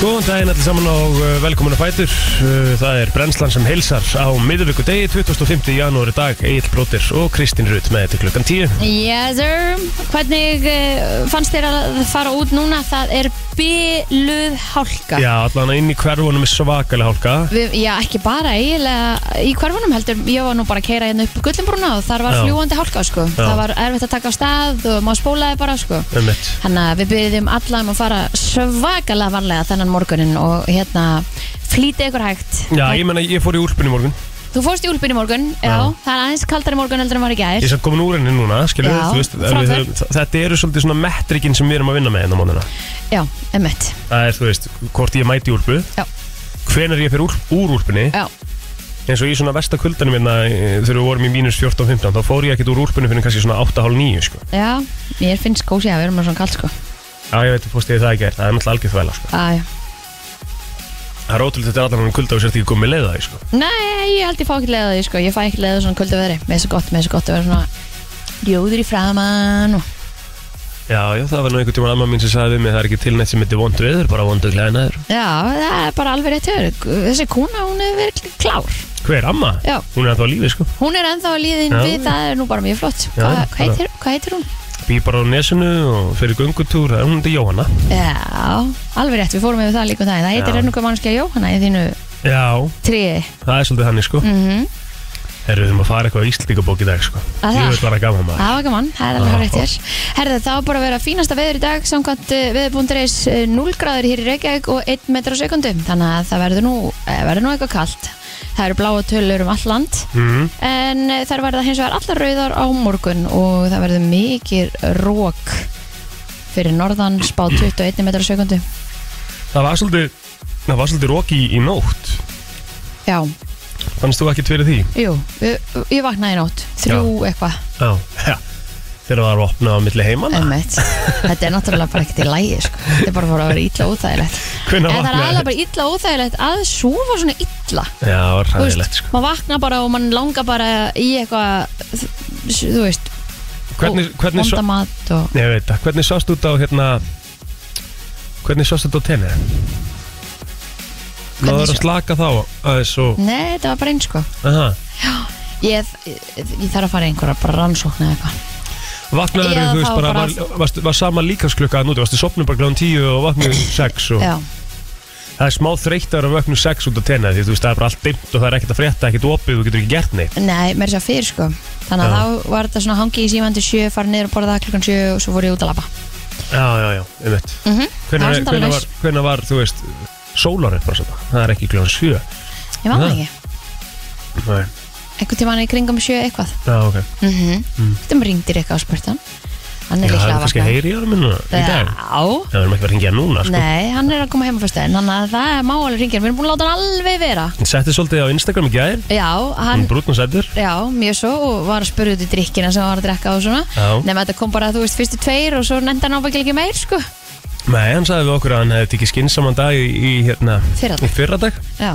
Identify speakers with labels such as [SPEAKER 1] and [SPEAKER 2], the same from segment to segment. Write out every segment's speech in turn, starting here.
[SPEAKER 1] Góðan daginn allir saman og uh, velkomin að fætur Uh, Það er brennslan sem heilsar á miðvíku degi 25. janúari dag Egil Bróttir og Kristín Rutt með þetta klukkan 10
[SPEAKER 2] Yes sir, hvernig uh, fannst þér að fara út núna? Það er byluð hálka
[SPEAKER 1] Já, allan inn í hverfunum er svakalega hálka
[SPEAKER 2] Við, já, ekki bara eiginlega í hverfunum heldur, ég var nú bara að keira hérna upp Gullinbrúna og þar var
[SPEAKER 1] Já.
[SPEAKER 2] fljúandi hálka sko.
[SPEAKER 1] Já.
[SPEAKER 2] það var erfitt að taka á stað og maður spólaði bara sko.
[SPEAKER 1] um
[SPEAKER 2] þannig að við byrjum allan að fara svakalega varlega þennan morgunin og hérna flýti ykkur hægt
[SPEAKER 1] Já, ég menna, ég fór í úlpunni morgun
[SPEAKER 2] Þú fórst í úlpinn í morgun, já,
[SPEAKER 1] Já.
[SPEAKER 2] það er aðeins kaldari morgun heldur en var í gær
[SPEAKER 1] Ég er samt komin úr henni núna, skilur
[SPEAKER 2] Já,
[SPEAKER 1] þú veist en
[SPEAKER 2] frábært.
[SPEAKER 1] við þurfum- þa- Þetta eru svolítið svona metrikin sem við erum að vinna með hérna á mónuna
[SPEAKER 2] Já, emmitt,
[SPEAKER 1] Það er, þú veist, hvort ég mæti í úlpu
[SPEAKER 2] Já.
[SPEAKER 1] Hvenær ég fer úr, úr úlpunni
[SPEAKER 2] já,
[SPEAKER 1] eins og í svona vestakvöldanum hérna eh, þegar við vorum í mínus 14-15 þá fór ég ekkert úr úlpunni fyrir kannski svona 8.30 sko.
[SPEAKER 2] já, ég finnst gósi að við erum að svona kald sko
[SPEAKER 1] Já, ég veit að postið það ekki er, það er náttúrulega algjör þvæla sko.
[SPEAKER 2] Æ.
[SPEAKER 1] Það er ótrúlega þetta er allan hann kulda og sért ekki komið leiða því sko.
[SPEAKER 2] Nei, ég held ég fá ekki leið á því sko Ég fæ ekki leið á svona kvöldu veðri Mér er svo gott, mér er svo gott að vera svona Ljóður í framan og...
[SPEAKER 1] Já, já, það var nú einhvern tímann amma mín sem sagði við mig það er ekki til neitt sem heitir vond viður, bara vondu glæðinaður.
[SPEAKER 2] Já, það er bara alveg rétt höfur Þessi kúna, hún er verið klár
[SPEAKER 1] Hver, amma?
[SPEAKER 2] Já,
[SPEAKER 1] Hún er að á lífi sko.
[SPEAKER 2] hún er ennþá að líðin
[SPEAKER 1] Já.
[SPEAKER 2] við Það er nú bara mjög flott
[SPEAKER 1] Já,
[SPEAKER 2] Hvað
[SPEAKER 1] já.
[SPEAKER 2] hva heitir, hva heitir hún?
[SPEAKER 1] Býr bara á nesinu og fyrir göngutúr, það er hún til Jóhanna.
[SPEAKER 2] Já, alveg rétt, við fórum yfir það líka um það Það heitir
[SPEAKER 1] Já.
[SPEAKER 2] ennúka mannskja Jóhanna í þínu
[SPEAKER 1] Já,
[SPEAKER 2] tríi
[SPEAKER 1] það er svolítið þannig sko.
[SPEAKER 2] mm
[SPEAKER 1] Herru, við þurfum að fara eitthvað á Íslendingabók í dag sko.
[SPEAKER 2] Að það?
[SPEAKER 1] Ég veit bara gaman maður.
[SPEAKER 2] Það var gaman, það er
[SPEAKER 1] Já.
[SPEAKER 2] alveg hárið þér Herða, það var bara að vera fínasta veður í dag samkvæmt eh, veður.is 0 gráður hér í Reykjavík og 1 metr á sekundu þannig að það verður nú, eh, verður nú eitthvað kalt Það eru bláa tölur um all land
[SPEAKER 1] Mm.
[SPEAKER 2] en eh, þær verða hins vegar allar rauðar á morgun og það verður mikið rók fyrir norðan spá 21 metr á sekundu
[SPEAKER 1] Það var svolítið, það var svolítið roki í, í nótt.
[SPEAKER 2] Já,
[SPEAKER 1] Fannst þú ekkert fyrir því?
[SPEAKER 2] jú, ég, ég vaknaði í nótt þrjú eitthvað,
[SPEAKER 1] Já, já. Þegar það var opnað á milli heimanna.
[SPEAKER 2] ömmett Þetta er náttúrulega bara ekkert í lægi sko. Þetta er bara að fara að vera illa úþægilegt
[SPEAKER 1] Hvenær
[SPEAKER 2] En það er
[SPEAKER 1] vaknaði?
[SPEAKER 2] alveg bara illa óþægilegt að sofa svona illa
[SPEAKER 1] Já, það var
[SPEAKER 2] Þú veist,
[SPEAKER 1] ræðilegt sko.
[SPEAKER 2] maður vakna bara og maður langar bara í eitthvað þú veist,
[SPEAKER 1] Hvernig, hvernig, svo,
[SPEAKER 2] vondamat og
[SPEAKER 1] Nei, ég veit það, hvernig sást út á hérna Hvernig sást út á tennið? Náður að
[SPEAKER 2] sá-
[SPEAKER 1] slaka þá aðeins og
[SPEAKER 2] Nei, þetta var bara eins sko
[SPEAKER 1] aha,
[SPEAKER 2] Ég, ég, ég þarf að fara í einhverja bara rannsókn eða eitthvað
[SPEAKER 1] Vaknaður,
[SPEAKER 2] Já,
[SPEAKER 1] þú veist
[SPEAKER 2] þá
[SPEAKER 1] bara,
[SPEAKER 2] bara-
[SPEAKER 1] var, varst, var sama líkansklukka að núti Varstu sopnum bara gláðum tíu og vaknum sex og
[SPEAKER 2] Já,
[SPEAKER 1] Það er smá þreytt að vera vaknum sex út á tennið Því þú veist, það er bara allt dimmt og það er ekkert að frétta, ekkert opið Þú getur ekki gert neitt
[SPEAKER 2] nei, mér er sér fyrir sko Þannig að
[SPEAKER 1] Já.
[SPEAKER 2] þá var þetta svona hangi í símandi sjö, fara niður og borða klukkan sjö og svo voru ég út að labba
[SPEAKER 1] Já, já, já, um veit
[SPEAKER 2] mm -hmm. Það var
[SPEAKER 1] Hvernig,
[SPEAKER 2] samt alveg
[SPEAKER 1] hvernig,
[SPEAKER 2] næs.
[SPEAKER 1] var, hvernig var, þú veist, sólarinn bara svona Það er ekki gláðum sjö
[SPEAKER 2] Ég man það
[SPEAKER 1] Já.
[SPEAKER 2] ekki,
[SPEAKER 1] Nei,
[SPEAKER 2] einhvern tímann í kringum sjö eitthvað
[SPEAKER 1] já, ok
[SPEAKER 2] mm -hmm.
[SPEAKER 1] Mm.
[SPEAKER 2] Þetta ringdir eitthvað á spurtan Hann er
[SPEAKER 1] Já, það
[SPEAKER 2] líklega
[SPEAKER 1] er
[SPEAKER 2] að
[SPEAKER 1] kannski
[SPEAKER 2] vakna
[SPEAKER 1] heyri í árum minna í dag
[SPEAKER 2] Já,
[SPEAKER 1] Já, við erum ekki verið að hringja núna, sko
[SPEAKER 2] Nei, hann er að koma heima fyrst en þannig að það er máalur hringir, við erum búin að láta hann alveg vera
[SPEAKER 1] Hann setti svolítið á Instagram í gæðir
[SPEAKER 2] Já, hann,
[SPEAKER 1] Hann brútna sættur
[SPEAKER 2] já, mjög svo og var að spurja út í drikkina sem hann var að drekka og svona
[SPEAKER 1] Já.
[SPEAKER 2] Nefnum þetta kom bara, þú veist, fyrstu tveir og svo nefndi hann ábyggilega ekki meir, sko
[SPEAKER 1] Nei, hann sagði við okkur að hann hefði tekið skinsaman dag í, í hérna
[SPEAKER 2] Fyrradag.
[SPEAKER 1] Í fyrradag
[SPEAKER 2] Já,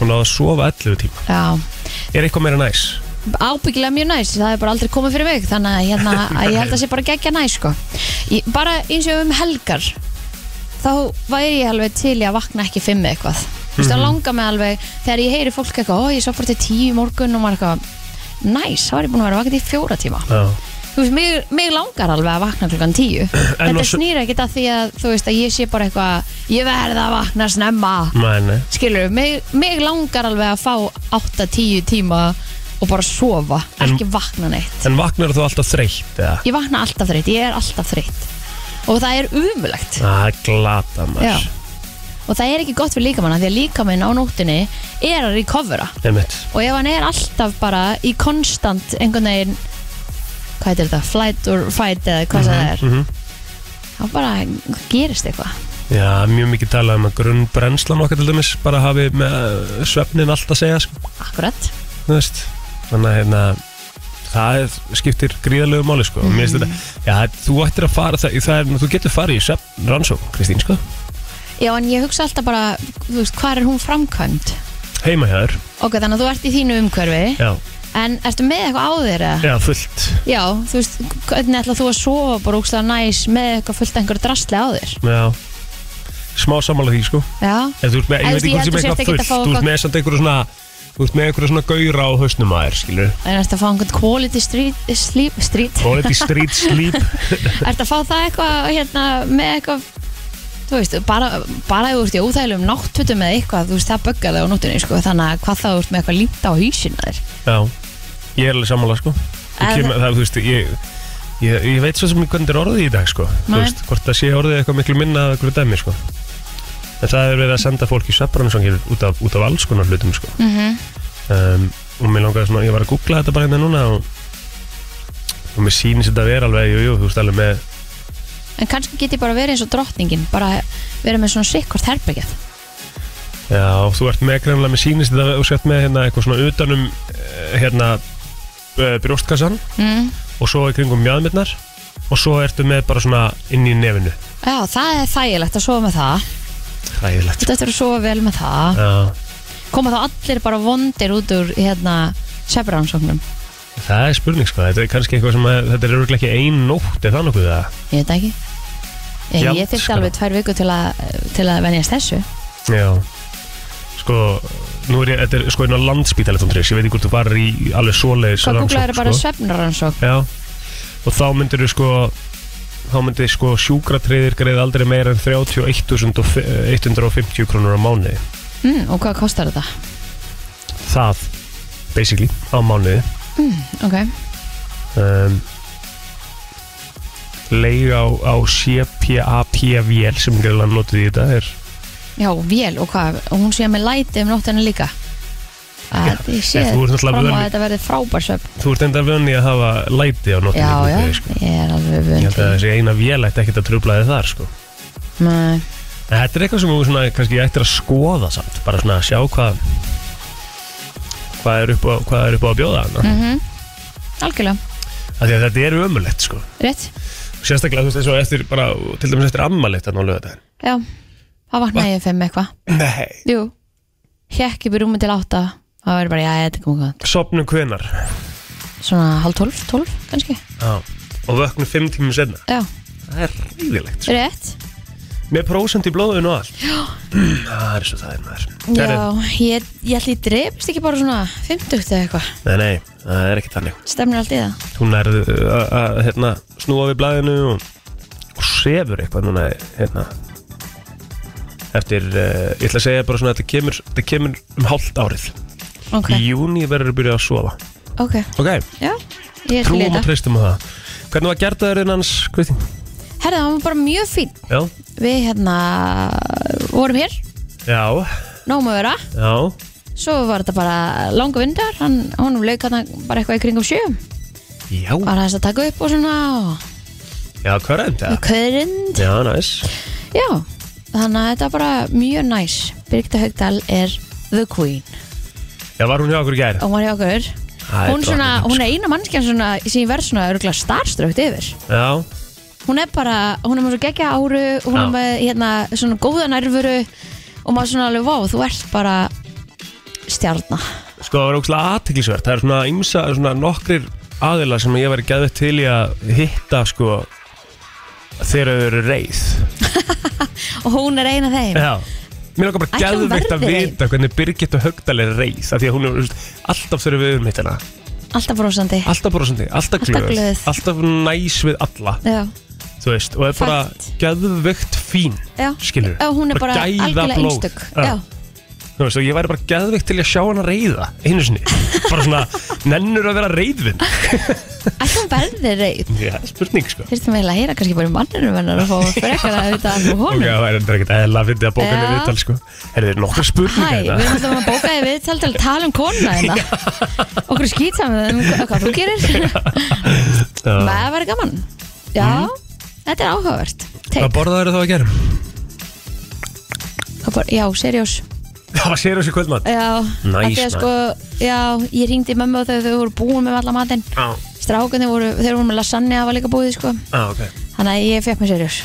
[SPEAKER 1] Og náði að sofa 11 tíma
[SPEAKER 2] já,
[SPEAKER 1] Er eitthvað meira næs?
[SPEAKER 2] ábyggilega mjög næs, það er bara aldrei komið fyrir mig Þannig að, hérna, að ég held að sé bara geggja næs, sko ég, Bara eins og um helgar, þá væri ég alveg til í að vakna ekki fimm eða eitthvað Þú veist, það langar mig alveg, þegar ég heyri fólk eitthvað, ó, ég svo bara til tíu í morgun og maður eitthvað, næs, þá er ég búin að vera vakið í fjóra tíma.
[SPEAKER 1] Já
[SPEAKER 2] þú veist, mig, mig langar alveg að vakna klukkan tíu þetta
[SPEAKER 1] og svo-
[SPEAKER 2] snýr ekkert að því að þú veist að ég sé bara eitthvað ég verð að vakna snemma
[SPEAKER 1] Nei, nei
[SPEAKER 2] skilur, mig, mig langar alveg að fá 8-10 tíma og bara sofa,
[SPEAKER 1] En-
[SPEAKER 2] ekki vakna neitt
[SPEAKER 1] En vaknar þú alltaf þreytt eða?
[SPEAKER 2] ég vakna alltaf þreytt, ég er alltaf þreytt og það er umulegt
[SPEAKER 1] Það er glata
[SPEAKER 2] Já.
[SPEAKER 1] maður
[SPEAKER 2] og það er ekki gott fyrir líkamann af því að líkaminn á nóttinni er að recovera
[SPEAKER 1] Einmitt
[SPEAKER 2] og ef hann er alltaf bara í konstant einhvern veginn hvað heitir þetta, flight or fight eða hvað sem það er
[SPEAKER 1] mhm.
[SPEAKER 2] þá bara gerist eitthvað
[SPEAKER 1] Já, mjög mikið talað um að grunnbrennslan okkar til dæmis Bara hafi með uh, svefnin allt að segja, sko
[SPEAKER 2] akkurat
[SPEAKER 1] Þú veist Þannig að hérna Það er, skiptir gríðarlegu máli sko mm. þetta,
[SPEAKER 2] Mhm.
[SPEAKER 1] Já, þú ættir að fara það, það er, Þú getur farið í svefn rannsók, Kristín sko
[SPEAKER 2] já en ég hugsa alltaf bara, þú veist, hvað er hún framkvæmd
[SPEAKER 1] Heima hjá þér
[SPEAKER 2] ok, þannig að þú ert í þínu umhverfi
[SPEAKER 1] Já,
[SPEAKER 2] en ertu með eitthvað á þér eða?
[SPEAKER 1] já fullt
[SPEAKER 2] já, þú veist, hvernig ætlað þú að sofa bara úkslega næs með eitthvað fullt af einhverju drastli á þér
[SPEAKER 1] Já smá sammála því sko
[SPEAKER 2] já,
[SPEAKER 1] En þú ert með,
[SPEAKER 2] En
[SPEAKER 1] ég
[SPEAKER 2] þú
[SPEAKER 1] veit ekki
[SPEAKER 2] veist, ég
[SPEAKER 1] hvort sem
[SPEAKER 2] held þú sért
[SPEAKER 1] eitthvað
[SPEAKER 2] ekkert að
[SPEAKER 1] fullt
[SPEAKER 2] fá
[SPEAKER 1] Þú ert
[SPEAKER 2] gott-
[SPEAKER 1] með samt einhverju svona Þú ert með einhverju svona gauðra á hausnum að þér, skilur
[SPEAKER 2] en ertu að fá einhvern quality street, sleep, street.
[SPEAKER 1] Quality street sleep
[SPEAKER 2] ertu að fá það eitthvað hérna, með eitthvað þú veist, bara, bara ef þú ert í óþægilegum náttfutum eða eitthvað, þú veist, það böggar þig á nóttunni sko, þannig að hvað þá ert með eitthvað límt á hýsina þér
[SPEAKER 1] Já, ég er alveg sammála sko Þú
[SPEAKER 2] Eða-
[SPEAKER 1] kemur, það, þú veist, ég Ég, ég veit svo sem hvernig þetta er orðið í dag sko Þú
[SPEAKER 2] Nei.
[SPEAKER 1] veist, hvort það sé orðið eitthvað miklu minna af einhverju dæmi sko En það er verið að senda fólk í svefbransangir út, af- út af alls konar hlutum sko
[SPEAKER 2] mm -hmm.
[SPEAKER 1] um, og mér langaði svona, ég var að googla þetta bara hérna núna og, og mér sýnist þetta vera alveg, jú, jú, þú veist alveg með
[SPEAKER 2] en kannski get ég bara verið eins og drottningin bara verið með svona sikkort herbergjað
[SPEAKER 1] já, þú ert með greinlega, mér sýnist þetta og sett með hérna eitthvað svona utanum eh, hérna eh, brjóstkassan
[SPEAKER 2] mm.
[SPEAKER 1] og svo í kringum mjöðmyrnar og svo ertu með bara svona inn í nefinu
[SPEAKER 2] já, það er þægilegt að sofa með það
[SPEAKER 1] hræðilegt
[SPEAKER 2] þetta er að sofa vel með það
[SPEAKER 1] já,
[SPEAKER 2] koma þá allir bara vondir út úr hérna sefransóknum
[SPEAKER 1] það er spurning sko, þetta er kannski eitthvað sem að, þetta er örugglega ekki ein nótt, er það nokkuð það?
[SPEAKER 2] ég veit ekki ég,
[SPEAKER 1] Gjald,
[SPEAKER 2] ég þyrfti
[SPEAKER 1] sko.
[SPEAKER 2] alveg tvær viku til að, til að venjast þessu
[SPEAKER 1] já, sko nú er ég, þetta er sko einu á landspítalet.is ég veit ekki hvort þú varir í alveg svoleiðis
[SPEAKER 2] hvað
[SPEAKER 1] rannsókn,
[SPEAKER 2] googlaður
[SPEAKER 1] sko.
[SPEAKER 2] er bara svefnaransókn
[SPEAKER 1] Já, og þá myndir þú sko þá myndir sko sjúkratriðir greið aldrei meira en 31.150 krónur á mánuði
[SPEAKER 2] mm, og hvað kostar þetta?
[SPEAKER 1] það, basically, á mánuði
[SPEAKER 2] ok,
[SPEAKER 1] um, leig á, á CPAP-vél sem greiðlega notið í þetta er
[SPEAKER 2] já, vél og hvað og hún sé með læti um nóttinu líka að ég sé
[SPEAKER 1] en þú ert náttúrulega
[SPEAKER 2] fram á
[SPEAKER 1] vön-
[SPEAKER 2] að þetta verði frábær svefn
[SPEAKER 1] þú ert enda vönni að hafa læti á notið
[SPEAKER 2] já, já,
[SPEAKER 1] Sko.
[SPEAKER 2] ég er alveg
[SPEAKER 1] ég
[SPEAKER 2] vönd
[SPEAKER 1] held að þessi eina vél ætti ekkert að trubla þið þar sko
[SPEAKER 2] Nei.
[SPEAKER 1] En þetta er eitthvað sem þú svona, kannski ættir að skoða samt, bara svona að sjá hvað hvað er upp á, hvað er upp á að bjóða hana. Mm.
[SPEAKER 2] Mhm. algjörlega,
[SPEAKER 1] Því að þetta er ömulegt sko.
[SPEAKER 2] rétt
[SPEAKER 1] Sérstaklega þú veist eins og eftir bara, til dæmis eftir ammalitt að nálega þetta.
[SPEAKER 2] já, það vaknaði ég fimm eitthvað
[SPEAKER 1] Nei.
[SPEAKER 2] jú, hjekk upp í rúmi til átta það verður bara, já, þetta kom hvað
[SPEAKER 1] Sopnum hvenar.
[SPEAKER 2] svona hálf tólf, tólf kannski
[SPEAKER 1] Já. Og vöknum fimm tímum senna.
[SPEAKER 2] já,
[SPEAKER 1] Það er ríðilegt sko.
[SPEAKER 2] rétt
[SPEAKER 1] Með prósent í blóðun og allt. Já. Það er svo það er maður.
[SPEAKER 2] já, ég, ég ætli ég drefst ekki bara svona 50 eða eitthvað,
[SPEAKER 1] Nei, nei, það er ekki þannig.
[SPEAKER 2] stemnir allt í það
[SPEAKER 1] Þú nærðu uh, að, að hérna, snúa við blæðinu og, og sefur eitthvað núna hérna, eftir, uh, ég ætla að segja bara svona að þetta kemur, þetta kemur um hálft árið
[SPEAKER 2] ok,
[SPEAKER 1] í júni verður að byrja að sofa
[SPEAKER 2] ok,
[SPEAKER 1] ok,
[SPEAKER 2] já ég ætli
[SPEAKER 1] trúum og
[SPEAKER 2] þetta,
[SPEAKER 1] treystum á það hvernig var gerðaðurinn hans, Kristín?
[SPEAKER 2] herða, það var bara mjög fín
[SPEAKER 1] Já,
[SPEAKER 2] við hérna vorum hér,
[SPEAKER 1] já,
[SPEAKER 2] nóg með vera
[SPEAKER 1] já
[SPEAKER 2] svo var þetta bara langa vindar hann, honum lauk hann bara eitthvað í kringum sjö
[SPEAKER 1] já,
[SPEAKER 2] bara þess að taka upp og svona og
[SPEAKER 1] já, hvað er þetta?
[SPEAKER 2] köðrind,
[SPEAKER 1] já, næs
[SPEAKER 2] já þannig að þetta er bara mjög næs Birgitta Haugdal er the queen
[SPEAKER 1] já, var hún hjá okkur í gær?
[SPEAKER 2] og hún var hjá okkur
[SPEAKER 1] Það er
[SPEAKER 2] hún, svona,
[SPEAKER 1] drottningin,
[SPEAKER 2] hún er eina mannskjan svona, sem ég verð svona örgulega starströkt yfir
[SPEAKER 1] já,
[SPEAKER 2] hún er bara, hún er með svo geggja áru hún
[SPEAKER 1] Já.
[SPEAKER 2] er með hérna, svona góða nærfuru og maður svona alveg, vá, þú ert bara stjarnar
[SPEAKER 1] Sko það var ógslag aðtiklisvert Það er svona ymsa, svona nokkrir aðila sem ég væri gæðið til í að hitta sko þegar þau eru reið
[SPEAKER 2] og hún er eina þeim
[SPEAKER 1] Já Mér langar bara
[SPEAKER 2] Ætli hún
[SPEAKER 1] gæðveikt að
[SPEAKER 2] verði reið?
[SPEAKER 1] vita hvernig Birgitta Högdal er reið af því að hún er þú veist, alltaf þurfum við um hitt hana
[SPEAKER 2] alltaf brosandi
[SPEAKER 1] alltaf brosandi, alltaf
[SPEAKER 2] Alltaf
[SPEAKER 1] glöð
[SPEAKER 2] glöð.
[SPEAKER 1] alltaf næs við alla
[SPEAKER 2] já,
[SPEAKER 1] þú veist, og er bara
[SPEAKER 2] Fakt.
[SPEAKER 1] gæðveikt fín
[SPEAKER 2] já.
[SPEAKER 1] skilur,
[SPEAKER 2] Já, hún er bara algjörlega
[SPEAKER 1] gæðablóð.
[SPEAKER 2] einstök
[SPEAKER 1] Já.
[SPEAKER 2] já.
[SPEAKER 1] Þú veist, og ég væri bara gæðveikt til í að sjá hana reiða einu sinni, bara svona nennur að vera reiðvinn
[SPEAKER 2] Ætli hún verði reyð
[SPEAKER 1] Já, spurning sko
[SPEAKER 2] Þyrstum eiginlega að heyra kannski bara um manninu hennar og fá frekar að þetta alveg
[SPEAKER 1] Ok,
[SPEAKER 2] honum
[SPEAKER 1] það er endur ekkert eðla að finna að bóka
[SPEAKER 2] Já.
[SPEAKER 1] henni viðtal sko Er þið nokkur hérna. spurningar þetta?
[SPEAKER 2] Hæ, við ætlum að bóka þig viðtal til að tala um konuna hérna Okkur skýta með um hva- hvað þú gerir
[SPEAKER 1] Já.
[SPEAKER 2] Það væri gaman Já, þetta er áhugavert Take.
[SPEAKER 1] Hvað borðaðu þau þá að gera?
[SPEAKER 2] Hvað bara- Já, serjós
[SPEAKER 1] Það var sér þessi kvöldmatt
[SPEAKER 2] Já,
[SPEAKER 1] Nice,
[SPEAKER 2] af því að
[SPEAKER 1] man.
[SPEAKER 2] sko, já, ég ringdi mömmu og þau, þau voru búin með alla matinn
[SPEAKER 1] Já,
[SPEAKER 2] Strákunni voru, þeir voru með lasagne að var líka búið sko.
[SPEAKER 1] já, Ah, ok
[SPEAKER 2] Þannig að ég fekk mér serjós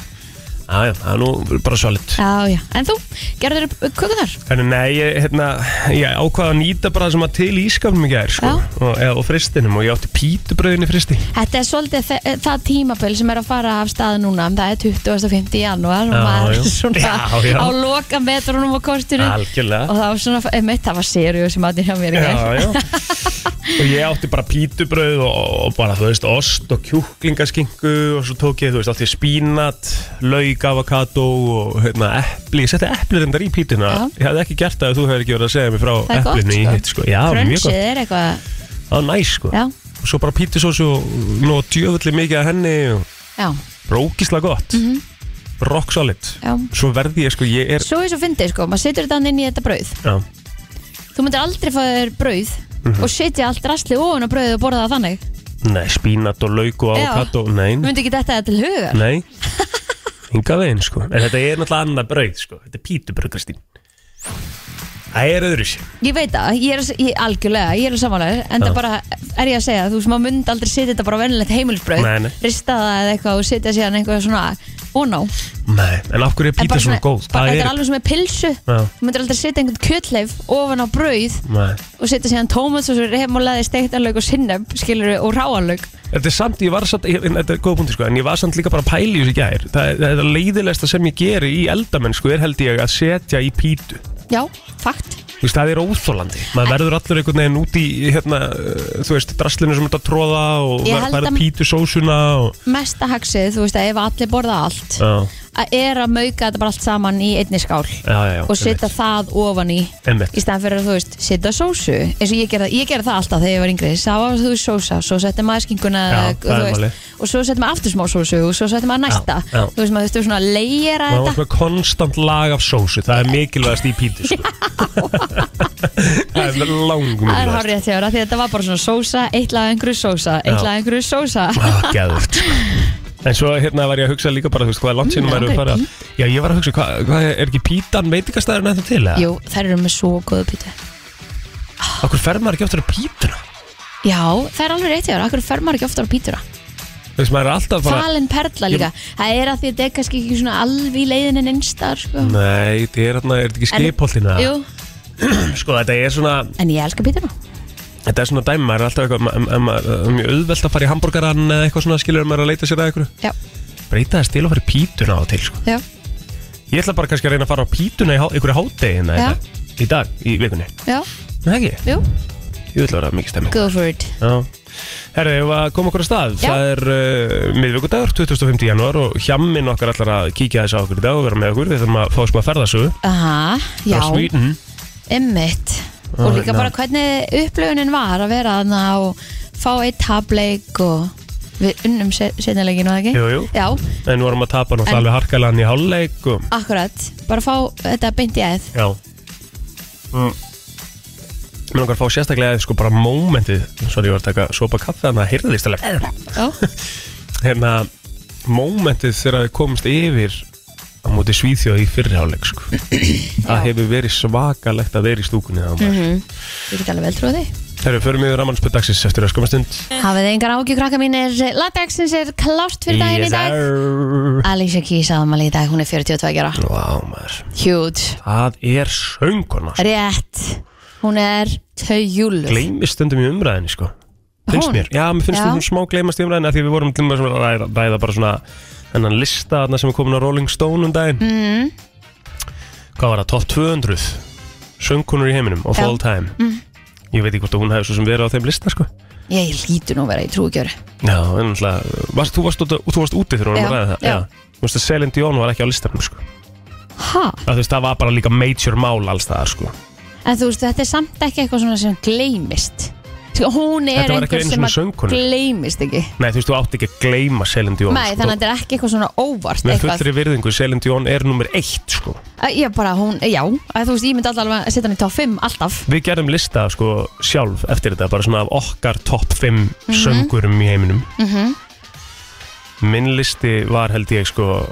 [SPEAKER 1] já, það er nú bara solid
[SPEAKER 2] Já, já, en þú, gerður upp köku þar?
[SPEAKER 1] En nei, ég, hérna, ég ákvaða að nýta bara það sem að til í ískapnum í gær sko. og, eða, og fristinum og ég átti pítubröðin í fristi
[SPEAKER 2] Þetta er svolítið þe- eh, það tímabil sem er að fara af stað núna það er 25. janúar og
[SPEAKER 1] Já,
[SPEAKER 2] maður
[SPEAKER 1] já.
[SPEAKER 2] er svona
[SPEAKER 1] Já, já.
[SPEAKER 2] á loka metrunum og kortinu og
[SPEAKER 1] Algjörlega
[SPEAKER 2] það var svona, einmitt, það var sériu sem átti hjá mér í
[SPEAKER 1] Já,
[SPEAKER 2] gær.
[SPEAKER 1] já. og ég átti bara pítubröð og, og bara, þú veist, ost og kjúklingaskinku og svo tók ég, þú veist, átti spínat lauk, avokado og hérna, epli, ég setti epli reyndar í pítuna
[SPEAKER 2] Já.
[SPEAKER 1] ég hafði ekki gert það ef þú hefur ekki verið að segja mér frá
[SPEAKER 2] Það er gott,
[SPEAKER 1] eplinu í
[SPEAKER 2] sko.
[SPEAKER 1] hitt, sko, já, mjög
[SPEAKER 2] Crunchið
[SPEAKER 1] gott
[SPEAKER 2] er eitthvað
[SPEAKER 1] það var næs, sko
[SPEAKER 2] Já,
[SPEAKER 1] og svo bara pítusósu og nú djöfulli mikið að henni og
[SPEAKER 2] já,
[SPEAKER 1] rókislega gott rock solid
[SPEAKER 2] Mhm. já
[SPEAKER 1] svo verði ég sko, ég er
[SPEAKER 2] Svo er svo fyndið sko, maður setur þetta inn í þetta brauð
[SPEAKER 1] já,
[SPEAKER 2] Þú myndir aldrei fá þér brauð
[SPEAKER 1] Mhm.
[SPEAKER 2] og setja allt rastli ofan á brauðið og borða það þannig
[SPEAKER 1] nei, spínat og lauk og
[SPEAKER 2] Já.
[SPEAKER 1] avokado,
[SPEAKER 2] Þú
[SPEAKER 1] nei,
[SPEAKER 2] myndir ekki þetta til hugar
[SPEAKER 1] nei hinga veginn sko, en þetta er náttúrulega annað brauð sko, þetta er pítubrauð Kristín það er öðru sér
[SPEAKER 2] Ég veit það, ég er ég, algjörlega, ég er samanlega En það
[SPEAKER 1] Já.
[SPEAKER 2] bara, er ég að segja, þú sem að mynd aldrei setja þetta bara á venilegt heimilisbrauð
[SPEAKER 1] Nei, nei.
[SPEAKER 2] Rista það eða eitthvað og setja síðan eitthvað svona óná En
[SPEAKER 1] nei, en af hverju er píta
[SPEAKER 2] bara
[SPEAKER 1] svona góð
[SPEAKER 2] bara, Þetta er alveg sem er pilsu
[SPEAKER 1] Já.
[SPEAKER 2] Þú myndir aldrei setja einhvern kjötleif ofan á brauð
[SPEAKER 1] nei.
[SPEAKER 2] og setja síðan tómat og svo reymulegaði steiktanlaug og sinnöp skilur og ráanlaug
[SPEAKER 1] Þetta er samt, ég var samt, ég, en þetta er góð punkti sko, en ég var samt líka bara að pæli þessu í gær. Það, er- það er leiðilegsta sem ég geri í eldamennsku er held ég að setja í pítu.
[SPEAKER 2] Já, fakt
[SPEAKER 1] Þú veist, það er óþólandi. Maður verður allur einhvern veginn út í, hérna, uh, þú veist, draslinu sem þetta tróða og
[SPEAKER 2] Ég
[SPEAKER 1] ver-
[SPEAKER 2] held
[SPEAKER 1] verður
[SPEAKER 2] að-
[SPEAKER 1] pítu sósuna og...
[SPEAKER 2] Mesta hagsið, þú veist að ef allir borða allt
[SPEAKER 1] Já,
[SPEAKER 2] að er að mauka þetta bara allt saman í einni skál
[SPEAKER 1] já, já.
[SPEAKER 2] og setja það ofan í
[SPEAKER 1] Emmett.
[SPEAKER 2] í staðan fyrir að þú veist, setja sósu eins og ég gerði, ég gerði það alltaf þegar ég var yngri það var þú veist sósa, svo setja maður skinguna
[SPEAKER 1] Já,
[SPEAKER 2] og,
[SPEAKER 1] það er
[SPEAKER 2] þú
[SPEAKER 1] málið.
[SPEAKER 2] veist, og svo setja maður aftur smá sósu og svo setja maður næsta
[SPEAKER 1] Já, já.
[SPEAKER 2] þú veist maður þurftur svona að leira
[SPEAKER 1] Maður var
[SPEAKER 2] þetta
[SPEAKER 1] með konstant lag af sósu. Það er mikilvægast í pítu, sko. það er langum
[SPEAKER 2] það er
[SPEAKER 1] mikilvægast.
[SPEAKER 2] hárið að þjára því að þetta var bara svona sósa eitt lag af einhverju sósa,
[SPEAKER 1] Já.
[SPEAKER 2] eitt lag af einhverju sósa
[SPEAKER 1] Það er gæðvögt, sko. En svo hérna var ég að hugsa líka bara, þú veist, hvað er langt sinni
[SPEAKER 2] Mm,
[SPEAKER 1] maður
[SPEAKER 2] af
[SPEAKER 1] er
[SPEAKER 2] hverju
[SPEAKER 1] farið að... Já, ég var að hugsa, hvað, hvað er ekki pítan veitingastæðurinn eftir til, eða?
[SPEAKER 2] jú, þær eru með svo góðu pítu
[SPEAKER 1] Akkur fer maður ekki oftar að pítuna?
[SPEAKER 2] já, það er alveg rétt hjá þér, akkur fer maður ekki oftar á pítuna
[SPEAKER 1] Þú veist, maður er alltaf bara...
[SPEAKER 2] falin perla líka, það er að því að þetta er kannski ekki svona alveg í leiðin en einstar sko.
[SPEAKER 1] Nei, þetta er hérna, er þetta ekki
[SPEAKER 2] En-
[SPEAKER 1] skipholtina?
[SPEAKER 2] jú,
[SPEAKER 1] Sko, þetta er svona,
[SPEAKER 2] en ég elska pítuna
[SPEAKER 1] Þetta er svona dæmi, maður er alltaf eitthvað, ma- ma- ma- það er mjög auðvelt að fara í hambúrgaran eða eitthvað svona skilur maður er að leita sér að eitthvað.
[SPEAKER 2] já,
[SPEAKER 1] Breyta þess til að fara í pítuna á og til, sko.
[SPEAKER 2] já,
[SPEAKER 1] Ég ætla bara kannski að reyna að fara á pítuna í há- einhverju hátegina
[SPEAKER 2] Já.
[SPEAKER 1] þetta, í dag, í vikunni.
[SPEAKER 2] já,
[SPEAKER 1] Nei, ekki?
[SPEAKER 2] jú
[SPEAKER 1] Ég vil vera mikið stemming.
[SPEAKER 2] Go for it
[SPEAKER 1] Já. Herri, ef að koma okkur að stað,
[SPEAKER 2] Já.
[SPEAKER 1] það er uh, miðvikudagur, 25. janúar og hjamminn okkar allar að kíkja þess að okkur í dag og vera með okkur, við þurfum að fá smá ferðasögu.
[SPEAKER 2] Aha, já,
[SPEAKER 1] Frá Sweden.
[SPEAKER 2] emmitt Og líka
[SPEAKER 1] hérna.
[SPEAKER 2] bara hvernig upplöfunin var að vera þarna og fá eitt tableik og við unnum setnilegin og það ekki
[SPEAKER 1] Jú, jú.
[SPEAKER 2] Já,
[SPEAKER 1] En vorum að tapa náttúrulega
[SPEAKER 2] Eh. En-
[SPEAKER 1] alveg harkalan í hálfleik og...
[SPEAKER 2] akkurat, bara fá þetta beint í æð
[SPEAKER 1] Já mm. Mér langar að fá sérstaklega sko bara mómentið Sorry, ég var að taka sopa kaffe þannig að heyrðist alveg
[SPEAKER 2] Já,
[SPEAKER 1] Hérna, mómentið þegar við komumst yfir á móti svíþjóð í fyrirháleik sko. Það hefur verið svakalegt að vera í stúkunni þá mm -hmm.
[SPEAKER 2] Mhm. ég get alveg vel trúið því
[SPEAKER 1] Þegar við förum yfir rammanspöldagsins eftir öskum stund
[SPEAKER 2] Hafið engar ágjur krakka mínir Lagdagsins er klárt fyrir daginn í dag
[SPEAKER 1] sir.
[SPEAKER 2] Alicia Keys aðmæli í dag, hún er 42 ára
[SPEAKER 1] Vá maður,
[SPEAKER 2] Huge,
[SPEAKER 1] það er sönguna sko.
[SPEAKER 2] rétt Hún er taugjúluð
[SPEAKER 1] Gleimist stundum í umræðinni sko finnst
[SPEAKER 2] Hún?
[SPEAKER 1] mér, já, mér finnst
[SPEAKER 2] Já.
[SPEAKER 1] hún smá gleymast í umræðinu af því við vorum til með svona að ræða, ræða bara svona hennan lista þarna sem er komin á Rolling Stone um daginn mm.
[SPEAKER 2] Mm-hmm.
[SPEAKER 1] hvað var það, top 200 söngkonur í heiminum of
[SPEAKER 2] Já. Mm.
[SPEAKER 1] all time ég veit ekki hvort að hún hefði svo sem verið á þeim lista sko
[SPEAKER 2] Ég hlýtur nú að vera í trúgjöru
[SPEAKER 1] já, en alltaf, varst, þú, varst, út- þú varst úti þegar hún
[SPEAKER 2] Já,
[SPEAKER 1] var að ræða það
[SPEAKER 2] já.
[SPEAKER 1] Þú veist að Celine Dion var ekki á listanum sko.
[SPEAKER 2] Ha?
[SPEAKER 1] Það, þú veist, það var bara líka major mál alls það sko.
[SPEAKER 2] En þú veist, þetta er samt ekki eitthvað svona sem gleymist Sko, Hún er
[SPEAKER 1] Þetta var ekki
[SPEAKER 2] einhver
[SPEAKER 1] einu
[SPEAKER 2] sem
[SPEAKER 1] svona
[SPEAKER 2] að
[SPEAKER 1] söngkonu
[SPEAKER 2] gleymist ekki
[SPEAKER 1] Nei, þú veist, þú átti ekki að gleyma Celine Dion
[SPEAKER 2] Nei,
[SPEAKER 1] sko.
[SPEAKER 2] þannig að þetta er ekki eitthvað svona óvart
[SPEAKER 1] Með
[SPEAKER 2] eitthvað.
[SPEAKER 1] fullri virðingu, Celine Dion er nummer eitt sko.
[SPEAKER 2] Að Ég bara, hún, já, að þú veist, ég myndi alltaf alveg að setja hann í top 5 alltaf
[SPEAKER 1] Við gerðum lista sko sjálf eftir þetta bara svona af okkar topp 5 söngurum í heiminum
[SPEAKER 2] Mhm.
[SPEAKER 1] Minn listi var held ég sko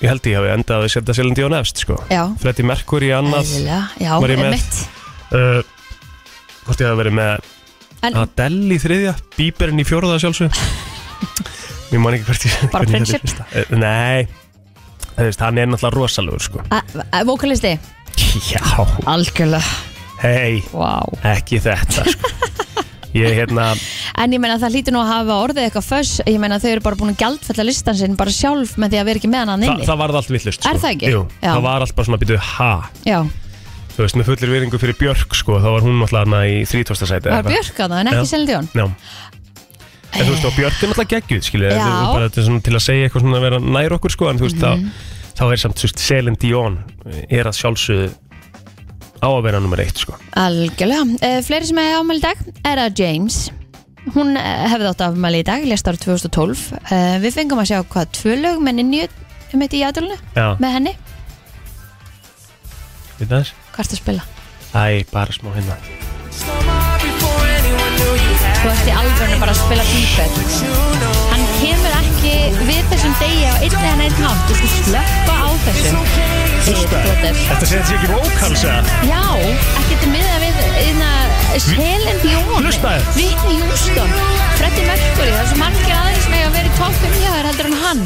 [SPEAKER 1] ég held ég hafi endað að setja Celine Dion efst sko
[SPEAKER 2] Já,
[SPEAKER 1] Freddie Mercury annað
[SPEAKER 2] eðlilega, já,
[SPEAKER 1] Var ég með?
[SPEAKER 2] mitt
[SPEAKER 1] uh, Hvort ég hafi verið með
[SPEAKER 2] En-
[SPEAKER 1] Adele í þriðja Bieberinn í fjóraða sjálfsög Ég man ekki hvert ég
[SPEAKER 2] Bara
[SPEAKER 1] hvernig þetta er
[SPEAKER 2] Friendship?
[SPEAKER 1] lista. Eh, Nei þú veist, hann er náttúrulega rosalegur sko
[SPEAKER 2] Vokalisti
[SPEAKER 1] Já,
[SPEAKER 2] Algjörlega
[SPEAKER 1] hei,
[SPEAKER 2] wow.
[SPEAKER 1] ekki þetta sko Ég hérna,
[SPEAKER 2] En ég meina það hlýtur nú að hafa orðið eitthvað föss Ég meina þau eru bara búin að gjaldfella listan sinn Bara sjálf með því að vera ekki með hann
[SPEAKER 1] þa
[SPEAKER 2] inni
[SPEAKER 1] það varð allt villust sko.
[SPEAKER 2] Er það ekki?
[SPEAKER 1] Jú,
[SPEAKER 2] Já.
[SPEAKER 1] það var allt bara svona býtu ha
[SPEAKER 2] Já,
[SPEAKER 1] Þú veist, með fullir viðringu fyrir Björk sko, þá var hún náttúrulega hana í 30. sæti eða
[SPEAKER 2] það
[SPEAKER 1] eitthvað.
[SPEAKER 2] var Björk að það en ekki
[SPEAKER 1] Já.
[SPEAKER 2] Selin Djón
[SPEAKER 1] Já En þú veist, og Björk er náttúrulega geggjuð, skilja
[SPEAKER 2] Já. Mhm.
[SPEAKER 1] bara þetta er svona til að segja eitthvað svona að vera nær okkur sko, en þú veist, þá, þá er samt, þú veist, Selin Dion er að sjálfsögðu á að vera nummer eitt, sko
[SPEAKER 2] Algjörlega. Uh, fleiri sem hefði afmæli í dag er að James. Hún eh, hefði átt afmæli í dag, lest árið 2012. Uh, við fengum að sjá hvað tvö lög með ninju um eitt í aðdólinu
[SPEAKER 1] Já,
[SPEAKER 2] með henni.
[SPEAKER 1] við þess
[SPEAKER 2] Hvað ertu að spila?
[SPEAKER 1] Æ, bara smá hérna
[SPEAKER 2] Þú ert í alvörinu bara að spila tífett. Hann kemur ekki við þessum degi á einn eða einn hátt. Þú skal slöppa á þessum. Þetta
[SPEAKER 1] Þetta segir þetta sé ekki vókals eða?
[SPEAKER 2] Já, ekkert um miða við einna Selin Dion
[SPEAKER 1] Hlustaðu.
[SPEAKER 2] Whitney Houston Freddie Mercury, það er svo margir aðeins með að vera í topp 5 hjá þér heldur en hann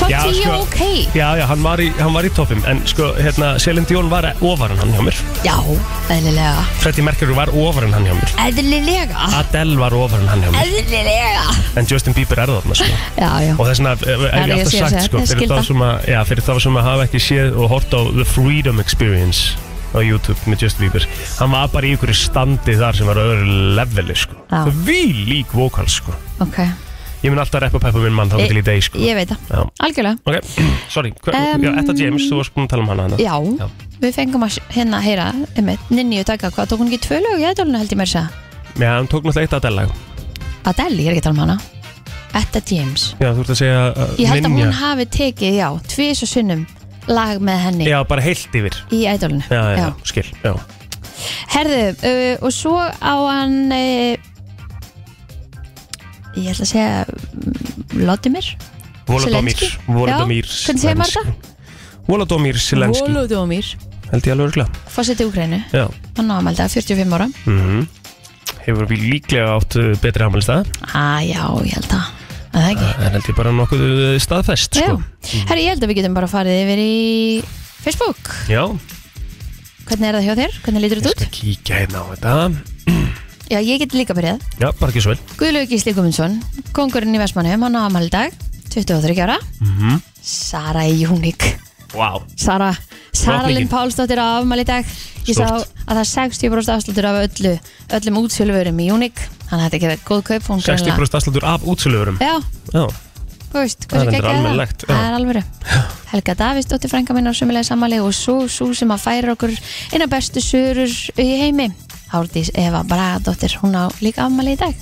[SPEAKER 2] Topp 10
[SPEAKER 1] sko.
[SPEAKER 2] ok
[SPEAKER 1] Já, já, hann var í, hann var í toppum En sko, hérna, Selin Dion var ofar en hann hjá mér
[SPEAKER 2] Já, eðlilega
[SPEAKER 1] Freddie Mercury var ofar en hann hjá mér
[SPEAKER 2] Eðlilega
[SPEAKER 1] Adele var ofar en hann hjá mér
[SPEAKER 2] Eðlilega
[SPEAKER 1] En Justin Bieber er þarna, sko
[SPEAKER 2] Já, já
[SPEAKER 1] Og þess vegna eh,
[SPEAKER 2] Já,
[SPEAKER 1] hef ég
[SPEAKER 2] ég
[SPEAKER 1] alltaf
[SPEAKER 2] sé
[SPEAKER 1] sagt
[SPEAKER 2] þessi-
[SPEAKER 1] sko,
[SPEAKER 2] ég skil
[SPEAKER 1] fyrir, þá
[SPEAKER 2] það.
[SPEAKER 1] sem að, já, fyrir þá sem að hafa ekki séð og hort á The Freedom Experience á YouTube með Justin Bieber hann var bara í einhverju standi þar sem var á öðru leveli sko.
[SPEAKER 2] Já.
[SPEAKER 1] því lík vókal sko.
[SPEAKER 2] Ok,
[SPEAKER 1] ég mun alltaf reppa peppa minn mann þá til í deg sko.
[SPEAKER 2] ég veit það
[SPEAKER 1] Já.
[SPEAKER 2] Algjörlega
[SPEAKER 1] ok, sorry, hver,
[SPEAKER 2] Em,
[SPEAKER 1] já, Etta James þú varst búin að tala um hana hana
[SPEAKER 2] Já,
[SPEAKER 1] Já.
[SPEAKER 2] við fengum að s- hérna heyra einmitt, Ninni og taka hvað, tók hún ekki tvö lög í aðdólinu held ég mér að segja
[SPEAKER 1] já, hann tók náttúrulega eitt Adele lag.
[SPEAKER 2] Adele, ég er ekki að tala um hana Etta James
[SPEAKER 1] já, þú ert að segja uh,
[SPEAKER 2] Ég held að
[SPEAKER 1] Ninja.
[SPEAKER 2] hún hafi tekið, já, tvís og sunnum lag með henni
[SPEAKER 1] já, bara heilt yfir
[SPEAKER 2] í ædolinu.
[SPEAKER 1] já, já, já. skil já.
[SPEAKER 2] Herðu, uh, og svo á hann, uh, ég ætla að segja, mm, Vladimir?
[SPEAKER 1] Volodomir
[SPEAKER 2] Zelensky?
[SPEAKER 1] Volodomir
[SPEAKER 2] Já, hvernig segir maður
[SPEAKER 1] Zelensky. Volodomir Zelensky
[SPEAKER 2] Volodomir.
[SPEAKER 1] held ég alveg örgulega
[SPEAKER 2] Fórseti Úkrænu,
[SPEAKER 1] já
[SPEAKER 2] hann á aðmælda, 45 ára.
[SPEAKER 1] mm Hefur við líklega átt uh, betri afmælistað
[SPEAKER 2] Á, já, ég held að, að það ekki.
[SPEAKER 1] En held ég bara nokkuð uh, staðfest
[SPEAKER 2] Já,
[SPEAKER 1] Eh, sko.
[SPEAKER 2] herru, ég held að við getum bara farið yfir í Facebook.
[SPEAKER 1] Já,
[SPEAKER 2] Hvernig er það hjá þér? Hvernig lítur
[SPEAKER 1] ég
[SPEAKER 2] þetta
[SPEAKER 1] skal
[SPEAKER 2] út?
[SPEAKER 1] kíkja hérna á þetta
[SPEAKER 2] Já, ég get líka byrjað.
[SPEAKER 1] Já, bara ekki svo vel
[SPEAKER 2] Guðlaug Gísli Gumundsson, kongurinn í Vestmannum, hann á aðmældag, 23 ára.
[SPEAKER 1] mm -hmm.
[SPEAKER 2] Sara í Júnik.
[SPEAKER 1] Wow,
[SPEAKER 2] Sara, Sara
[SPEAKER 1] Drottningin.
[SPEAKER 2] Lind Pálsdóttir á afmæli í dag ég sá
[SPEAKER 1] Stórt.
[SPEAKER 2] að það er 60% afslutur af öllu, öllum útsöluverum í Unic þannig að þetta getur góð kaup hún
[SPEAKER 1] 60% afslutur af útsöluverum
[SPEAKER 2] já,
[SPEAKER 1] Já,
[SPEAKER 2] þú veist,
[SPEAKER 1] Það er
[SPEAKER 2] hversu
[SPEAKER 1] reyndar
[SPEAKER 2] geggja það
[SPEAKER 1] almennilegt, já.
[SPEAKER 2] það er alveg Helga Davíðsdóttir frænka minn á sömulega sammæli og svo svo sem að færa okkur eina bestu sörur í heimi Hárdís Eva Bragadóttir, hún á líka afmæli í dag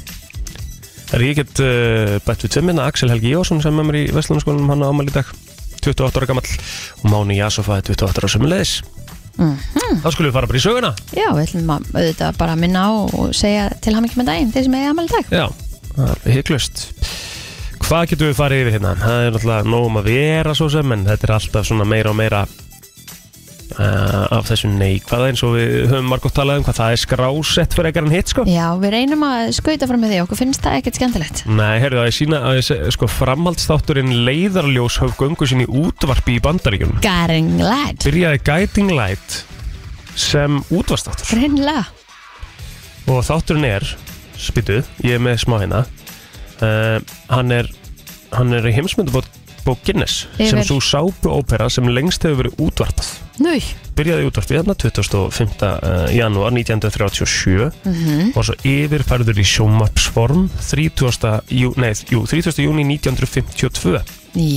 [SPEAKER 1] er ég get uh, bætt við tveimina Axel Helgi Jósson sem er með mér í Vestlunarskólanum hann á afmæli í dag 28 ára gamall og Máni Jasofa er 28 ára sömulegis
[SPEAKER 2] Mm.
[SPEAKER 1] Þá skulum við fara bara í söguna
[SPEAKER 2] já, við ætlum að auðvitað bara að minna á og segja til ham ekki með daginn, þeir sem er afmæli í dag
[SPEAKER 1] Já, það er hygglust Hvað getum við farið yfir hérna? Það er náttúrulega nóg um að vera svo sem en þetta er alltaf svona meira og meira uh, af þessum neikvæða eins og við höfum margótt talað um hvað það er skrásett fyrir ekkert en hitt sko
[SPEAKER 2] já, við reynum að skauta fram með því okkur finnst það ekkert skemmtilegt
[SPEAKER 1] Nei, heyrðu það er sína að ég seg- sko, framhaldsþátturinn leiðarljós höf göngu sinni útvarpi í bandaríkjum
[SPEAKER 2] Garing Lad
[SPEAKER 1] Byrjaði Guiding Light sem útvarstáttur
[SPEAKER 2] Hreinlega
[SPEAKER 1] og þátturinn er spytuð, ég er með smá hérna uh, hann er hann er í heimsmyndabók Guinness
[SPEAKER 2] Yfir.
[SPEAKER 1] sem svo sápuópera sem lengst hefur verið útvarpað
[SPEAKER 2] Nú,
[SPEAKER 1] byrjaði útvarpið hérna 25. eh, janúar 1937 og svo yfirfærður í sjómarpsform 30. Jú, nei, jú, 30. júni 1952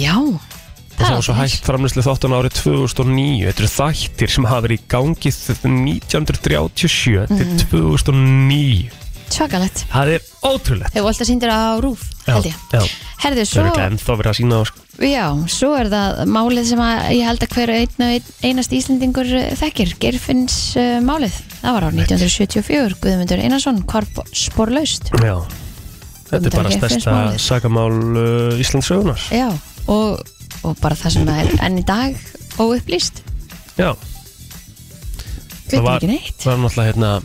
[SPEAKER 2] já
[SPEAKER 1] og það
[SPEAKER 2] er
[SPEAKER 1] var svo
[SPEAKER 2] aldrei.
[SPEAKER 1] hægt framlýslu þáttun árið 2009 þetta eru þættir sem hafa verið í gangi þ- 1937 til 2009
[SPEAKER 2] Svakalegt
[SPEAKER 1] það er ótrúlegt
[SPEAKER 2] Þegar alltaf sýndir á rúf, held ég
[SPEAKER 1] já,
[SPEAKER 2] Herðu,
[SPEAKER 1] það
[SPEAKER 2] svo,
[SPEAKER 1] er ekki ennþá verið að sína það sko.
[SPEAKER 2] já, svo er það málið sem að ég held að hver einn og einn, einast Íslendingur eh, þekkir Geirfinns uh, málið Það var á 1974, Guðmundur Einarsson Korp sporlaust
[SPEAKER 1] Já, þetta er
[SPEAKER 2] Guðmundur
[SPEAKER 1] bara
[SPEAKER 2] Geirfinns
[SPEAKER 1] stærsta
[SPEAKER 2] málið.
[SPEAKER 1] sakamál uh, Íslands sögunar
[SPEAKER 2] Já, og, og bara það sem það er enn í dag óupplýst
[SPEAKER 1] Já,
[SPEAKER 2] Við veitum
[SPEAKER 1] var-
[SPEAKER 2] ekki neitt
[SPEAKER 1] það var náttúrulega hérna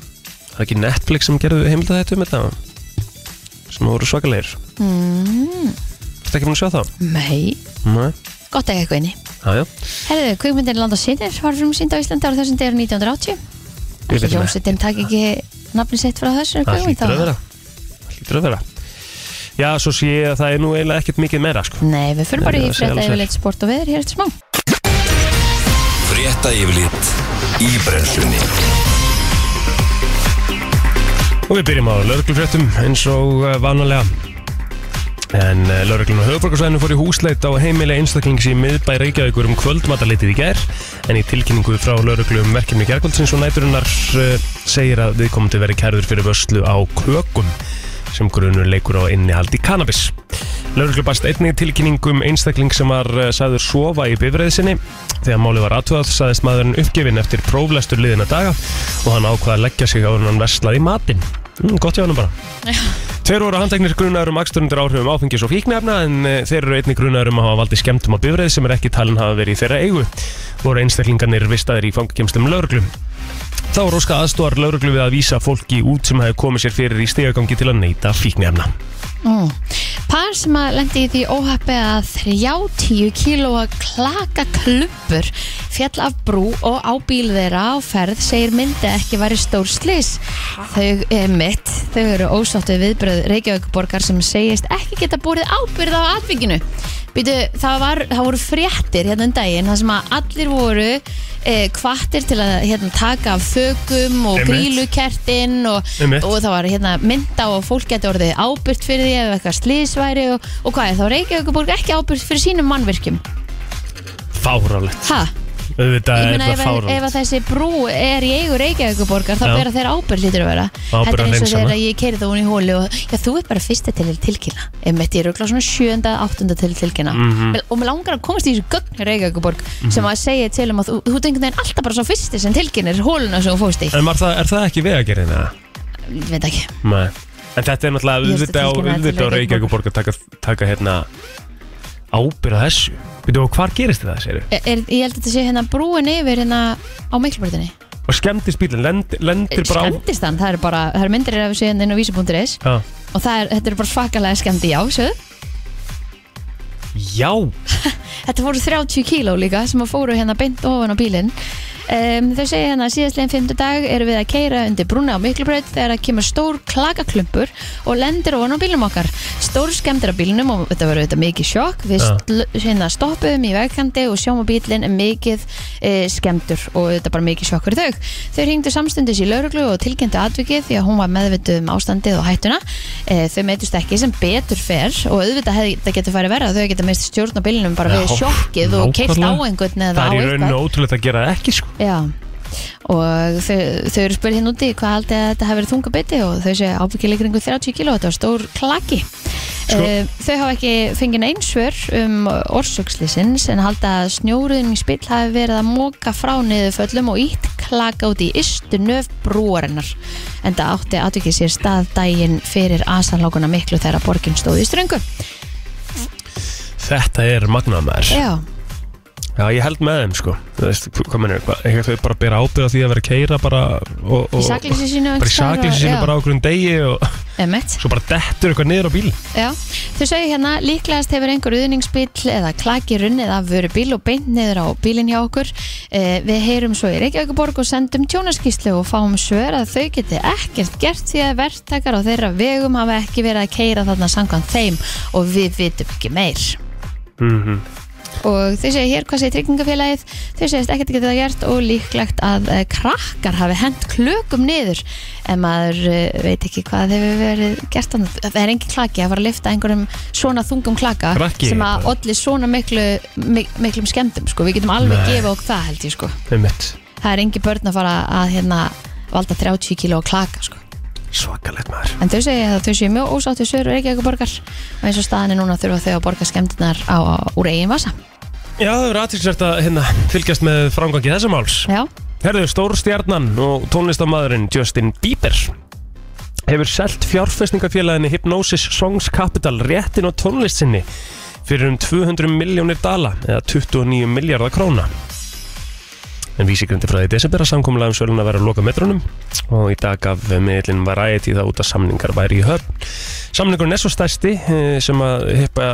[SPEAKER 1] Það er ekki Netflix sem gerðu heimildið þetta um þetta sem voru svakalegir
[SPEAKER 2] mm,
[SPEAKER 1] Þetta ekki fann að sjá það?
[SPEAKER 2] Nei,
[SPEAKER 1] Nei,
[SPEAKER 2] gott að eiga eitthvað inni
[SPEAKER 1] já, já.
[SPEAKER 2] Herðu, kvikmyndin Land og Sinir var frum sínd á Íslandi ára þessum degur 1980
[SPEAKER 1] Ég
[SPEAKER 2] Ekki
[SPEAKER 1] veit ekki.
[SPEAKER 2] hljómsveitin takk ekki nafni sitt frá þessu
[SPEAKER 1] Það
[SPEAKER 2] kvikmynd
[SPEAKER 1] hlýtur
[SPEAKER 2] þá.
[SPEAKER 1] að vera Það hlýtur að vera Já, svo sé ég að það er nú eiginlega ekkert mikið meira sko.
[SPEAKER 2] Nei, við fyrir bara
[SPEAKER 1] Nei,
[SPEAKER 2] í
[SPEAKER 1] það sé
[SPEAKER 2] frétta
[SPEAKER 1] alveg
[SPEAKER 2] yfirleitt sport og veður hér eftir smá
[SPEAKER 3] Frétta yfirlit í brennslunni
[SPEAKER 1] Og við byrjum á lauruglufréttum eins og uh, vanalega En uh, lauruglun á höfuborgarsvæðinu fór í húsleit á heimili einstaklings í miðbæ Reykjavíkur um kvöldmatalitið í gær En í tilkynningu frá lauruglu um verkefni gerkvöldsins og næturinnar uh, segir að við komum til verið kærður fyrir vörslu á kökum sem grunur leikur á innihaldi kannabis Lauruglu bast einnig tilkynning um einstakling sem var uh, sagður sofa í bifræði sinni. Þegar málið var aðtöðað sagðist maðurinn uppgefin eftir próflestur liðina daga og hann ákvaða að leggja sig á hann verslaði í matinn. Mm, gott hjá hann bara. Tveir voru handteknir grunaður um aksturundur áhrifum áfengis og fíknefna en eh, þeir eru einnig grunaður um að hafa valdið skemmtum á bifræði sem er ekki talin hafa verið í þeirra eigu. Voru einstaklingarnir vistaðir í fangakemstum lauruglu. Þá var óska aðstóðar lauruglu við að vísa fólki út sem hefði komið sér fyrir í stegagangi til að neyta fíknefna.
[SPEAKER 2] mm. Par sem að lendi í því óhappi að 30 kílóa klakaklubbur fjall af brú og á bíl þeirra á ferð segir myndi ekki væri stór slis þau er mitt, þau eru ósáttu viðbröð Reykjavíkuborgar sem segist ekki geta búið ábyrð á atvikinu Býtu, það, var, það voru fréttir hérna um daginn þar sem að allir voru eh, kvattir til að hérna, taka af fökum og
[SPEAKER 1] Einmitt.
[SPEAKER 2] grílukertin og,
[SPEAKER 1] Einmitt.
[SPEAKER 2] og það var hérna, mynda og fólk geti orðið ábyrgt fyrir því ef eitthvað slísværi og, og hvað er þá Reykjavíkuborg ekki ábyrgt fyrir sínum mannvirkjum
[SPEAKER 1] Fárálegt.
[SPEAKER 2] ha?
[SPEAKER 1] auðvitað
[SPEAKER 2] Ég
[SPEAKER 1] er
[SPEAKER 2] meina
[SPEAKER 1] þetta
[SPEAKER 2] ef, að- ef
[SPEAKER 1] fárönd
[SPEAKER 2] að þessi brú er í eigu Reykjavíkuborgar þá
[SPEAKER 1] Já.
[SPEAKER 2] bera þeir ábyrgt lítur að vera
[SPEAKER 1] Ábyrgð að
[SPEAKER 2] þetta er eins og
[SPEAKER 1] hreinsa hana.
[SPEAKER 2] þegar ég kerði það hún í hóli og já, þú er bara fyrsta til að tilkynna emitt ég er örugglega svona sjönda, áttunda til að tilkynna
[SPEAKER 1] Mhm.
[SPEAKER 2] Mig- og mér langar að komast í þessu gögn í Reykjavíkuborg sem að segja til um að þú, þú ert einhvern veginn alltaf bara svo fyrsti sem tilkynir hóluna sem þú fóst í
[SPEAKER 1] En var það, er það ekki vegagerðin eða?
[SPEAKER 2] ég veit ekki
[SPEAKER 1] Nei En þetta er náttúrulega
[SPEAKER 2] Ég held að
[SPEAKER 1] auðvitað á,
[SPEAKER 2] tilkynna þetta til
[SPEAKER 1] auðvitað á Reykjavíkuborg að taka, taka hérna ábyrða þessu Veitum við hvar gerist þetta séru?
[SPEAKER 2] er, er, ég held að þetta sé hérna brúin yfir hérna á miklubröðinni
[SPEAKER 1] Og skemmtist bílinn, lend, lendir bara á
[SPEAKER 2] skemmtist hann, það eru bara það eru myndir af síðan inn á vísi.is
[SPEAKER 1] Já,
[SPEAKER 2] og það er, þetta eru bara svakalega skemmti já, sjöðu
[SPEAKER 1] Já.
[SPEAKER 2] Þetta voru 30 kíló líka sem að fóru hérna beint ofan á bílinn. Um, þau segja hérna síðastlegin fimmtudag erum við að keira undir brúna á Miklubraut þegar það kemur stór klakaklumpur og lendir ofan á bílnum okkar. Stór skemmtir á bílnum og þetta var auðvitað mikið sjokk. Við
[SPEAKER 1] Ja.
[SPEAKER 2] ja. hérna, stoppuðum í vegkandi og sjáum að bílinn er mikið e, skemmtur og þetta bara mikið sjokkur í þau. Þau hringdu samstundis í lauruglu og tilkynntu atvikið því að hún var meðvituð um ástandið og hættuna. E, þau meitust ekki sem betur fer og auðvitað hefði þetta getur farið verra. Þau geta mist stjórn á bílnum bara
[SPEAKER 1] Já,
[SPEAKER 2] við sjokkið og keirt á
[SPEAKER 1] nákvæmlega.
[SPEAKER 2] einhvern eða á
[SPEAKER 1] Það er í
[SPEAKER 2] eitthvað
[SPEAKER 1] rauninu ótrúlegt að gera það ekki sko
[SPEAKER 2] Já og þau, þau eru spurð hérna úti hvað haldið að þetta hafi verið þunga biti og þau séu ábyggilega kringu 30 kilo þetta var stór klaki
[SPEAKER 1] Sko-
[SPEAKER 2] Eh, Þau hafa ekki fengið einsvör um orsökslýsins en halda að snjóruðin í spill hafi verið að móka frá niður föllum og ítt klaka út í ystu nöf brúarinnar en það átti aðvikið sér stað daginn fyrir asanlókuna miklu þegar borgin stóð í ströngu
[SPEAKER 1] Þetta er magnaðmaður
[SPEAKER 2] Já,
[SPEAKER 1] Já, ég held með þeim sko Þú veist, hvað mennir, eitthvað þau bara bera ábyrða því að vera að keira bara og, og,
[SPEAKER 2] í saklýsi sínu
[SPEAKER 1] Bara í saklýsi sínu bara á okkur um degi og
[SPEAKER 2] Emmett
[SPEAKER 1] svo bara dettur eitthvað niður á bíl
[SPEAKER 2] Já, þau segja hérna líklegast hefur einhver uðningsbíl eða klaki runnið af vöru bíl og beint niður á bílinn hjá okkur eh, Við heyrum svo í Reykjavíkuborg og sendum tjónaskíslu og fáum svör að þau geti ekkert gert því að verktakar á þeirra vegum hafa ekki verið að keira þarna sangan þeim og við vitum ekki meir
[SPEAKER 1] mm -hmm.
[SPEAKER 2] og þau segja hér hvað segir tryggingafélagið þau segist ekkert ekki það gert og líklegt að eh, krakkar hafi hent klökum niður en maður eh, veit ekki hvað hefur verið gert annað. það er engin klaki að fara að lifta einhverjum svona þungum klaka
[SPEAKER 1] Krakki,
[SPEAKER 2] sem að
[SPEAKER 1] bara.
[SPEAKER 2] olli svona miklu, mik miklum skemmtum sko. við getum alveg
[SPEAKER 1] Nei.
[SPEAKER 2] gefa okkur það held ég sko.
[SPEAKER 1] Einmitt.
[SPEAKER 2] það er engin börn að fara að hérna, valda 30 kíló klaka sko.
[SPEAKER 1] Svakalegt maður
[SPEAKER 2] en þau segja að þau séu mjög ósáttu sögur og ekki eitthvað borgar og eins og staðan er núna þurfa þau að borga skemmtunar á, á, úr eigin vasa
[SPEAKER 1] Já, það verður aðtilsvært að hérna, fylgjast með frangangi þessa máls
[SPEAKER 2] Já.
[SPEAKER 1] Herðu, stórstjarnan og tónlistamæðurinn Justin Bieber hefur selt fjárfestingafélaginni Hypnosis Songs Capital réttin á tónlist sinni fyrir um 200 miljónir dala eða 29 miljardar króna En vísigrindi frá því desember að samkomlega um sölun að vera að loka metrunum og í dag gaf miðlinn Variety það út að samningar væri í höfn. Samningurinn er svo stærsti eh, sem að Hypa-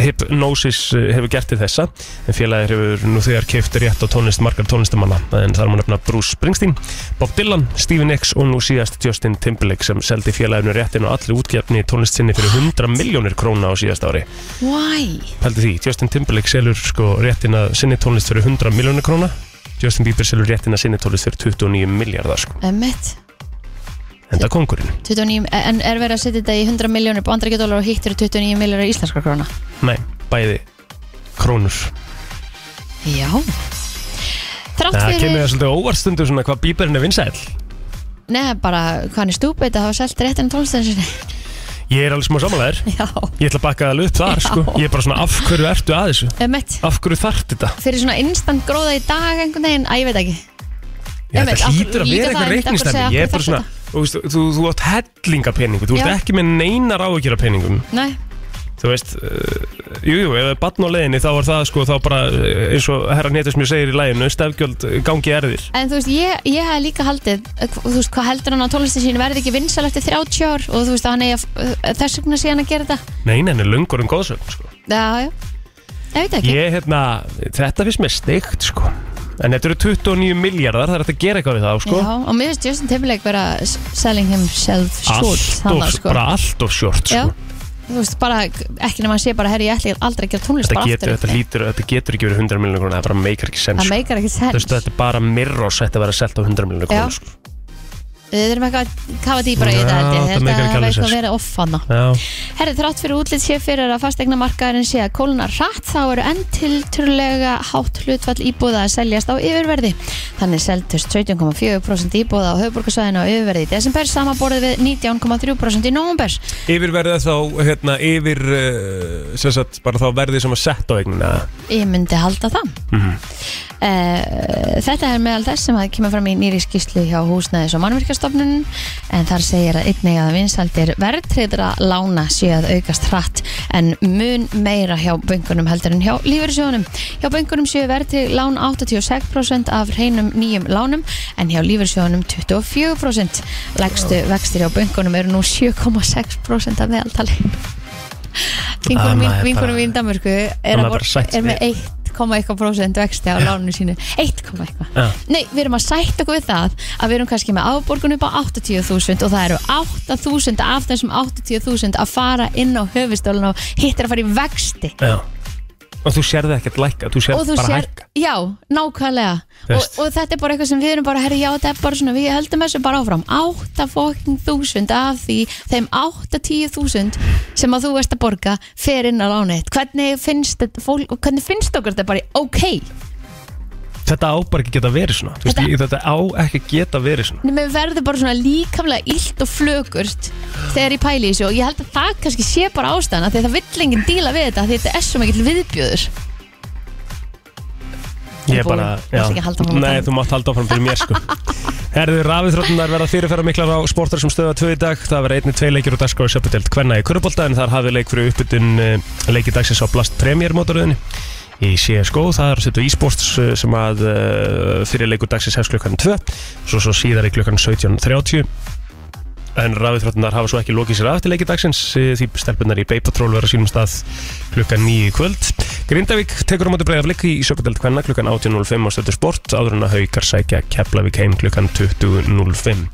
[SPEAKER 1] Hypnosis eh, hefur gert til þessa en félagir hefur nú þegar keift rétt á tónlist margar tónlistamanna en þar má nefna Bruce Springsteen, Bob Dylan, Stevie Nicks og nú síðast Justin Timberlake sem seldi félaginu réttin á allri útgefni tónlist sinni fyrir 100 miljónir króna á síðast ári
[SPEAKER 2] Why?
[SPEAKER 1] Pældi því, Justin Timberlake selur sko réttin að sinni tónlist fyrir 100 miljónir króna Justin Bieber selur réttin að sinni tónlist fyrir 29 miljardar sko
[SPEAKER 2] Emmett
[SPEAKER 1] Enda kongurinn,
[SPEAKER 2] 29, en er verið að setja þetta í 100 miljónir bandaríkja dólar og hitt eru 29 miljónir íslenskar króna
[SPEAKER 1] nei, bæði krónur
[SPEAKER 2] Já Þrátt
[SPEAKER 1] Það
[SPEAKER 2] fyrir,
[SPEAKER 1] kemur það svolítið óvarstundu svona hvað Bieberinn er vinsæll
[SPEAKER 2] neða bara hvað hann er stúpið að hafa selt réttin tónlistensinni
[SPEAKER 1] Ég er alveg smá samanlegar
[SPEAKER 2] Já,
[SPEAKER 1] Ég ætla að bakka það alveg upp þar sko Ég er bara svona af hverju ertu að þessu
[SPEAKER 2] emmett
[SPEAKER 1] Af hverju þarft þetta
[SPEAKER 2] Fyrir svona instant gróða í dag einhvern veginn, að ég veit ekki
[SPEAKER 1] Ég,
[SPEAKER 2] Einmitt,
[SPEAKER 1] Þetta
[SPEAKER 2] af hverju
[SPEAKER 1] hlýtur að vera
[SPEAKER 2] líka það,
[SPEAKER 1] eitthvað
[SPEAKER 2] einmitt, af hverju
[SPEAKER 1] reiknistæmi
[SPEAKER 2] segja,
[SPEAKER 1] Ég
[SPEAKER 2] af
[SPEAKER 1] er bara
[SPEAKER 2] hverju
[SPEAKER 1] svona Þú, veist, þú, þú átt hellinga peningu Þú ert
[SPEAKER 2] Já.
[SPEAKER 1] ekki með neinar áhyggjur af peningum
[SPEAKER 2] Nei,
[SPEAKER 1] Þú veist uh, Jú, jú, ef það er batn á leiðinni þá var það sko Þá bara eh, eins og herra nétus mér segir í læginu Stefgjöld eh, gangi erðir
[SPEAKER 2] En þú veist, ég, ég hef líka haldið eh, Þú veist, hvað heldur hann á tónlistin sín Verði ekki vinsal eftir 30 ár Og þú veist, að hann eigi að eh, Þess vegna sé hann að gera þetta
[SPEAKER 1] Nei, nei, nei, lungur um góðsögn sko
[SPEAKER 2] Já, já Ég veit ekki
[SPEAKER 1] Ég, hérna, þetta finnst mér steikt sko En þetta eru 29 miljardar, það er hægt að gera eitthvað við það, sko
[SPEAKER 2] Já, og mér finnst Justin Timberlake vera s- Selling himself short
[SPEAKER 1] Alltof,
[SPEAKER 2] þannig,
[SPEAKER 1] sko. bara alltof short, sko
[SPEAKER 2] Já, þú veist, bara Ekki nema að sé bara, herri, ég ætli aldrei að gera tónlist
[SPEAKER 1] þetta
[SPEAKER 2] bara
[SPEAKER 1] getur,
[SPEAKER 2] aftur
[SPEAKER 1] þetta, lítur, þetta getur ekki verið 100 miljonar krónar, það bara meikar ekki sens
[SPEAKER 2] Það
[SPEAKER 1] sko.
[SPEAKER 2] meikar ekki
[SPEAKER 1] Þú
[SPEAKER 2] sens
[SPEAKER 1] veist, þetta er bara mirros þetta að vera selt á 100 miljonar
[SPEAKER 2] Já.
[SPEAKER 1] krónar sko.
[SPEAKER 2] Við erum eitthvað að kafa dýbra í
[SPEAKER 1] Já,
[SPEAKER 2] þetta held ég.
[SPEAKER 1] þetta
[SPEAKER 2] Þetta
[SPEAKER 1] meikar ekki
[SPEAKER 2] hefur
[SPEAKER 1] alveg
[SPEAKER 2] eitthvað
[SPEAKER 1] sens.
[SPEAKER 2] verið offanna
[SPEAKER 1] Já,
[SPEAKER 2] Herri, þrátt fyrir útlýtt sé fyrir að fastegna markaðurinn sé að kóluna rætt þá eru enn tilturlega hátt hlutfall íbúða að seljast á yfirverði. Þannig seldust 17,4% íbúða á höfuborgarsvæðinu á yfirverði í desember samaborðið við 19,3% í nómumber.
[SPEAKER 1] yfirverðið þá hérna, yfir uh, sem sagt, bara þá verðið sem að sett á eignina
[SPEAKER 2] Ég myndi halda það. Mm þetta er meðal þess sem að kemur fram í nýri skýslu hjá húsnæðis og mannvirkastofnun en þar segir að einnig að vinsaldir verðtreyðra lána sé að aukast hratt en mun meira hjá böngunum heldur en hjá lífyrsjónum. Hjá böngunum séu verðtreyð lán 86% af hreinum nýjum lánum en hjá lífyrsjónum 24%. Legstu vextir hjá böngunum eru nú 7,6% af meðaltali.
[SPEAKER 1] Ah,
[SPEAKER 2] Vinkunum mín,
[SPEAKER 1] maður
[SPEAKER 2] vinkunum
[SPEAKER 1] bara-
[SPEAKER 2] mín Danmörku er,
[SPEAKER 1] maður
[SPEAKER 2] að
[SPEAKER 1] bara
[SPEAKER 2] bor-
[SPEAKER 1] sætt
[SPEAKER 2] er
[SPEAKER 1] við.
[SPEAKER 2] með 1,1% vexti á láninu sínu 1, komma eitthvað
[SPEAKER 1] Já.
[SPEAKER 2] Nei, við erum að sætta okkur við það að við erum kannski með afborgun upp á 80.000 og það eru 8.000 af þessum 80.000 að fara inn á höfustólun og hitt er að fara í vexti
[SPEAKER 1] Já. og þú sérði ekkert lækka þú
[SPEAKER 2] og
[SPEAKER 1] sérði
[SPEAKER 2] þú
[SPEAKER 1] bara
[SPEAKER 2] sér,
[SPEAKER 1] hækka
[SPEAKER 2] já, nákvæmlega
[SPEAKER 1] Þú
[SPEAKER 2] og,
[SPEAKER 1] veist.
[SPEAKER 2] og þetta er bara eitthvað sem við erum bara herri, já, þetta er bara svona, við heldum þessu bara áfram 8.000 af því þeim 8.000 sem að þú veist að borga fer inn á lánið hvernig finnst, þetta fólk, hvernig finnst okkur þetta bara ok,
[SPEAKER 1] þetta á bara ekki geta verið svona þetta,
[SPEAKER 2] Þetta-
[SPEAKER 1] veist, ég, þetta á ekki geta verið svona
[SPEAKER 2] nema við verðum bara svona líkamlega illt og flögurt þegar ég pæli í þessu og ég held að það kannski sé bara ástæðan því að það vill enginn díla við þetta af því að þetta er svo mikill viðbjöður
[SPEAKER 1] ég
[SPEAKER 2] Þú
[SPEAKER 1] bara,
[SPEAKER 2] mátt ekki halda áfram að
[SPEAKER 1] nei
[SPEAKER 2] tala.
[SPEAKER 1] þú mátt halda áfram fyrir mér sko Herðu rafiðþróttunar verða fyrirferðar miklar á sportar sem stöða tvö í dag Það verða einni tvei leikir og dagskóri sjöpudelt Hvenna í Körubólda en þar hafið leik fyrir uppbytun eh, leiki dagsins á Blast Premier mótaröðinni í CSGO, það er að setja e-sports eh, sem að eh, fyrir leikur dagsins hefst klukkan 2 svo svo síðar í klukkan 17.30 en rafiðþróttunar hafa svo ekki lokið sér af til leiki dagsins eh, því stelpunar í Bay Patrol verða á sínum stað klukkan 9 í kvöld Grindavík tekur á móti breiða flikki í sjöpudelt Hvenna klukkan 18.05 á stöðu sport áður en að haukar sækja Keflavík heim klukkan 20.05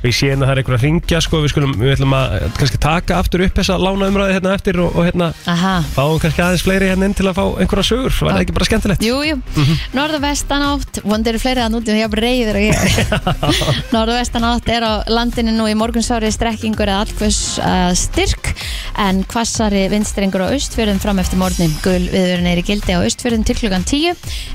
[SPEAKER 1] og ég sé hérna að það er einhver að ringja sko, við, skulum, við ætlum að eh, kannski taka aftur upp þessa lánaumræði hérna eftir og, og hérna
[SPEAKER 2] Aha.
[SPEAKER 1] fáum kannski aðeins fleiri hérna inn til að fá einhverja sögur, var það
[SPEAKER 2] Já.
[SPEAKER 1] ekki bara skemmtilegt?
[SPEAKER 2] Jú, jú, norðvestan átt vonandi eru fleiri að núti og ég er reyður og ég norðvestan átt er á landinu nú í morgunsári strekkingur eða allkvöss uh, styrk en hvassari vindstrengur á austfjörðum fram eftir morgnin gul viðvörun er í gildi á austfjörðum til klukkan 10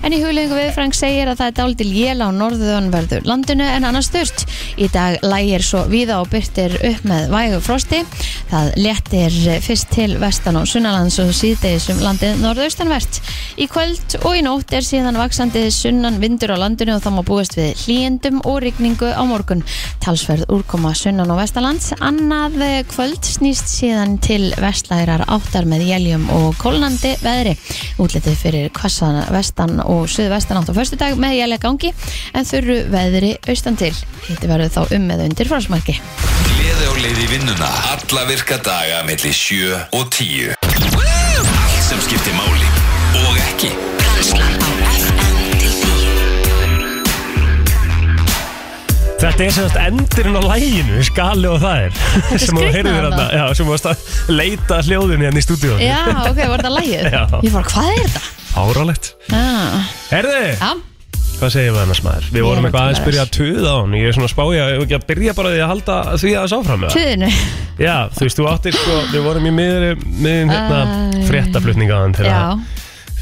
[SPEAKER 2] en í huglegingu viðfrang segir að það er dálítil jél á norðunverðu landinu en annars styrst í dag lægir svo víða og byrtir upp með vægu frosti það léttir fyrst til vestan og sunnalands og síðdegis um landið norðaustanvert í kvöld og í nótt er síðan vaksandi sunnan vindur á landinu og þá má búast við hlýjendum og rigningu á morgun talsverð úrkoma sunnan og vestalands annað kvöld eh, snýst síðan til til vestlærar áttar með jæljum og kólnandi veðri. Útlitið fyrir kvassan vestan og suðvestan átt á föstudag með jælja gangi en þurru veðri austan til. Hitti verður þá um með undir frásmarki.
[SPEAKER 3] Gleði og leiði vinnuna Alla virka daga millir 7 og 10 Allt sem skiptir máli Og ekki
[SPEAKER 4] Brennslan á FM til 10
[SPEAKER 1] Þetta er semast endurinn á læginu, skali og það er sem þú
[SPEAKER 2] er skrýtna
[SPEAKER 1] heyrðir
[SPEAKER 2] þarna.
[SPEAKER 1] þetta, já, sem þú varst að leita að hljóðinu hérna í stúdíu
[SPEAKER 2] Já, ok, var þetta lægið?
[SPEAKER 1] Já.
[SPEAKER 2] Ég fór, hvað er þetta?
[SPEAKER 1] Áralegt
[SPEAKER 2] Ah,
[SPEAKER 1] Herði,
[SPEAKER 2] já,
[SPEAKER 1] hvað segir við annars maður? Við
[SPEAKER 2] Ég
[SPEAKER 1] vorum
[SPEAKER 2] er
[SPEAKER 1] eitthvað aðeins
[SPEAKER 2] vandræðis.
[SPEAKER 1] byrja að tuða á hann Ég er svona að spája, ef ekki að byrja bara því að halda því aðeins áfram með
[SPEAKER 2] tuðinu.
[SPEAKER 1] Já, þú veist, þú áttir sko, við vorum í miður miðin hérna
[SPEAKER 2] Æ.
[SPEAKER 1] fréttaflutningaðan
[SPEAKER 2] Já,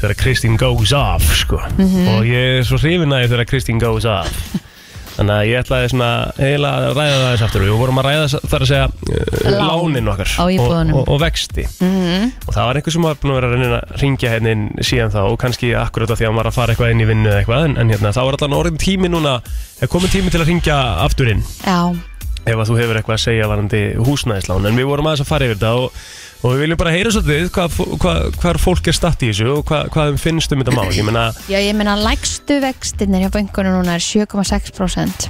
[SPEAKER 1] þegar þegar Kristín goes off sko.
[SPEAKER 2] Mhm.
[SPEAKER 1] og ég er svo hrifin að ég þegar Kristín goes off þannig að ég ætlaði svona heila að ræða það þess aftur við vorum að ræða þar að segja uh,
[SPEAKER 2] Lán
[SPEAKER 1] lánin okkar
[SPEAKER 2] á
[SPEAKER 1] og,
[SPEAKER 2] íbúðunum. Mhm.
[SPEAKER 1] og, og vexti og það var einhver sem var búin að vera að reyna að ringja hérna inn síðan þá og kannski akkurat af því að hann var að fara eitthvað inn í vinnu eða eitthvað en, en hérna, þá var allan orðin tími núna er komin tími til að ringja aftur inn
[SPEAKER 2] já,
[SPEAKER 1] ef að þú hefur eitthvað að segja varandi húsnæðislán en við vorum aðeins að fara yfir þetta og, og við viljum bara heyra svolítið hvað, hvað, hvað fólk er statt í þessu og hvað, hvað þeim finnst um þetta mál ég meina,
[SPEAKER 2] Já, ég meina lægstu vextinir hjá böngunum núna er 7,6%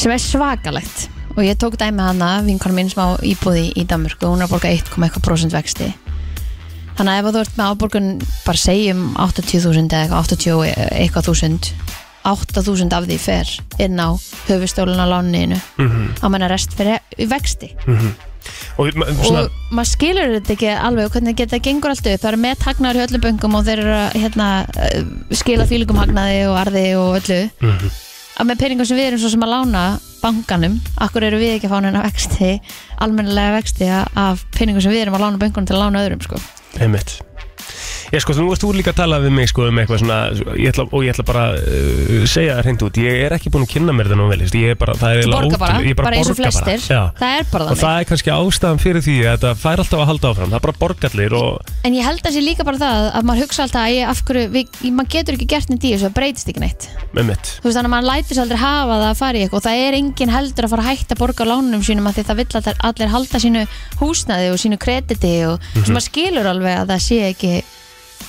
[SPEAKER 2] sem er svakalegt og ég tók dæmi hana, vinkonum mín sem á íbúði í Danmörku, hún er að borga 1,1% vexti þannig að ef þú ert með áborgun bara segjum 80.000 eða eitthvað, 80 og eitthvað þúsund 8.000 af því fer inn á höfustólun á láninu
[SPEAKER 1] Hm.
[SPEAKER 2] mm -hmm. á menna rest fyrir í vexti
[SPEAKER 1] mhm, og, við- ma- svona,
[SPEAKER 2] og maður skilur þetta ekki alveg og hvernig þetta gengur allt upp það eru með hagnaður hjá öllum böngum og þeir eru að hérna, eh, skila þvílíkum hagnaði og arði og öllu
[SPEAKER 1] Mhm.
[SPEAKER 2] að með peningum sem við erum svo sem að lána bankanum, akkur eru við ekki að fá neina vexti, almennilega vexti a- af peningum sem við erum að lána böngunum til að lána öðrum sko.
[SPEAKER 1] einmitt ég sko, þú varst úr líka að tala við mig sko um eitthvað svona, ég ætla, og ég ætla bara uh, segja það hreint út, ég er ekki búin að kynna mér þetta nú vel, veist, ég er bara, það er
[SPEAKER 2] Þú
[SPEAKER 1] eiginlega
[SPEAKER 2] borgar bara,
[SPEAKER 1] ótrúlegt. Ég
[SPEAKER 2] bara, eins og
[SPEAKER 1] borga
[SPEAKER 2] flestir
[SPEAKER 1] Já.
[SPEAKER 2] það er bara
[SPEAKER 1] og
[SPEAKER 2] þannig,
[SPEAKER 1] það er kannski ástæðan fyrir því að þetta fær alltaf að halda áfram, það er bara borgarlir og
[SPEAKER 2] en ég held að sé líka bara það að maður hugsa alltaf að ég, af hverju, við, maður getur ekki gert neitt í þessu, það breytist ekki neitt
[SPEAKER 1] með mitt
[SPEAKER 2] þú veist þannig að maður lætur sér aldrei hafa það að fara í eitthvað og það er enginn heldur að fara að hætta að borga lánunum sínum að því það vill að þær- allir halda sínu húsnaði og sínu krediti og mm -hmm. maður skilur alveg að það sé ekki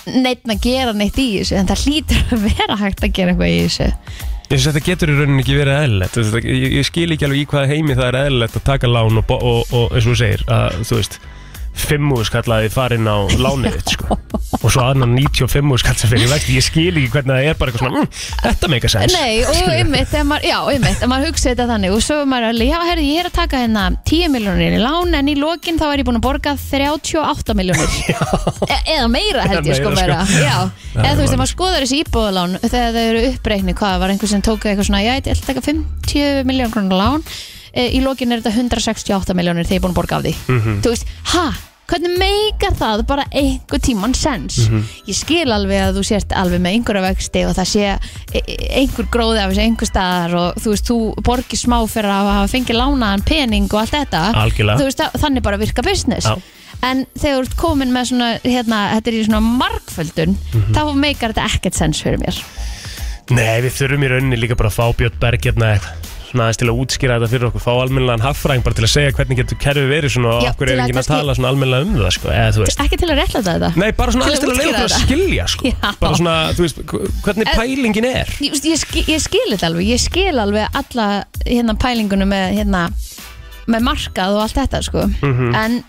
[SPEAKER 2] neitt að gera neitt í þessu en það hlýtur að vera hægt að gera eitthvað í þessu
[SPEAKER 1] Ég syns þetta getur í rauninni ekki verið eðlilegt Þú veist, ég, ég skil ekki alveg í hvaða heimi það er eðlilegt að taka lán og, bo- og, og eins og þú segir að þú veist fimmúðus kallaði farin á lánið þitt sko. og svo annan 95 skall sem fyrir vexti, ég skil ekki hvernig það er bara eitthvað svona, mm, þetta meika sens
[SPEAKER 2] Nei, og einmitt, þegar maður, já, einmitt, að maður hugsa þetta þannig og svo er maður alveg, já, herri, ég er að taka hérna 10 miljónir í lán en í lokin þá er ég búin að borga 38 miljónir e eða meira held ég
[SPEAKER 1] Eða
[SPEAKER 2] sko
[SPEAKER 1] meira,
[SPEAKER 2] meira,
[SPEAKER 1] sko.
[SPEAKER 2] já,
[SPEAKER 1] Já,
[SPEAKER 2] eða
[SPEAKER 1] ég
[SPEAKER 2] þú veist,
[SPEAKER 1] man.
[SPEAKER 2] ef maður skoðar þessi íbúðalán þegar þau eru uppreikni, hvað var einhver sem tók eitthvað svona, já, ég ætla að taka 50 miljón krónar lán, e, í lokin er þetta 168 miljónir þegar ég er búin að borga af því þú veist, ha, hvernig meikar það bara einhver tíman sens ég skil alveg að þú sért alveg með einhverja vexti og það sé e- e- einhver gróði af þessu einhver staðar og þú veist, þú borgir smá fyrir að hafa fengið lánaðan pening og allt þetta
[SPEAKER 1] Algjörlega.
[SPEAKER 2] Þú veist, það- þannig bara virka business
[SPEAKER 1] Já.
[SPEAKER 2] en þegar þú ert komin með svona hérna, þetta er í svona markföldun
[SPEAKER 1] Mhm.
[SPEAKER 2] þá meikar þetta ekkert sens fyrir mér
[SPEAKER 1] Nei, við þurfum í rauninni líka bara að fá Björn Berg hérna eitthvað svona aðeins til að útskýra þetta fyrir okkur, fá almennilegan haffræðing bara til að segja hvernig getur kerfið verið svona og
[SPEAKER 2] Já,
[SPEAKER 1] af hverju
[SPEAKER 2] til
[SPEAKER 1] er
[SPEAKER 2] að
[SPEAKER 1] enginn að
[SPEAKER 2] kannski-
[SPEAKER 1] tala svona almennilega um það sko, eða þú veist
[SPEAKER 2] ekki til að réttla þetta
[SPEAKER 1] Nei, bara svona
[SPEAKER 2] Til að
[SPEAKER 1] aðeins til að leiða
[SPEAKER 2] útskýra
[SPEAKER 1] okkur að
[SPEAKER 2] þetta.
[SPEAKER 1] skilja sko.
[SPEAKER 2] Já.
[SPEAKER 1] bara svona, þú veist, hvernig
[SPEAKER 2] En-
[SPEAKER 1] pælingin er
[SPEAKER 2] ég, veist, ég, skil, ég skil þetta alveg ég skil alveg alla hérna pælingunum með hérna með markað og allt þetta sko
[SPEAKER 1] Mhm.
[SPEAKER 2] en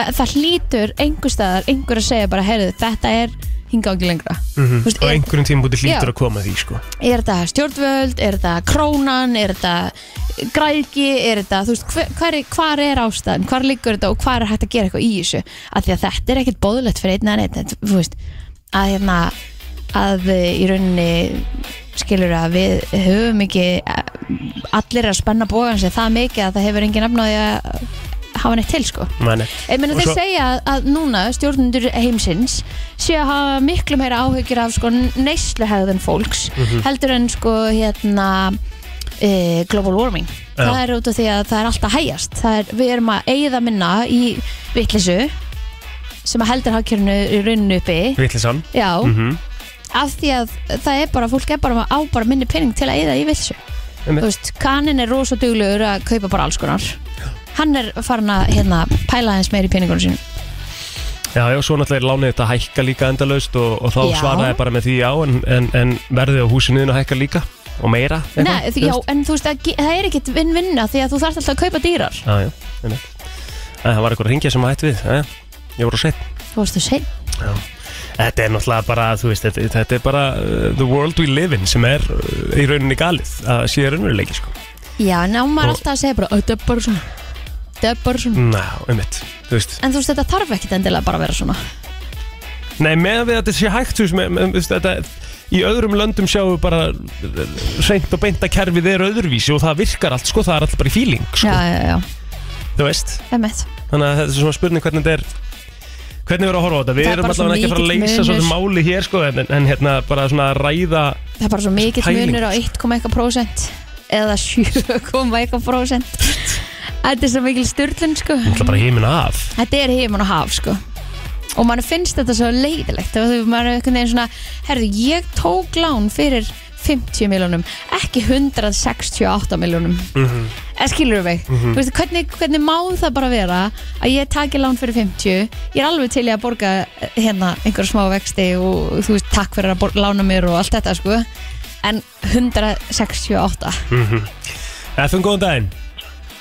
[SPEAKER 2] eh, það hlýtur einhver staðar einhver að segja bara, heyrðu, þetta er hinga ekki lengra mm veist,
[SPEAKER 1] á
[SPEAKER 2] er,
[SPEAKER 1] einhverjum tímum búti hlýtur
[SPEAKER 2] Já.
[SPEAKER 1] að koma að því sko.
[SPEAKER 2] er þetta stjórnvöld, er þetta krónan er þetta græðgi er þetta, þú veist, hver, hver, er- hvar er ástæðan hvar liggur þetta og hvar er hægt að gera eitthvað í þessu af því að þetta er ekkert bóðulegt fyrir einn eða neitt, þetta- þú veist að hérna, að eh, í rauninni skilur að við höfum ekki eh, allir að spenna bógan sig það mikið að það hefur engin efnaði að hafa neitt til sko
[SPEAKER 1] Mæni.
[SPEAKER 2] Ég meina
[SPEAKER 1] Og
[SPEAKER 2] þeir
[SPEAKER 1] svo-
[SPEAKER 2] segja að- að núna stjórnundur heimsins sé að hafa miklu meira áhyggjur af sko neysluhegðun fólks
[SPEAKER 1] Mhm.
[SPEAKER 2] heldur en sko hérna e, global warming
[SPEAKER 1] Já.
[SPEAKER 2] það er út af því að það er alltaf hægjast það er, við erum að eigða minna í vitlisu sem að heldur hafkjörnu í rauninu uppi
[SPEAKER 1] Vittlisann
[SPEAKER 2] já,
[SPEAKER 1] Mhm.
[SPEAKER 2] af því að það er bara, fólk er bara á bara minni pening til að eigða í vitlisu
[SPEAKER 1] Einmitt.
[SPEAKER 2] þú veist, kanin er rosa duglegur að kaupa bara alls konar hann er farin að hérna, pæla aðeins meir í peningunum sínum
[SPEAKER 1] Já, já, svo náttúrulega er lánið þetta að hækka líka endalaust og, og þá
[SPEAKER 2] Já.
[SPEAKER 1] svaraði bara með því já en, en, en verðið á húsinu þínu hækka líka og meira
[SPEAKER 2] Nei, þú- já, en þú veist, að ge- það er ekkit vinn-vinna því að þú þarft alltaf að kaupa dýrar
[SPEAKER 1] Já, já, einmitt. Æ, Það var eitthvað að ringja sem að hætt við Æ, Ég voru að segja
[SPEAKER 2] Þú veist, þú segir
[SPEAKER 1] Þetta er náttúrulega bara, þú veist, þetta, þetta er bara uh, the world we live in sem er uh, í rauninni galið að sé raunveruleiki, sko.
[SPEAKER 2] Já, en á maður
[SPEAKER 1] Og-
[SPEAKER 2] alltaf að segja bara, "Ó, þetta er bara svona Þetta er bara svona
[SPEAKER 1] Ná, um mitt, þú veist.
[SPEAKER 2] En þú veist, þetta þarf ekkit endilega bara að vera svona
[SPEAKER 1] Nei, meðan við að þetta sé hægt, þú veist, með, með, þú veist þetta, í öðrum löndum sjáum við bara reynd og beint að kerfið er öðruvísi og það virkar allt, sko, það er allt bara í feeling, sko,
[SPEAKER 2] Já, já, já,
[SPEAKER 1] þú veist.
[SPEAKER 2] emmitt
[SPEAKER 1] Þannig að þetta er svona spurning hvernig þetta er, hvernig við erum að horfa á þetta. Við
[SPEAKER 2] Það er
[SPEAKER 1] erum
[SPEAKER 2] bara svo
[SPEAKER 1] allavega ekki að fara að
[SPEAKER 2] mikill
[SPEAKER 1] leysa
[SPEAKER 2] munur.
[SPEAKER 1] svona máli hér, sko, en, en hérna bara svona að ræða
[SPEAKER 2] Það er bara svo mikill
[SPEAKER 1] Pæling.
[SPEAKER 2] munur á 1,1% eða 7,1% Þetta er svo mikil styrlun, sko
[SPEAKER 1] náttúrulega bara heimin af.
[SPEAKER 2] Þetta er heimann og haf sko Og mann finnst þetta svo leiðilegt Þegar þú maður er einhvern veginn svona Herðu, ég tók lán fyrir 50 miljónum Ekki 168 miljónum mm -hmm. En skilur mig Þú veist, hvernig, hvernig má það bara vera Að ég taki lán fyrir 50 Ég er alveg til í að borga eh, hérna Einhverja smá vexti og þú veist Takk fyrir að bor- lána mér og allt þetta sko En 168
[SPEAKER 1] FN, góðan daginn.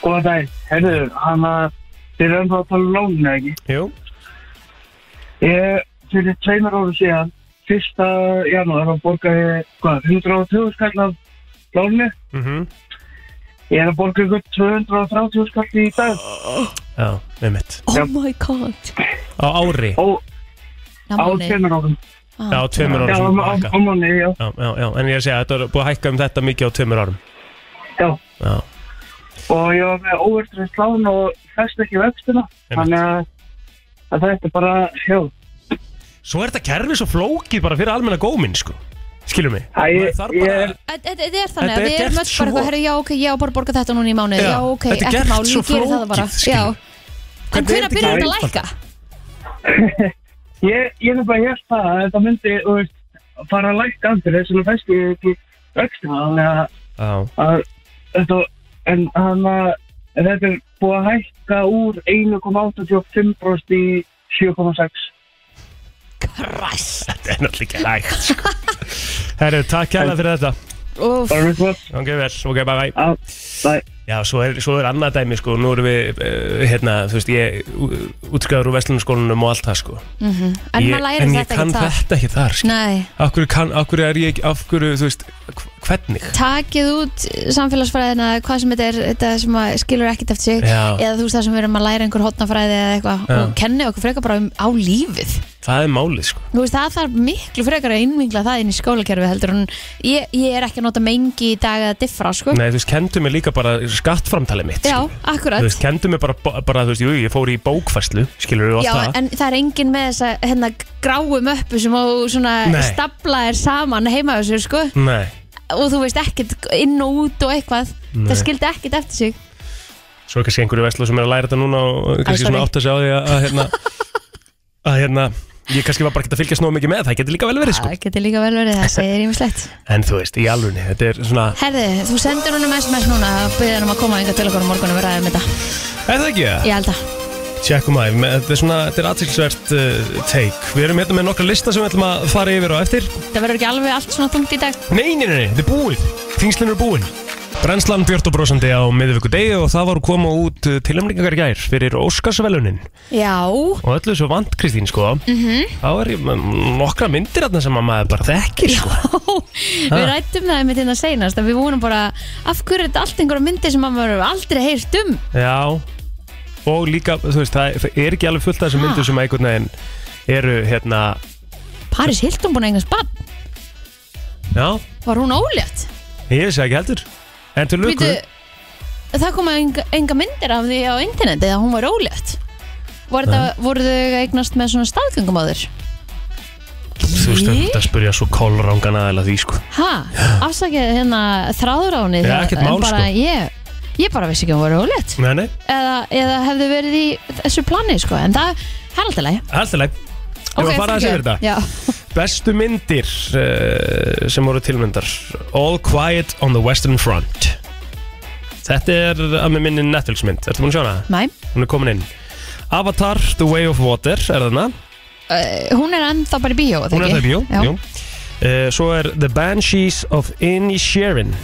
[SPEAKER 5] Góðan daginn, herðu, hann að þið erum það að tala um lóninu ekki.
[SPEAKER 1] Jú.
[SPEAKER 5] Ég, fyrir tveimur ára síðan, fyrsta janúar, þá borgaði, hvað, 120 skall af lóninu.
[SPEAKER 1] Mm
[SPEAKER 5] Ég er að borga ykkur 230 skall í dag.
[SPEAKER 1] Já, með mitt.
[SPEAKER 2] Oh
[SPEAKER 5] Já.
[SPEAKER 2] my god
[SPEAKER 1] Á ári.
[SPEAKER 5] Ó,
[SPEAKER 2] Ná,
[SPEAKER 5] á
[SPEAKER 2] Máni.
[SPEAKER 5] tveimur árum.
[SPEAKER 2] Ah.
[SPEAKER 1] Já, á tveimur árum
[SPEAKER 5] Já,
[SPEAKER 1] sem
[SPEAKER 5] á,
[SPEAKER 1] búið að
[SPEAKER 5] á,
[SPEAKER 1] hækka.
[SPEAKER 5] á manni, já.
[SPEAKER 1] Já, já, já, en ég er að segja að þetta er búið að hækka um þetta mikið á tveimur árum.
[SPEAKER 5] Já,
[SPEAKER 1] Já,
[SPEAKER 5] og ég var með óvertrið lán og fest ekki vextina.
[SPEAKER 1] Einmitt.
[SPEAKER 5] Þannig að, að þetta er bara, já,
[SPEAKER 1] svo er þetta kerfi svo flókið bara fyrir almenna góminn, sko. Skilum mig.
[SPEAKER 5] Æ,
[SPEAKER 1] Maður þarf bara-
[SPEAKER 5] ég-
[SPEAKER 2] Þetta þetta er þannig
[SPEAKER 1] Þetta
[SPEAKER 2] að
[SPEAKER 1] er
[SPEAKER 2] við erum
[SPEAKER 1] gert
[SPEAKER 2] öll bara
[SPEAKER 1] svo-
[SPEAKER 2] eitthvað, herri, já, ok, ég á bara að borga þetta núna í mánuði,
[SPEAKER 1] Já,
[SPEAKER 2] já, ok,
[SPEAKER 1] þetta er
[SPEAKER 2] ekkert
[SPEAKER 1] gert
[SPEAKER 2] máli,
[SPEAKER 1] svo
[SPEAKER 2] ég gerir það
[SPEAKER 1] flókið,
[SPEAKER 2] bara,
[SPEAKER 1] skilur.
[SPEAKER 2] já. En
[SPEAKER 1] Hvernig er
[SPEAKER 2] hvernig
[SPEAKER 1] þetta
[SPEAKER 2] byrjar
[SPEAKER 1] ekki
[SPEAKER 2] þetta að lækka?
[SPEAKER 5] ég, ég er bara að hjálpa að þetta myndi, þú veist, fara að lækka andur þess að festi ekki vextina, þannig að
[SPEAKER 1] Já,
[SPEAKER 5] að þetta, en hann að en þetta er búið að hækka úr 1,85% í 7,6
[SPEAKER 2] Kræst.
[SPEAKER 1] þetta er náttúrulega ekki hægt, sko. Herru, takk hérna fyrir þetta.
[SPEAKER 2] Úff,
[SPEAKER 5] bara við hvað
[SPEAKER 1] Ok, vel, ok, bye bye.
[SPEAKER 5] að það
[SPEAKER 1] Já, svo er, svo er annað dæmi, sko. Nú erum við, uh, hérna, þú veist, ég útskæður úr Vestlunarskólanum og allt það, sko.
[SPEAKER 2] en
[SPEAKER 1] Ég-
[SPEAKER 2] maður lærir
[SPEAKER 1] en ég
[SPEAKER 2] þetta
[SPEAKER 1] kann
[SPEAKER 2] ekki það.
[SPEAKER 1] þetta ekki þar, sko.
[SPEAKER 2] Nei,
[SPEAKER 1] Akkur, kann, akkur er ég, ekki- af hverju, þú veist, hv- hvernig?
[SPEAKER 2] takið út samfélagsfræðina, hvað sem þetta er, þetta sem maður skilur ekkert eftir sig,
[SPEAKER 1] Já.
[SPEAKER 2] eða þú veist það sem við erum að læra einhver hotnafræði eða eitthvað,
[SPEAKER 1] Já.
[SPEAKER 2] og kenni okkur frekar bara um, á lífið.
[SPEAKER 1] Það er málið, sko.
[SPEAKER 2] Þú veist, það þarf miklu frekar að innvingla það inn í skólakerfi heldur, en ég, ég er ekki að nota mengi í dag að diffra, sko.
[SPEAKER 1] Nei, þú veist, kendu mér líka bara skattframtalið mitt
[SPEAKER 2] Já,
[SPEAKER 1] skilur.
[SPEAKER 2] akkurat.
[SPEAKER 1] Þú veist, kendu mér bara, bara þú veist, jú, ég fór í bókfæslu Skilur þú
[SPEAKER 2] Já,
[SPEAKER 1] alltaf það
[SPEAKER 2] en það er enginn með þessa hérna, gráu möppu sem á svona
[SPEAKER 1] Nei.
[SPEAKER 2] stapla er saman heima þessu, sko
[SPEAKER 1] Nei,
[SPEAKER 2] og þú veist ekkert inn og út og eitthvað
[SPEAKER 1] Nei.
[SPEAKER 2] það skildi ekkert eftir sig
[SPEAKER 1] svo er kannski einhverju veslu sem er að læra þetta núna og kannski
[SPEAKER 2] sorry.
[SPEAKER 1] svona átt að segja á því að, að hérna að hérna Ég kannski var bara ekki að fylgjast nóg mikið með, það getur líka vel verið sko.
[SPEAKER 2] Það getur líka vel verið, það segir ímislegt
[SPEAKER 1] Ah. En þú veist, í alvunni, þetta er svona
[SPEAKER 2] Herði, þú sendir húnum SMS núna og byrðir hann um að koma enga til okkur á morgun og við ræðum um þetta
[SPEAKER 1] Er það ekki það?
[SPEAKER 2] Ég held að
[SPEAKER 1] Tjekkum að, þetta er svona, þetta er aðtilsvert uh, take Við erum hérna með nokkra lista sem við ætlum að fara yfir á eftir
[SPEAKER 2] það verður ekki alveg allt svona þungt í dag
[SPEAKER 1] Nei, nei, nei, nei, þetta er búið Þingslinn eru búin Brennslan Björn og brosandi á miðvíku degi og það var að koma út tilhemningar gær fyrir Óskarsvelunin
[SPEAKER 2] Já,
[SPEAKER 1] og öllu þessu vant Kristín sko -hmm. þá er ég með nokkra myndir þarna sem að maður bara þekkir sko
[SPEAKER 2] við rættum það með þetta seinast að við vonum bara af hverju er þetta allt einhverja myndi sem maður hefur aldrei heyrt um
[SPEAKER 1] Já og líka, þú veist, það það er ekki alveg fullt af þessum
[SPEAKER 2] Ha.
[SPEAKER 1] myndir sem að einhvern veginn eru hérna,
[SPEAKER 2] Paris Hilton búin að engast bann,
[SPEAKER 1] já,
[SPEAKER 2] var hún ólétt?
[SPEAKER 1] ég vissi það ekki heldur en til luku,
[SPEAKER 2] Bíddu, það koma enga, enga myndir af því á interneti að hún var ólegt voru, það, voru þau eignast með svona staðgöngumóður
[SPEAKER 1] þú veist, þetta spurja svo kólrangan aðeila því sko
[SPEAKER 2] ha, afsakið hérna þráður á henni
[SPEAKER 1] Já,
[SPEAKER 2] það-
[SPEAKER 1] ekkert
[SPEAKER 2] en
[SPEAKER 1] mál,
[SPEAKER 2] bara,
[SPEAKER 1] sko.
[SPEAKER 2] ég, ég bara vissi ekki að hún var ólegt
[SPEAKER 1] Nei, nei,
[SPEAKER 2] eða, eða hefði verið í þessu plani sko. en það það er alltaf leið
[SPEAKER 1] alltaf Ég var að fara að segja þetta
[SPEAKER 2] Já,
[SPEAKER 1] Bestu myndir eh, uh, sem voru tilmyndar All Quiet on the Western Front Þetta er að með minni Netflix-mynd Ertu búin að sjá hana?
[SPEAKER 2] Mæ,
[SPEAKER 1] Hún er komin inn Avatar, The Way of Water er þarna
[SPEAKER 2] uh, hún er ennþá bara í bíó, eða
[SPEAKER 1] Hún er það
[SPEAKER 2] ekki?
[SPEAKER 1] í bíó
[SPEAKER 2] Já,
[SPEAKER 1] jú. Eh, Svo er The Banshees of Inisherin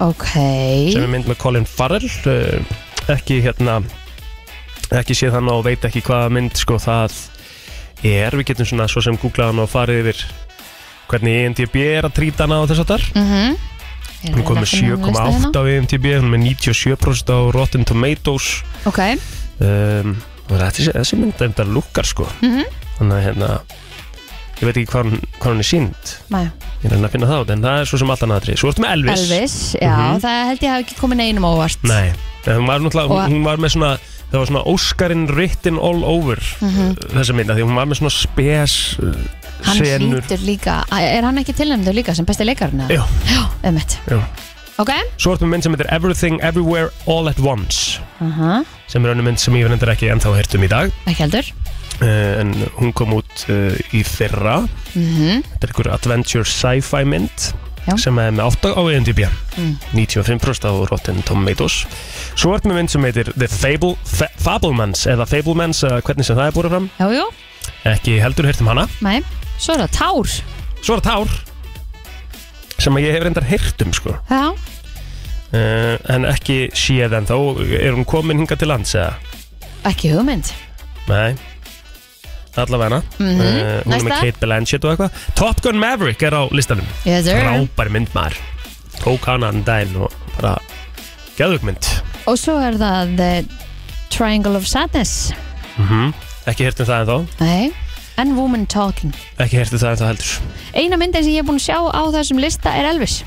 [SPEAKER 2] ok.
[SPEAKER 1] sem er mynd með Colin Farrell eh, ekki hérna ekki séð hann og veit ekki hvaða mynd sko það er við getum svona svo sem googlað hann og farið yfir hvernig E IMDB er að trýta hana og þess að þar
[SPEAKER 2] Mhm.
[SPEAKER 1] hún kom með 7,8 á E IMDB hún er með 97% á Rotten Tomatoes
[SPEAKER 2] hérna? Ok,
[SPEAKER 1] um, og þetta, þessi mynd er þetta lukkar sko
[SPEAKER 2] Mhm.
[SPEAKER 1] þannig að hérna ég veit ekki hvað hún, hvað hún er sínd
[SPEAKER 2] mæ.
[SPEAKER 1] ég reyna að finna það út en það er svo sem alltaf naðri svo ertu með Elvis, Mhm.
[SPEAKER 2] Elvis, já, það held ég hafi ekki komið neinum óvart.
[SPEAKER 1] Nei, en hún var náttúrulega,
[SPEAKER 2] Og-
[SPEAKER 1] hún, hún var með svona það var svona Óskarinn written all over mm -hmm. þessa mynda, því hún var með svona spes uh,
[SPEAKER 2] Mhm. Hann
[SPEAKER 1] senur
[SPEAKER 2] hlýtur líka, er hann ekki tilnæmdur líka sem besti leikarinn? eða?
[SPEAKER 1] Já.
[SPEAKER 2] Já, einmitt.
[SPEAKER 1] Já.
[SPEAKER 2] Ok,
[SPEAKER 1] Svo ertu með mynd sem heitir Everything Everywhere All at Once
[SPEAKER 2] Aha,
[SPEAKER 1] sem er önnu mynd sem ég vendur ekki ennþá hirtum í dag
[SPEAKER 2] ekki heldur.
[SPEAKER 1] uh, en hún kom út uh, í fyrra
[SPEAKER 2] Mhm.
[SPEAKER 1] Þetta er einhver adventure sci-fi mynd
[SPEAKER 2] Já. Mm.
[SPEAKER 1] sem er með 8 á IMDb 95% á Rotten Tomatoes Svo er með mynd sem heitir The Fable, Fa Fablemans eða Fablemans eða hvernig sem það er búið fram
[SPEAKER 2] Jú, jú,
[SPEAKER 1] ekki heldur heyrt um hana
[SPEAKER 2] mæ. Svo er það tár.
[SPEAKER 1] Svo er það Tár sem að ég hef reyndar heyrt um sko
[SPEAKER 2] Já,
[SPEAKER 1] uh, en ekki séð en þá er hún komin hingað til lands eða
[SPEAKER 2] ekki hugmynd.
[SPEAKER 1] Nei Allavega mm
[SPEAKER 2] Mhm.
[SPEAKER 1] hún er með
[SPEAKER 2] Næsta.
[SPEAKER 1] Kate Blanchett og eitthvað Top Gun Maverick er á listanum
[SPEAKER 2] Yes, sir.
[SPEAKER 1] frábær mynd maður tók hana hann daginn og bara geðug mynd
[SPEAKER 2] Og svo er það The Triangle of Sadness.
[SPEAKER 1] Mhm. ekki hirtum það en þá
[SPEAKER 2] Nei, And Woman Talking.
[SPEAKER 1] ekki hirtum það en þá heldur
[SPEAKER 2] Eina myndin sem ég er búin að sjá á þessum lista er Elvis.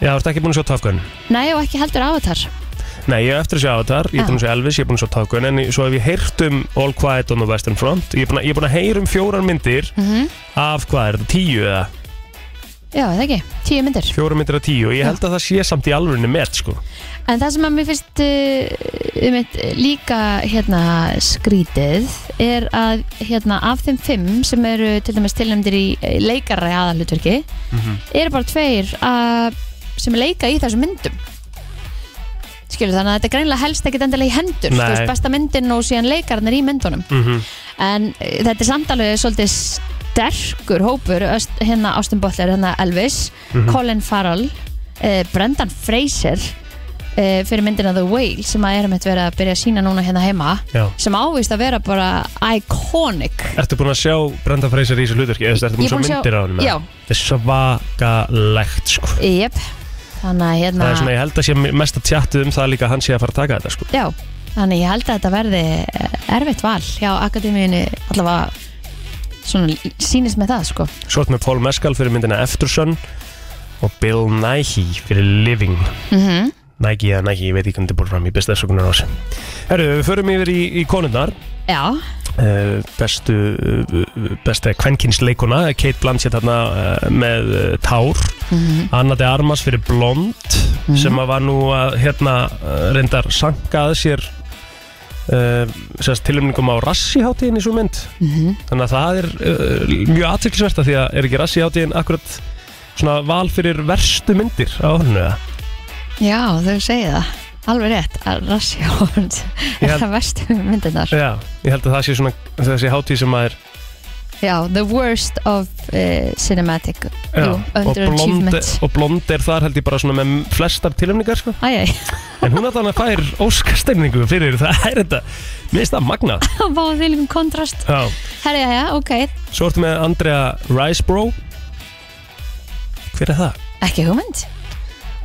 [SPEAKER 1] já, þú ert ekki búin að sjá Top Gun
[SPEAKER 2] Nei, og ekki heldur Avatar.
[SPEAKER 1] nei, ég er eftir að sjá Avatar, ég er
[SPEAKER 2] Ah.
[SPEAKER 1] búin að sjá Elvis ég er búin að sjá Top Gun, en svo hef ég hirt um All Quiet on the Western Front ég er búin að, ég er búin að heyra um fjórar myndir
[SPEAKER 2] Mhm.
[SPEAKER 1] af hvað er þetta, tíu eða
[SPEAKER 2] Já, eða ekki, tíu myndir.
[SPEAKER 1] fjórar myndir af tíu og ég held að það sé samt í alvörinu met sko.
[SPEAKER 2] En það sem að mér finnst uh, um eitt, líka hérna, skrítið er að hérna, af þeim fimm sem eru til dæmis tilnæmdir í eh, leikara í aðalutverki eru bara tveir að, sem leika í þessum myndum. Skilur þannig að þetta greinlega helst ekkit endilega í hendur.
[SPEAKER 1] Nei.
[SPEAKER 2] Þú veist besta myndin og síðan leikararnir í myndunum.
[SPEAKER 1] Mhm.
[SPEAKER 2] En eh, þetta er samtalið svolítið sterkur hópur öst, hérna Austin Butler, hérna Elvis,
[SPEAKER 1] Mhm.
[SPEAKER 2] Colin Farrell, uh, Brendan Fraser uh, fyrir myndina The Whale sem að erum þetta verið að byrja að sína núna hérna heima
[SPEAKER 1] Já.
[SPEAKER 2] sem ávist að vera bara iconic
[SPEAKER 1] Ertu búin að sjá Brenda Fraser í þessu hluturki? Ertu búin
[SPEAKER 2] Ég er
[SPEAKER 1] að
[SPEAKER 2] búin
[SPEAKER 1] sjá
[SPEAKER 2] að sjá-
[SPEAKER 1] myndir á henni?
[SPEAKER 2] já.
[SPEAKER 1] Það er svakalegt sko.
[SPEAKER 2] Jep, þannig að hérna
[SPEAKER 1] Það er svona, ég held að sé mest að tjattu um það líka að hann sé að fara að taka þetta sko.
[SPEAKER 2] Já, þannig ég held að þetta verði eh, erfitt val hjá Akademíunni allavega svona sýnist með það sko
[SPEAKER 1] Svo ertu með Paul Mescal fyrir myndina Eftersun og Bill Nighy fyrir Living
[SPEAKER 2] mm
[SPEAKER 1] Nighy eða Nighy, ég veit ekki hvernig þetta er búin fram í besta þessakunar ás Herru, við förum yfir í, í konundar
[SPEAKER 2] Já,
[SPEAKER 1] uh, bestu uh, besta kvenkinsleikuna Kate Blanchett þarna uh, með uh, Tár Anna de Armas fyrir Blond
[SPEAKER 2] Mhm.
[SPEAKER 1] sem að var nú að hérna uh, reyndar sankaði sér uh, sérst tilumningum á rassiháttíðin í svo mynd
[SPEAKER 2] Mhm.
[SPEAKER 1] þannig að það er uh, mjög aðtilsverta því að er ekki rassiháttíðin akkurat svona val fyrir verstu myndir á honnu eða
[SPEAKER 2] já þau segja það Alveg rétt, að rassi á hans
[SPEAKER 1] Ég
[SPEAKER 2] er
[SPEAKER 1] held-
[SPEAKER 2] það verstu myndirnar
[SPEAKER 1] Já, ég held að það sé svona þessi hátíð sem að er
[SPEAKER 2] Já, the worst of uh, cinematic
[SPEAKER 1] já,
[SPEAKER 2] Jú,
[SPEAKER 1] og,
[SPEAKER 2] under
[SPEAKER 1] blond,
[SPEAKER 2] achievement
[SPEAKER 1] og blond er þar held ég bara svona með flestar tilumningar sko
[SPEAKER 2] Æjæj,
[SPEAKER 1] En hún alltaf fær óskasteiningu fyrir það er þetta, mér finnst það magna
[SPEAKER 2] það var því líkum kontrast
[SPEAKER 1] Já,
[SPEAKER 2] Herri, já, já, ok,
[SPEAKER 1] svo ertu með Andrea Risebro Hver er það?
[SPEAKER 2] ekki hugmynd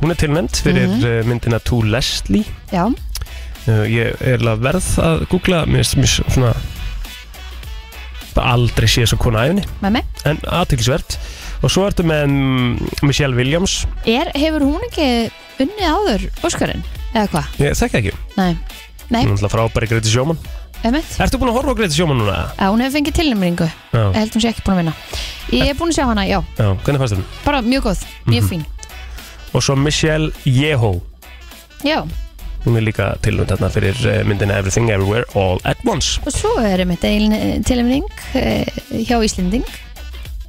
[SPEAKER 1] Hún er tilnæmt fyrir
[SPEAKER 2] Mhm.
[SPEAKER 1] mm myndina To Leslie
[SPEAKER 2] Já,
[SPEAKER 1] uh, Ég er alveg verð að googla mér finnst mér svona bara aldrei sé svo konu æfni
[SPEAKER 2] með mig
[SPEAKER 1] en aðtilsvert og svo ertu með mm, Michelle Williams
[SPEAKER 2] er, Hefur hún ekki unnið áður Óskarinn, eða hvað?
[SPEAKER 1] ég þekki ekki,
[SPEAKER 2] Nei,
[SPEAKER 1] hún er alltaf frábæri Greti Sjóman
[SPEAKER 2] einmitt
[SPEAKER 1] Ertu búin að horfa á Greti Sjóman núna?
[SPEAKER 2] Já, hún hefur fengið tilnæmringu,
[SPEAKER 1] Já,
[SPEAKER 2] ég held hún sé ekki búin að vinna Ég er búin að sjá hana, já,
[SPEAKER 1] já, hvernig fannst þér hún?
[SPEAKER 2] bara mjög góð,
[SPEAKER 1] Mhm.
[SPEAKER 2] mjög fín
[SPEAKER 1] Og svo Michelle Yeoh
[SPEAKER 2] Já,
[SPEAKER 1] Hún er líka tilnönd þarna fyrir eh, myndina Everything Everywhere All At Once.
[SPEAKER 2] og svo er einmitt tilnæmring uh, hjá Íslending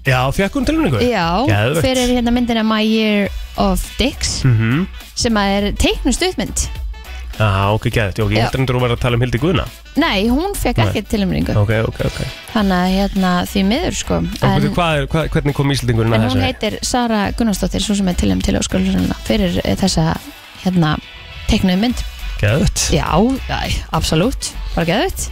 [SPEAKER 1] Já, fekk hún tilnöndingu?
[SPEAKER 2] Já,
[SPEAKER 1] Geðvegt.
[SPEAKER 2] fyrir hérna myndina My Year of Dicks
[SPEAKER 1] Mhm.
[SPEAKER 2] sem að er teiknustuðmynd
[SPEAKER 1] Já, ok, gæðið, ok, ég
[SPEAKER 2] Já.
[SPEAKER 1] heldur endur að vera að tala um Hildi Guðna
[SPEAKER 2] Nei, hún fekk
[SPEAKER 1] Nei.
[SPEAKER 2] ekki tilumringu
[SPEAKER 1] Ok, ok, ok
[SPEAKER 2] Þannig að hérna því miður sko
[SPEAKER 1] En,
[SPEAKER 2] En,
[SPEAKER 1] hvað er, hvað, hvernig kom Íslandingurinn
[SPEAKER 2] en
[SPEAKER 1] að
[SPEAKER 2] hún
[SPEAKER 1] þessu?
[SPEAKER 2] heitir Sara Gunnarsdóttir svo sem er tilum til ósköldurinn fyrir eh, þessa hérna teiknuðu mynd
[SPEAKER 1] Gæðið
[SPEAKER 2] Já, já, absolutt, bara geðvitt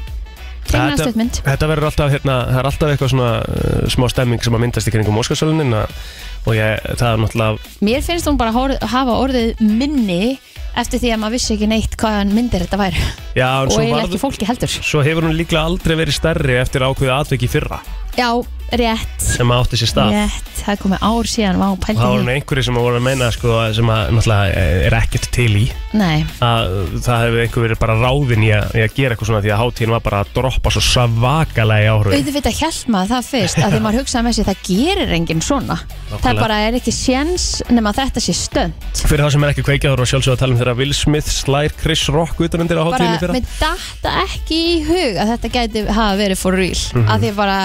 [SPEAKER 2] Teiknustuðmynd
[SPEAKER 1] Þetta verður alltaf, hérna, það er alltaf eitthvað svona uh, smá stemming sem að myndast í kringum Óskarsölunin og ég, það er náttúrulega
[SPEAKER 2] Mér finnst hún bara hor- hafa orðið minni eftir því að maður vissi ekki neitt hvaðan myndir þetta væri
[SPEAKER 1] Já, en
[SPEAKER 2] og
[SPEAKER 1] svo,
[SPEAKER 2] eiginlega
[SPEAKER 1] varð,
[SPEAKER 2] ekki fólki heldur
[SPEAKER 1] svo hefur hún líklega aldrei verið stærri eftir ákveðið atvik í fyrra
[SPEAKER 2] Já, rétt,
[SPEAKER 1] sem átti sér stað
[SPEAKER 2] rétt, það er komið ár síðan Vá,
[SPEAKER 1] og það var
[SPEAKER 2] pældi
[SPEAKER 1] nú
[SPEAKER 2] því
[SPEAKER 1] einhverju sem voru að meina sko, sem að náttúrulega eh, er ekkert til í
[SPEAKER 2] Nei,
[SPEAKER 1] að það hefur einhver verið bara ráðin í að, í að gera eitthvað svona því að hátíðin var bara að droppa svo svakalega í áhrifin
[SPEAKER 2] auðvitað hjælt maður það fyrst að því maður hugsaði með sér það gerir enginn svona Það bara er ekki séns nema þetta sé stönd
[SPEAKER 1] Fyrir það sem er ekki kveikið þá erum við sjálfsög að tala um þegar Will Smith slær Chris Rock utan undir á hátíðinu
[SPEAKER 2] bara
[SPEAKER 1] fyrra
[SPEAKER 2] með datta ekki í hug að þetta gæti hafa verið for real mm
[SPEAKER 1] Mhm.
[SPEAKER 2] að því bara,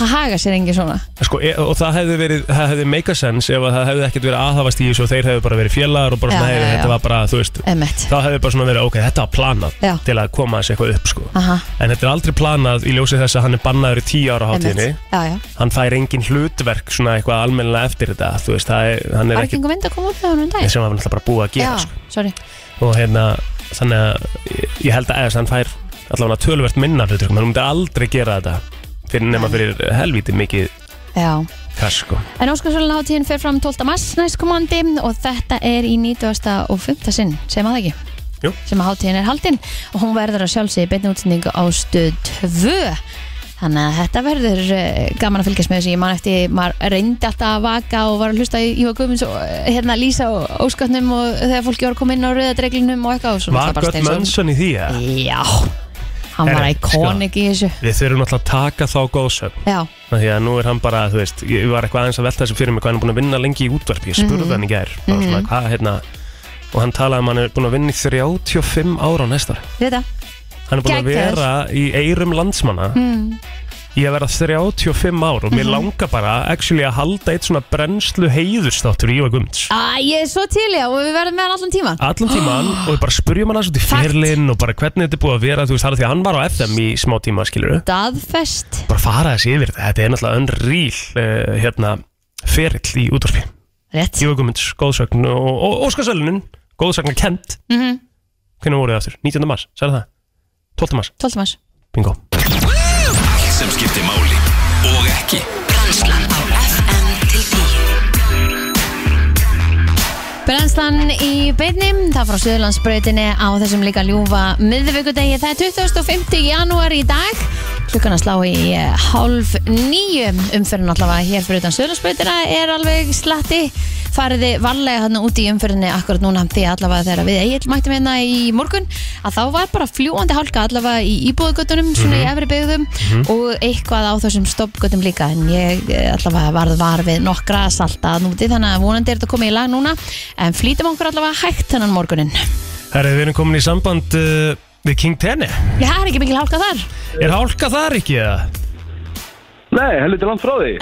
[SPEAKER 2] það haga sér enginn svona
[SPEAKER 1] sko, e- og það hefði verið, það hefði make a sense ef að það hefði ekkert verið aðhafast í þessu og þeir hefði bara verið félagar og bara svona
[SPEAKER 2] Já,
[SPEAKER 1] hefði,
[SPEAKER 2] já, já.
[SPEAKER 1] þetta var bara, þú veist
[SPEAKER 2] Emmett,
[SPEAKER 1] þá hefði bara svona verið, ok, þetta var planað
[SPEAKER 2] Já.
[SPEAKER 1] til að koma þessi eitthvað upp, sko
[SPEAKER 2] aha,
[SPEAKER 1] en þetta er aldrei planað í ljósi þess að hann er bannaður í tíu ára á hátíðinni
[SPEAKER 2] Emmett Já, já,
[SPEAKER 1] hann fær engin hlutverk svona eitthvað almennilega eftir þetta, þú veist, það er, hann er
[SPEAKER 2] var ekki
[SPEAKER 1] ekki
[SPEAKER 2] einhver mynd að koma út með honum um daginn?
[SPEAKER 1] sem hann var náttúrulega bara búið að gera, sko
[SPEAKER 2] Já, sorry
[SPEAKER 1] og hérna þannig að ég- ég held að eða hann fær allavega tölvert minna hlutur menn hún myndi aldrei gera þetta fyrir nema fyrir helvítið mikið
[SPEAKER 2] Já.
[SPEAKER 1] kass sko
[SPEAKER 2] En Óskarsvölin hátíðin fer fram 12. mars næstkomandi og þetta er í 90. og 5. sinn, sem að það ekki?
[SPEAKER 1] Jú.
[SPEAKER 2] Sem að hátíðin er haldin og hún verður að sjálfsegi beinni útsendingu á stöð 2. Þannig að þetta verður eh, gaman að fylgjast með þessu. Ég man eftir, maður reyndi alltaf að vaka og var að hlusta í Ívar Guðmunds og eh, hérna Lísa og Óskarnum og þegar fólki var að koma inn á rauðadreglinum og eitthvað og svo
[SPEAKER 1] Var
[SPEAKER 2] náttúrulega
[SPEAKER 1] Gott
[SPEAKER 2] bara
[SPEAKER 1] Mönsson í því að
[SPEAKER 2] Steinsson. Já, hann var
[SPEAKER 1] Herra,
[SPEAKER 2] íkónik í þessu.
[SPEAKER 1] við þurfum alltaf að taka þá góðsögn
[SPEAKER 2] Já,
[SPEAKER 1] af því að nú er hann bara, þú veist, ég var eitthvað aðeins að velta þessu fyrir mig hvað hann er búin að vinna lengi í útvarpi ég spurði
[SPEAKER 2] Mhm.
[SPEAKER 1] hann í gær, bara svona hvað hérna og hann talaði um að hann er búin að vinna í 35 ára á næsta ári
[SPEAKER 2] þetta.
[SPEAKER 1] hann er búin að
[SPEAKER 2] Geggjaður. Mhm.
[SPEAKER 1] vera í eirum landsmanna í að vera 35 ár og mér langar bara actually að halda eitt svona brennslu heiðurstáttur í Ívar Guðmunds
[SPEAKER 2] Æ, ég er svo til já og við verðum með hann allan tíman.
[SPEAKER 1] allan tíman og bara spurjum hann aðeins út í
[SPEAKER 2] Ah. Fakt.
[SPEAKER 1] fyrirlinn og bara hvernig þetta er búið að vera þú veist það er því að hann var á FM í smá tíma skilur
[SPEAKER 2] staðfest
[SPEAKER 1] bara fara þessi yfir þetta, þetta er náttúrulega önrýl uh, hérna ferill í útvarpi
[SPEAKER 2] Rétt
[SPEAKER 1] Ívar Guðmunds, góðsögn og, og Óskarsölunin, góðsögn er kent
[SPEAKER 2] mm
[SPEAKER 1] hvernig voruð þið aftur? 19. mars, sagði það? 12. mars,
[SPEAKER 2] 12. mars
[SPEAKER 1] bingo
[SPEAKER 3] Allt sem skiptir máli og ekki
[SPEAKER 4] Brennslan á FM til 10
[SPEAKER 2] Brennslan í beinni, það frá Suðurlandsbrautinni á þessum líka ljúfa miðvíkudegi, það er 25. janúar í dag klukkan að slá í eh, hálf nýju umferðin allavega hér fyrir utan Suðurlandsbrautina er alveg slatti fariði varlega hann út í umferðinni akkurat núna því að allavega þegar við Egil mættum hérna í morgun að þá var bara fljúandi hálka allavega í íbúðugötunum svona í efri byggðum og eitthvað á þessum stoppgötum líka en ég eh, allavega varð var við nokkra salta að núti þannig að vonandi er þetta komið í lag núna en flýtum okkur allavega hægt þennan morgunin
[SPEAKER 1] Herri, við erum komin í samband uh, við King Tenni
[SPEAKER 2] Já, það er ekki mikil hálka þar
[SPEAKER 1] Er hálka þar ekki eða?
[SPEAKER 6] Nei, helviti langt frá því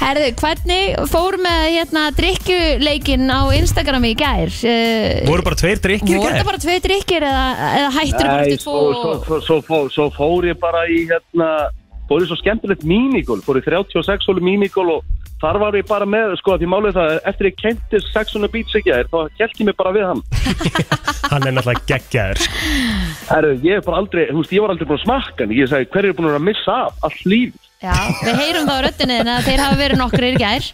[SPEAKER 2] Herðu, hvernig fór með hérna drikkjuleikin á Instagram í gær? Uh,
[SPEAKER 1] Voru bara tveir drikkir
[SPEAKER 2] voru það bara tvei drikkir eða, eða hættur bara
[SPEAKER 6] Nei,
[SPEAKER 2] eftir tvo?
[SPEAKER 6] svo, svo, svo, svo, fó- svo fór ég bara í hérna Fór ég svo skemmtilegt mínigól Fór ég 36 hólu mínigól og þar var ég bara með Sko að því málið er það að Eftir ég kemdi Saxona Beats ekki að þér Þá held ég mig bara við hann
[SPEAKER 1] Hann er náttúrulega geggjaður sko.
[SPEAKER 6] Herru, ég er bara aldrei Þú veist, ég var aldrei búin að smakka hann Ég sagði, hver er búin að vera að missa af allt líf
[SPEAKER 2] Já, við heyrum þá röddinni en að þeir hafa verið nokkrir í gær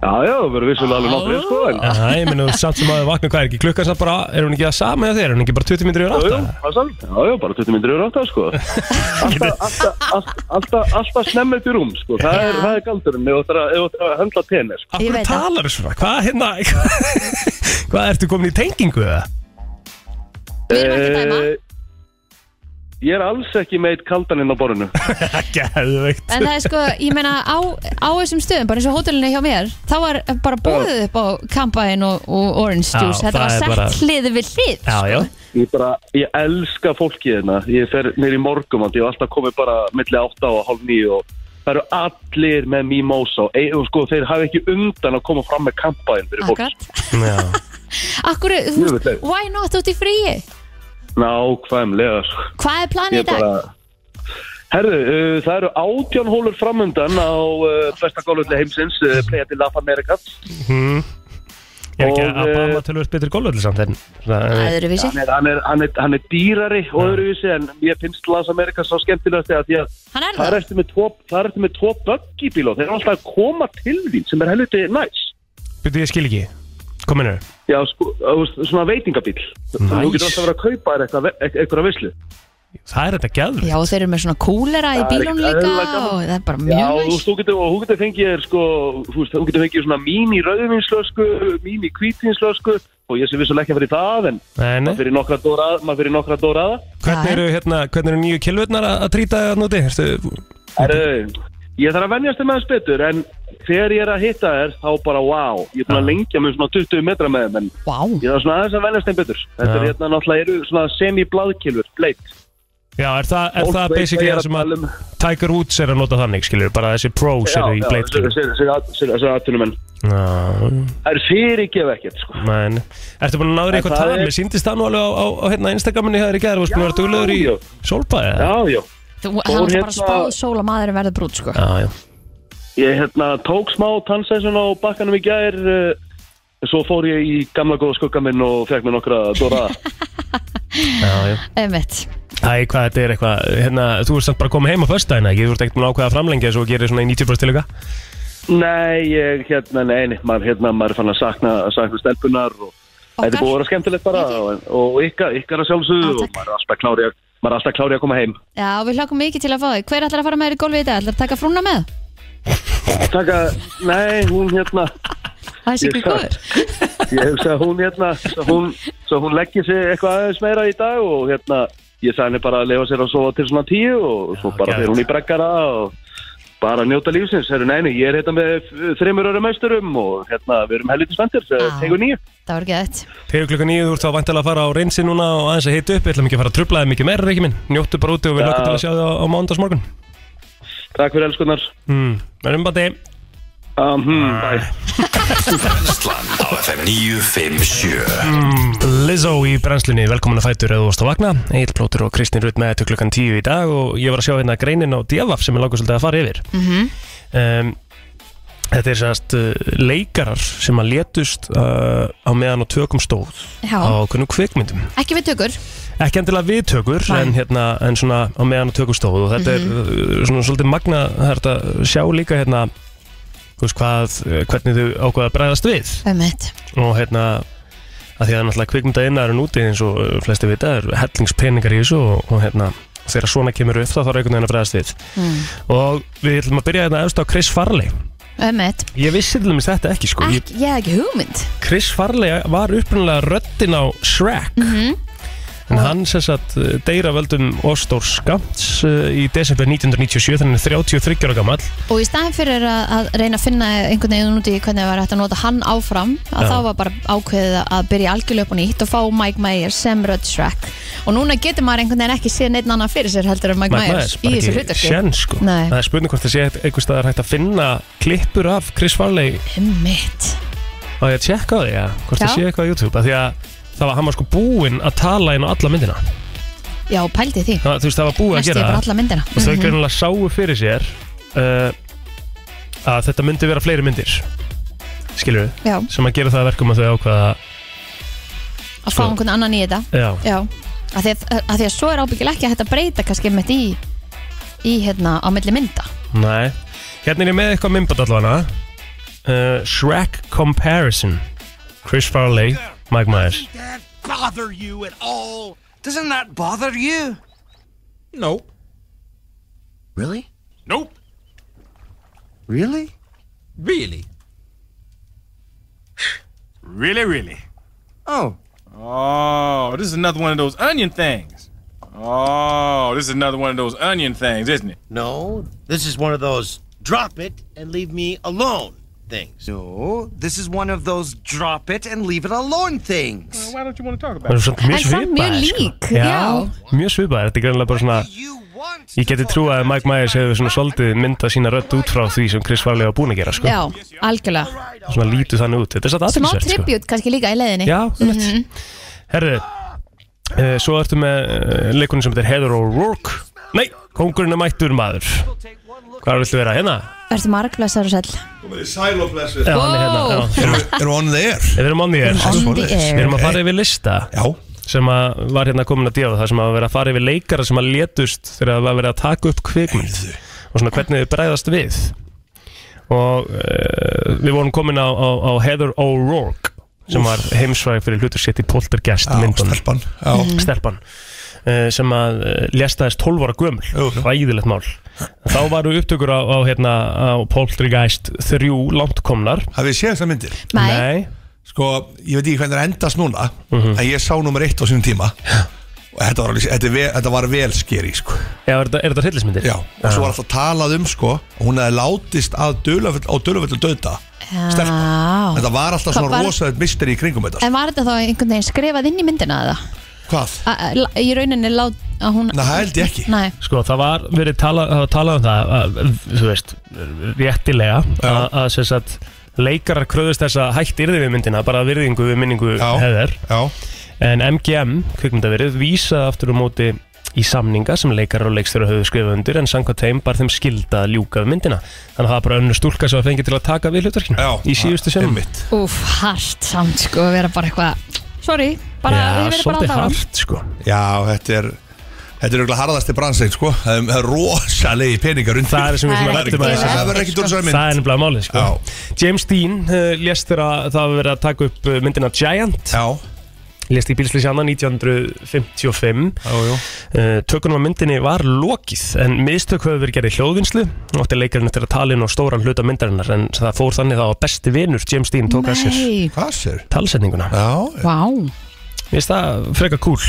[SPEAKER 6] Já, já, við erum vissulega alveg nokkrið sko En
[SPEAKER 1] Já, ég meina þú samt sem að þau vakna hvað er ekki klukkan samt bara, er hún ekki það sama eða þér, er hún ekki bara 20 minnir yfir
[SPEAKER 6] Já,
[SPEAKER 1] 8
[SPEAKER 6] já, það er sant. já, já, bara 20 minnir yfir átta sko. alltaf, alltaf, alltaf, alltaf, alltaf snemma upp í rúm sko. það, er, það er galdurinn ef þú ætlar að- ef þú ætlar að höndla tenni sko.
[SPEAKER 1] Af
[SPEAKER 2] Ég
[SPEAKER 1] hverju
[SPEAKER 2] veit það.
[SPEAKER 1] talar þú svona? Hvað hérna, hvað ertu komin í tengingu eða?
[SPEAKER 2] Við erum ekki að dæma
[SPEAKER 6] Eh, Ég er alls ekki meitt kaldan inn á borðinu
[SPEAKER 1] Geðveikt
[SPEAKER 2] En það er sko, ég meina á, á þessum stöðum, bara eins og hótelinu hjá mér þá var bara búið upp á kampaðin og, og orange
[SPEAKER 1] Já,
[SPEAKER 2] juice þetta
[SPEAKER 1] það
[SPEAKER 2] var
[SPEAKER 1] er
[SPEAKER 2] sett
[SPEAKER 1] bara-
[SPEAKER 2] hlið við hlið Ah,
[SPEAKER 1] Já, já,
[SPEAKER 6] Ég, bara, ég elska fólkið hérna Ég fer neyri í morgum Ég hef alltaf komið bara milli átta og hálf nýju og það það eru allir með mimosa og, e- og sko, þeir hafa ekki undan að koma fram með kampaðin fyrir fólk
[SPEAKER 2] Akkurat
[SPEAKER 1] Já,
[SPEAKER 2] Akkur, þú
[SPEAKER 6] Jú,
[SPEAKER 2] veist,
[SPEAKER 6] þetta er-
[SPEAKER 2] why not út í fríi?
[SPEAKER 6] nákvæmlega sko.
[SPEAKER 2] Hvað er planið í dag?
[SPEAKER 6] Herðu, uh, það eru átján hólur framundan á uh, besta gólvöldi heimsins, uh, Playa til Laf America.
[SPEAKER 1] ég er ekki
[SPEAKER 6] Og,
[SPEAKER 1] að
[SPEAKER 6] eh,
[SPEAKER 1] bama tölvöld betri gólvöldu samt en svona,
[SPEAKER 2] Æðurvísi,
[SPEAKER 6] Hann er, hann, er, hann, er, hann er dýrari og öðruvísi en ég finnst Las America svo skemmtilegast að því að
[SPEAKER 2] hann er
[SPEAKER 6] það
[SPEAKER 2] það
[SPEAKER 6] ertu með tvo, það ertu með tvo buggybíl og þeir eru alltaf að koma til þín sem er helviti næs.
[SPEAKER 1] byrju ég skil ekki kominu,
[SPEAKER 6] Já, sko, þú veist, svona veitingabíl. Þannig að Þú getur alltaf verið að kaupa þér eitthvað, ve- e- eitthvað vislu.
[SPEAKER 1] það er þetta gæður
[SPEAKER 2] Já, og þeir eru með svona kúlera í
[SPEAKER 6] Það er
[SPEAKER 2] bílunum
[SPEAKER 6] ekki
[SPEAKER 2] líka
[SPEAKER 6] eðlilega gaman.
[SPEAKER 2] og það er bara
[SPEAKER 6] Já,
[SPEAKER 2] mjög
[SPEAKER 6] þú
[SPEAKER 2] næs
[SPEAKER 6] veist, þú getur, og þú getur fengið þér sko, þú veist, þú getur fengið svona mini rauðvinslösku, mini hvítvinslösku og ég sé vissulega ekki að fara í það en
[SPEAKER 1] Nei, nei.
[SPEAKER 6] maður fyrir nokkra dóraða, maður fyrir nokkra dóraða.
[SPEAKER 1] Hvernig
[SPEAKER 2] Já.
[SPEAKER 1] eru, hérna, hvernig eru nýju kilvurnar að að trýta að núti? Ertu,
[SPEAKER 6] Herru, ég þarf að venjast þeim aðeins betur en þegar ég er að hitta þér þá bara wow, ég er búin að lengja mig um svona 20 metra með þeim en
[SPEAKER 2] Vá,
[SPEAKER 6] ég þarf svona aðeins að venjast þeim betur. Þetta
[SPEAKER 1] Já.
[SPEAKER 6] er hérna náttúrulega eru svona semi-bladkilfur, bleitt.
[SPEAKER 1] já, er það, er
[SPEAKER 6] Fólk
[SPEAKER 1] það
[SPEAKER 6] veit
[SPEAKER 1] basically
[SPEAKER 6] hvað ég er
[SPEAKER 1] það
[SPEAKER 6] að
[SPEAKER 1] sem að
[SPEAKER 6] tala um.
[SPEAKER 1] Tiger Woods er að nota þannig, skilur, bara þessi pros eru í blade kilvur?
[SPEAKER 6] þessi aðtunumenn.
[SPEAKER 1] Já,
[SPEAKER 6] Það er fyrirgef ekkert sko.
[SPEAKER 1] menn. Ertu búin að náður
[SPEAKER 6] En
[SPEAKER 1] eitthvað
[SPEAKER 6] það
[SPEAKER 1] tal?
[SPEAKER 6] er-
[SPEAKER 1] Mér síndist það nú alveg á, á, á hérna Instagraminni hér í gæður og spilur að vera duglegur
[SPEAKER 6] já.
[SPEAKER 1] í solbæði.
[SPEAKER 6] Já, já.
[SPEAKER 2] þú hann er bara
[SPEAKER 6] hérna-
[SPEAKER 2] spáð sól að maðurinn verður brútt sko
[SPEAKER 1] Já, já.
[SPEAKER 6] Ég hérna, tók smá tannsessun á bakkanum í gær uh, Svo fór ég í gamla góða skugga minn og fekk mér nokkra dóra
[SPEAKER 1] já, já.
[SPEAKER 2] Einmitt,
[SPEAKER 1] Æ, hvað þetta er eitthvað, hérna, þú ert samt bara að koma heim á föstudagina, ekki? Þú ert ekkert búin að ákveða að framlengja þessu og gera svona í 90% til eitthvað?
[SPEAKER 6] Nei, ég hérna, nei, nei, maður hérna, maður er fann að sakna, sakna stelpunar og þetta er búið að vera skemmtilegt bara og, og ykkar, ykkar að
[SPEAKER 2] Já,
[SPEAKER 6] sjálfsögðu og
[SPEAKER 2] takk.
[SPEAKER 6] maður er alltaf klári að maður er alltaf klári að koma heim
[SPEAKER 2] já við hlökkum mikið til að fá þig Hver ætlar að fara með þér í golfi í dag? Ætlar að taka frúna með?
[SPEAKER 6] Takk að, nei, hún hérna
[SPEAKER 2] Það er sikkert
[SPEAKER 6] Ég-
[SPEAKER 2] góður
[SPEAKER 6] ég hugsa að hún hérna svo hún, svo hún leggir sig eitthvað aðeins meira í dag og hérna, ég sagði henni bara að lefa sér að sofa til svona tíu og svo
[SPEAKER 1] Já,
[SPEAKER 6] bara
[SPEAKER 1] geðveikt.
[SPEAKER 6] fyrir hún í brekkara og bara njóta lífsins, herru neini, ég er hérna með f- þremur örum meisturum og hérna, við erum helviti spenntir,
[SPEAKER 2] Já.
[SPEAKER 6] tegur nýju
[SPEAKER 2] Það var ekki þetta
[SPEAKER 1] Þegar klukkan nýju þú ert þá vantilega að fara á reynsi núna og aðeins að hita upp, ég ætla mikið að fara að trubla þig mikið meira, Rikki minn. Njóttu bara úti og við
[SPEAKER 6] Já.
[SPEAKER 1] lökum til að sjá þig á, á mándagsmorgun.
[SPEAKER 6] Takk fyrir elskunar
[SPEAKER 1] Mm. Verðum bara degi.
[SPEAKER 6] um, hmm, bye
[SPEAKER 3] Brennslan á FM 957
[SPEAKER 1] Lizzo í brennslunni, velkomin að fætur eða þú varst að vakna. Egil Plótur og Kristín Rutt með þetta klukkan tíu í dag og ég var að sjá hérna greinin á Diavaf sem ég langar svolítið að fara yfir.
[SPEAKER 2] Mhm.
[SPEAKER 1] um, þetta er sérst uh, leikarar sem að létust uh, á meðan á tökum stóð
[SPEAKER 2] Já,
[SPEAKER 1] á kunnum kvikmyndum.
[SPEAKER 2] ekki við tökur
[SPEAKER 1] ekki endilega viðtökur
[SPEAKER 2] Nei.
[SPEAKER 1] en, hérna, en svona á meðan á tökum stóð og þetta er uh, svona svolítið magna það er þetta að sjá líka hérna þú veist hvað, uh, hvernig þau ákvaða að bregðast við
[SPEAKER 2] Einmitt,
[SPEAKER 1] og hérna að því að náttúrulega kvikmynda innar en úti eins og uh, flesti vita er hellingspeningar í þessu og, og hérna þegar svona kemur upp þá þarf einhvern veginn að bregðast við
[SPEAKER 2] Mm.
[SPEAKER 1] og við ætlum að byrja hérna efst á Chris Farley
[SPEAKER 2] einmitt
[SPEAKER 1] ég vissi til dæmis þetta ekki sko ég,
[SPEAKER 2] Ekki, Ég hef ekki hugmynd
[SPEAKER 1] Chris Farley var upprunalega röddin á Shrek
[SPEAKER 2] Mhm.
[SPEAKER 1] en hann sem sagt deyra völdum Óstór Skamts í desember 1997 þannig er 33 ára gammal
[SPEAKER 2] Og í staðin fyrir að, að reyna að finna einhvern veginn út í hvernig var hægt að nota hann áfram að
[SPEAKER 1] Já.
[SPEAKER 2] þá var bara ákveðið að byrja algjörlega upp á nýtt og fá Mike Myers sem Rudd Shrek og núna getur maður einhvern veginn ekki séð neitt annan fyrir sér heldur en Mike, Myers, í þessu
[SPEAKER 1] bara ekki
[SPEAKER 2] hlutarki
[SPEAKER 1] sjens sko
[SPEAKER 2] Nei.
[SPEAKER 1] það er spurning hvort það sé einhver staðar hægt að finna klippur af Chris Farley
[SPEAKER 2] Einmitt,
[SPEAKER 1] og ég að tjekka á því ja, hvort það
[SPEAKER 2] Já.
[SPEAKER 1] sé eitthvað á YouTube af því að það var hann var sko búinn að tala inn á alla myndina
[SPEAKER 2] já pældi því
[SPEAKER 1] það, þú veist það var búið að
[SPEAKER 2] Næst ég
[SPEAKER 1] gera
[SPEAKER 2] bara
[SPEAKER 1] það
[SPEAKER 2] alla myndina Mhm.
[SPEAKER 1] og þau greinilega sáu fyrir sér uh, að þetta myndi vera fleiri myndir skilur við,
[SPEAKER 2] Já,
[SPEAKER 1] sem að gera það að verkum að þau ákvaða
[SPEAKER 2] að
[SPEAKER 1] Sko-
[SPEAKER 2] fá einhvern annan í þetta
[SPEAKER 1] já,
[SPEAKER 2] Já, að því að, að, því að svo er ábyggilega ekki að þetta breyta kannski með í, í hérna á milli mynda
[SPEAKER 1] næ hérna er ég með eitthvað myndband allavega uh, Shrek Comparison Chris Farley, Mike Myers
[SPEAKER 7] that bother you at all? Doesn't that bother you? Nope. Really? Nope. Really? Really? really, really. Oh. Oh, this is another one of those onion things. Oh, this is another one of those onion things, isn't it?
[SPEAKER 8] No, this is one of those drop it and leave me alone things.
[SPEAKER 7] No, this is one of those drop it and leave it alone things. Why don't you want to talk about
[SPEAKER 1] það er svona
[SPEAKER 2] En
[SPEAKER 1] mjög
[SPEAKER 2] samt mjög
[SPEAKER 1] svipaðir
[SPEAKER 2] lík,
[SPEAKER 1] sko. já, mjög svipaðir, þetta er greinlega bara svona
[SPEAKER 7] You
[SPEAKER 1] Ég geti trú að Mike Myers hefur svona svolítið myndað sína rödd út frá því sem Chris Farley var búin að gera sko.
[SPEAKER 2] Já, algjörlega
[SPEAKER 1] Svona lítu þannig út Þetta er satt
[SPEAKER 2] Smá
[SPEAKER 1] aðtilsverð sko.
[SPEAKER 2] tribut kannski líka í leiðinni
[SPEAKER 1] Já, einmitt.
[SPEAKER 2] Mhm.
[SPEAKER 1] Herðu, uh, svo ertu með uh, leikunum sem þetta er Heather O'Rourke Nei, kongurinn er mættur maður Hvað viltu vera hérna?
[SPEAKER 2] Ertu margblessar og sæll
[SPEAKER 3] Komið í sæl og blessu
[SPEAKER 1] Já, hann er hérna já.
[SPEAKER 3] Erum við- erum við on the air?
[SPEAKER 1] Við erum on the air
[SPEAKER 2] On the air.
[SPEAKER 1] Við erum að fara yfir lista
[SPEAKER 3] Já
[SPEAKER 1] sem að var hérna komin að djáða það sem að vera að fara yfir leikara sem að létust þegar það var verið að taka upp kvikmynd og svona hvernig þið bregðast við og uh, við vorum komin á, á, á Heather O'Rourke sem var heimsvæg fyrir hlutur sitt í Poltergeist
[SPEAKER 3] Já,
[SPEAKER 1] myndunum
[SPEAKER 3] stelpan Já,
[SPEAKER 1] stelpan uh, sem að uh, lesta þess 12 ára gömul
[SPEAKER 3] Jú, jú.
[SPEAKER 1] ræðilegt mál þá varu upptökur á, á, hérna, á Poltergeist 3 langt komnar
[SPEAKER 3] hafið séð þessar myndir
[SPEAKER 2] Nei,
[SPEAKER 3] Sko, ég veit ekki hvernig það endast núna
[SPEAKER 1] Mhm.
[SPEAKER 3] En ég sá nummer eitt á sínum tíma Og þetta var, alveg- þetta, er ve- þetta var vel skeri, sko
[SPEAKER 1] Eða, er, þetta- er þetta hryllismyndir?
[SPEAKER 3] Já, og svo var alltaf talað um, sko að Hún hefði látist að dulafell, á dulaföldu döta
[SPEAKER 2] Já.
[SPEAKER 3] Þetta var alltaf
[SPEAKER 2] Hvað
[SPEAKER 3] svona
[SPEAKER 2] var-
[SPEAKER 3] rosaðið misteri í kringum þetta sko.
[SPEAKER 2] En var þetta þá einhvern veginn skrifað inn í myndina eða?
[SPEAKER 3] Hvað?
[SPEAKER 2] A- a- la- Í rauninni lát að hún
[SPEAKER 3] Nei, það held ég ekki.
[SPEAKER 2] Nei,
[SPEAKER 1] Sko, það var verið tala, það var talað um það að, þú veist, réttilega
[SPEAKER 3] Já.
[SPEAKER 1] að, að sem sagt, leikarar kröðust þess að hætt yrði við myndina bara að virðingu við minningu
[SPEAKER 3] Já.
[SPEAKER 1] heðar
[SPEAKER 3] Já,
[SPEAKER 1] en MGM, kvikmyndaverið, vísaði aftur á móti í samninga sem leikarar og leikstjóra höfðu skrifað undir en samkvæmt þeim bar þeim skilda að ljúka við myndina þannig að það var bara önnur stúlka sem var fengið til að taka við hlutverkinu
[SPEAKER 3] já
[SPEAKER 1] í síðustu sem
[SPEAKER 3] einmitt.
[SPEAKER 2] úf, hart samt sko að vera bara eitthvað Sorry, bara,
[SPEAKER 1] Já,
[SPEAKER 2] ég verið bara
[SPEAKER 1] svolítið
[SPEAKER 2] alltaf áram
[SPEAKER 1] hart sko
[SPEAKER 3] Já, þetta er Þetta er auðvitað harðasti bransin, sko Það er- það er rosalegi peningar undir
[SPEAKER 1] Það er sem við
[SPEAKER 2] Það
[SPEAKER 1] sem
[SPEAKER 2] er
[SPEAKER 1] að rættum að
[SPEAKER 2] ekki
[SPEAKER 1] þessi
[SPEAKER 3] Það verður ekki dónsar mynd
[SPEAKER 1] Það er nefnilega málið sko
[SPEAKER 3] Já.
[SPEAKER 1] James Dean uh, lést þegar að það hafi verið að taka upp uh, myndina Giant
[SPEAKER 3] Já,
[SPEAKER 1] Lést í hérna bílslýsjana 1955
[SPEAKER 3] já, já
[SPEAKER 1] uh, Tökunum á myndinni var lokið En mistök höfðu verið gerði hljóðvinslu Og átti leikarinn eftir að tala inn á stóran hluta myndarinnar En það fór þannig þá að besti vinur James Dean tók að sér
[SPEAKER 2] Nei,
[SPEAKER 3] Hvað sér?
[SPEAKER 1] talsetninguna
[SPEAKER 3] Já,
[SPEAKER 2] vá
[SPEAKER 1] Mér finnst það freka cool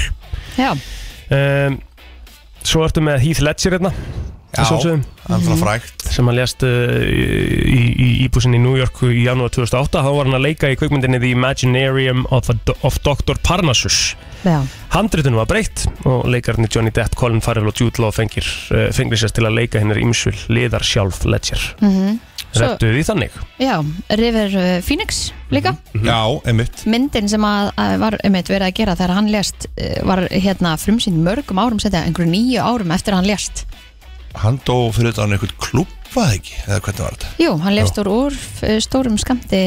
[SPEAKER 2] Já,
[SPEAKER 1] um, Svo ertu með Heath Ledger hérna
[SPEAKER 3] já,
[SPEAKER 1] að sjálfsögðu.
[SPEAKER 3] það er
[SPEAKER 1] Mhm.
[SPEAKER 3] það frægt
[SPEAKER 1] sem hann lést uh, í, í íbúsinni í New York í janúar 2008 þá var hann að leika í kvikmyndinni The Imaginarium of, a, of Dr. Parnassus
[SPEAKER 2] já,
[SPEAKER 1] Handritunum var breytt og leikarnir Johnny Depp, Colin Farrell og Jude Law fengir uh, fengir sérst til að leika hennar ímsvil liðar sjálf Ledger mm
[SPEAKER 2] Svo-
[SPEAKER 1] því þannig
[SPEAKER 2] Mhm. já River uh, Phoenix líka
[SPEAKER 1] Mhm.
[SPEAKER 3] Já, einmitt
[SPEAKER 2] myndin sem að, að var einmitt verið að gera þegar hann lést eh, var hérna frumsýnd mörgum árum setja, einhverju nýju árum eftir að hann lést
[SPEAKER 3] Hann dó fyrir utan einhvern klubba ekki Eða hvernig var þetta?
[SPEAKER 2] Jú, hann lést úr, úr eh, stórum skamti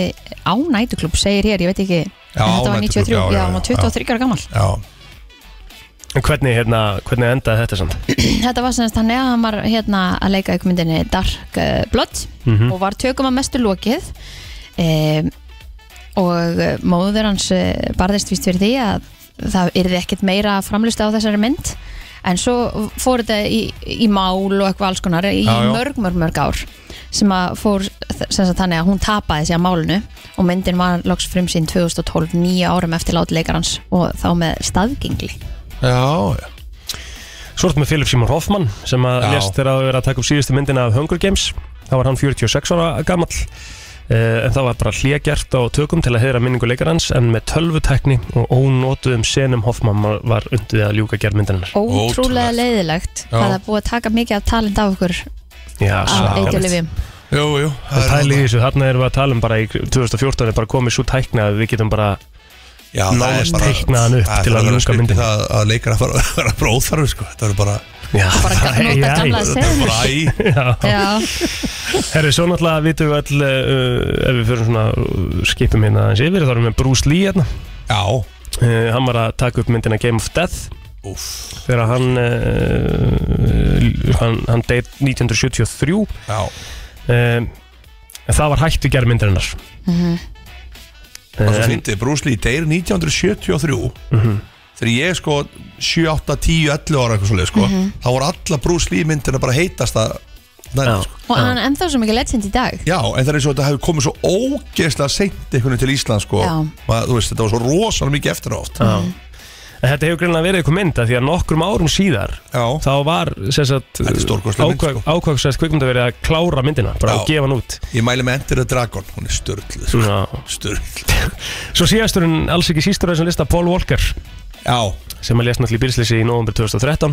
[SPEAKER 2] á nætuklub, segir hér, ég veit ekki
[SPEAKER 3] Já,
[SPEAKER 2] þetta var
[SPEAKER 3] næturklúbb,
[SPEAKER 2] 93, já,
[SPEAKER 3] já, já,
[SPEAKER 2] hann var
[SPEAKER 3] já.
[SPEAKER 2] 23 ára gammal
[SPEAKER 3] Já,
[SPEAKER 1] En hvernig, hérna, hvernig endaði þetta samt?
[SPEAKER 2] Þetta var semst hann eða hann var hérna að leika ykkur myndinni Dark eh, Blood
[SPEAKER 3] Mhm.
[SPEAKER 2] og var tökum að mestu lokið e, og eh, móður hans eh, barðist víst fyrir því að það yrði ekkert meira framlusta á þessari mynd en svo fór þetta í, í mál og eitthvað alls konar í
[SPEAKER 3] Já, já.
[SPEAKER 2] mörg, mörg, mörg ár sem að fór sem sagt þannig að hún tapaði sér að málinu og myndin var loks frumsýnd 2012 nýja árum eftir látleikarans og þá með staðgengli
[SPEAKER 3] já, já.
[SPEAKER 1] Svo ertu með Philip Seymour Hoffman sem
[SPEAKER 3] Já.
[SPEAKER 1] að lést þegar að vera að taka upp síðustu myndina af Hunger Games þá var hann 46 ára gamall Uh, en það var bara hlýja gert á tökum til að heyra minningu leikarans en með tölvutekni og ónótuðum senum Hoffmann var- var undið að ljúka gerð myndarinnar
[SPEAKER 2] ótrúlega
[SPEAKER 3] Ótrúlegt.
[SPEAKER 2] leiðilegt
[SPEAKER 3] Já.
[SPEAKER 2] hvað það er búið að taka mikið af talent af okkur
[SPEAKER 1] Já,
[SPEAKER 2] af
[SPEAKER 1] svakalegt.
[SPEAKER 2] eitilifjum
[SPEAKER 3] Jú, jú
[SPEAKER 1] Það
[SPEAKER 3] er
[SPEAKER 1] pæli í
[SPEAKER 3] náttúrulega-
[SPEAKER 1] þessu, þarna erum við að tala um bara í 2014 er bara komið svo tækna að við getum bara
[SPEAKER 3] Já, það er
[SPEAKER 1] nánast
[SPEAKER 3] bara
[SPEAKER 1] teiknað hann upp
[SPEAKER 3] Það er
[SPEAKER 1] til
[SPEAKER 3] bara
[SPEAKER 1] að
[SPEAKER 3] vera
[SPEAKER 1] ljúka
[SPEAKER 3] skrítið
[SPEAKER 1] myndinni.
[SPEAKER 3] Það að leikar að fara að vera bróðþarfi, sko Þetta er bara
[SPEAKER 1] Já,
[SPEAKER 2] bara
[SPEAKER 1] það-
[SPEAKER 2] nota
[SPEAKER 1] já,
[SPEAKER 2] gamla
[SPEAKER 1] já.
[SPEAKER 2] seðla.
[SPEAKER 3] Bara æ
[SPEAKER 2] Já,
[SPEAKER 1] Herri, svo náttúrulega vitum við öll uh, ef við fyrir svona uh, skipum hérna aðeins yfir, þá erum við Bruce Lee hérna
[SPEAKER 3] Já,
[SPEAKER 1] uh, hann var að taka upp myndina Game of Death
[SPEAKER 3] úff
[SPEAKER 1] þegar hann uh, hann, hann deyð 1973 uh,
[SPEAKER 3] Já,
[SPEAKER 1] eh, en það var hættu gerð myndarinnar Eh,
[SPEAKER 3] og svo
[SPEAKER 1] En- Mhm.
[SPEAKER 3] fyndið Bruce Lee deyr 1973 Þegar ég sko 7, 8, 10, 11 ára eitthvað svoleið, sko Þá voru alla Bruce Lee myndina bara heitast að
[SPEAKER 1] Já.
[SPEAKER 3] Næri, sko
[SPEAKER 2] og hann er ennþá svo mikið legend í dag
[SPEAKER 3] Já, en það er eins og þetta hefur komið svo ógeðslega seint einhvern veginn til Ísland sko.
[SPEAKER 2] Já.
[SPEAKER 3] Maður, Þú veist, þetta var svo rosalega mikið eftir á oft Já,
[SPEAKER 1] En þetta hefur greinlega verið eitthvað mynd að því að nokkrum árum síðar
[SPEAKER 3] já,
[SPEAKER 1] þá var sem sagt
[SPEAKER 3] Þetta er stórkostleg mynd, sko.
[SPEAKER 1] ákvæmst kvikmynd að vera að klára myndina bara
[SPEAKER 3] Já.
[SPEAKER 1] að gefa hann út
[SPEAKER 3] ég mæli með Enter the Dragon Hún er störtlu sko.
[SPEAKER 1] Já.
[SPEAKER 3] Störtlu
[SPEAKER 1] Svo síðastur en alls ekki sístur á þessum lista Paul Walker
[SPEAKER 3] Já,
[SPEAKER 1] sem að lésna allir í byrjsleysi í november 2013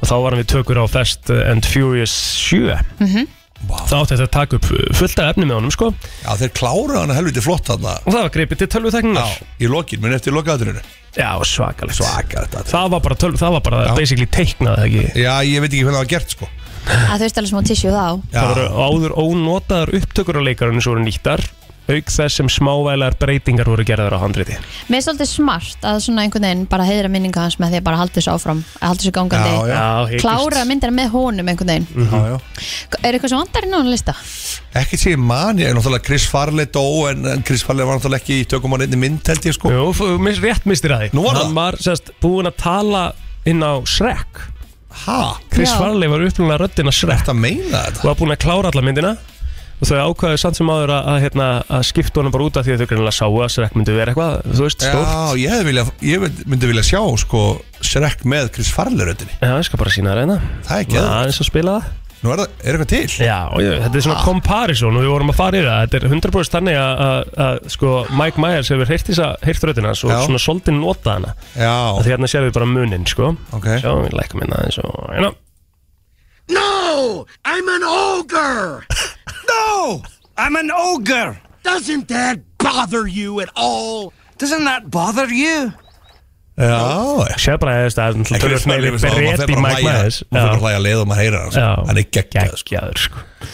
[SPEAKER 1] og þá var hann við tökur á eh, Fast and Furious 7
[SPEAKER 2] Mhm.
[SPEAKER 1] þá átti þetta að taka upp fullt af efni með honum sko
[SPEAKER 9] Já, þeir kláruðu hann að helviti flott hann
[SPEAKER 1] og það var greipið til tölvutekningar
[SPEAKER 9] Já, í lokin, minn eftir lokaðaturinu
[SPEAKER 1] Já, svakalegt
[SPEAKER 9] Svakalegt atriði.
[SPEAKER 1] það var bara, tölv, það var bara basically teiknað eða ekki
[SPEAKER 9] Já, ég veit ekki hvernig það var gert sko
[SPEAKER 2] að þau stæla smá tissue þá
[SPEAKER 1] Það voru áður ónotaðar upptökur á leikarunni sem voru nýttar auk þess sem smávælar breytingar voru gerðar á handriti
[SPEAKER 2] Mér er svolítið smart að svona einhvern veginn bara heiðra minninga hans með því að bara halda þessu áfram að halda þessu gangandi
[SPEAKER 9] Já, já.
[SPEAKER 1] Já, hiklaust.
[SPEAKER 2] klára myndina með honum einhvern veginn
[SPEAKER 9] Já, já
[SPEAKER 2] Er eitthvað sem vandar inn á hann lista?
[SPEAKER 9] Ekki sé ég man, ég er náttúrulega Chris Farley dó en, en Chris Farley var náttúrulega ekki í tökum hann einni mynd held ég sko
[SPEAKER 1] Jú, f- mis, rétt mistir að því
[SPEAKER 9] Nú var það.
[SPEAKER 1] Hann var sérst, búin að tala inn á Shrek
[SPEAKER 9] Ha,
[SPEAKER 1] Chris
[SPEAKER 2] Já.
[SPEAKER 1] Farley var upplunna röddina Shrek
[SPEAKER 9] þetta meina þetta
[SPEAKER 1] og var búin að klára alla myndina og þau ákvaðu samt sem áður að, að, hérna, að skipta honum bara út af því að þau greinlega sáu að Shrek myndi vera eitthvað, þú veist, stórt
[SPEAKER 9] Já, ég, hefði viljað- ég vil- myndi vilja sjá sko Shrek með Chris Farley röddinni
[SPEAKER 1] Já, ég skal bara sína það reyna
[SPEAKER 9] Það er ekki
[SPEAKER 1] Það er eins að spila það
[SPEAKER 9] Nú er, það, er eitthvað til
[SPEAKER 1] Já, ég, þetta er svona comparison og við vorum að fara yfir það Þetta er 100% þannig að, að, að sko, Mike Myers hefur heyrt þessa heyrt röddina og
[SPEAKER 9] Já.
[SPEAKER 1] svona svolítið notað hana af
[SPEAKER 9] Já,
[SPEAKER 1] því hérna sér við bara munin, sko
[SPEAKER 9] Ok.
[SPEAKER 1] Sjá, við lækum hérna eins og hérna.
[SPEAKER 8] No! I'm an ogre!
[SPEAKER 10] No! I'm an ogre!
[SPEAKER 8] Doesn't that bother you at all?
[SPEAKER 10] Doesn't that bother you?
[SPEAKER 9] já
[SPEAKER 1] Sér bara að það er
[SPEAKER 9] Chris
[SPEAKER 1] tölvöld meiri
[SPEAKER 9] Farley, það- maður fer
[SPEAKER 1] berett í
[SPEAKER 9] bara að
[SPEAKER 1] Mike
[SPEAKER 9] hlæja-
[SPEAKER 1] Myers
[SPEAKER 9] Maður fyrir
[SPEAKER 1] Já.
[SPEAKER 9] bara að hlæja leið og maður heyra hann
[SPEAKER 1] Já.
[SPEAKER 9] sko. Hann er geggjað sko.
[SPEAKER 1] Geggjaður, sko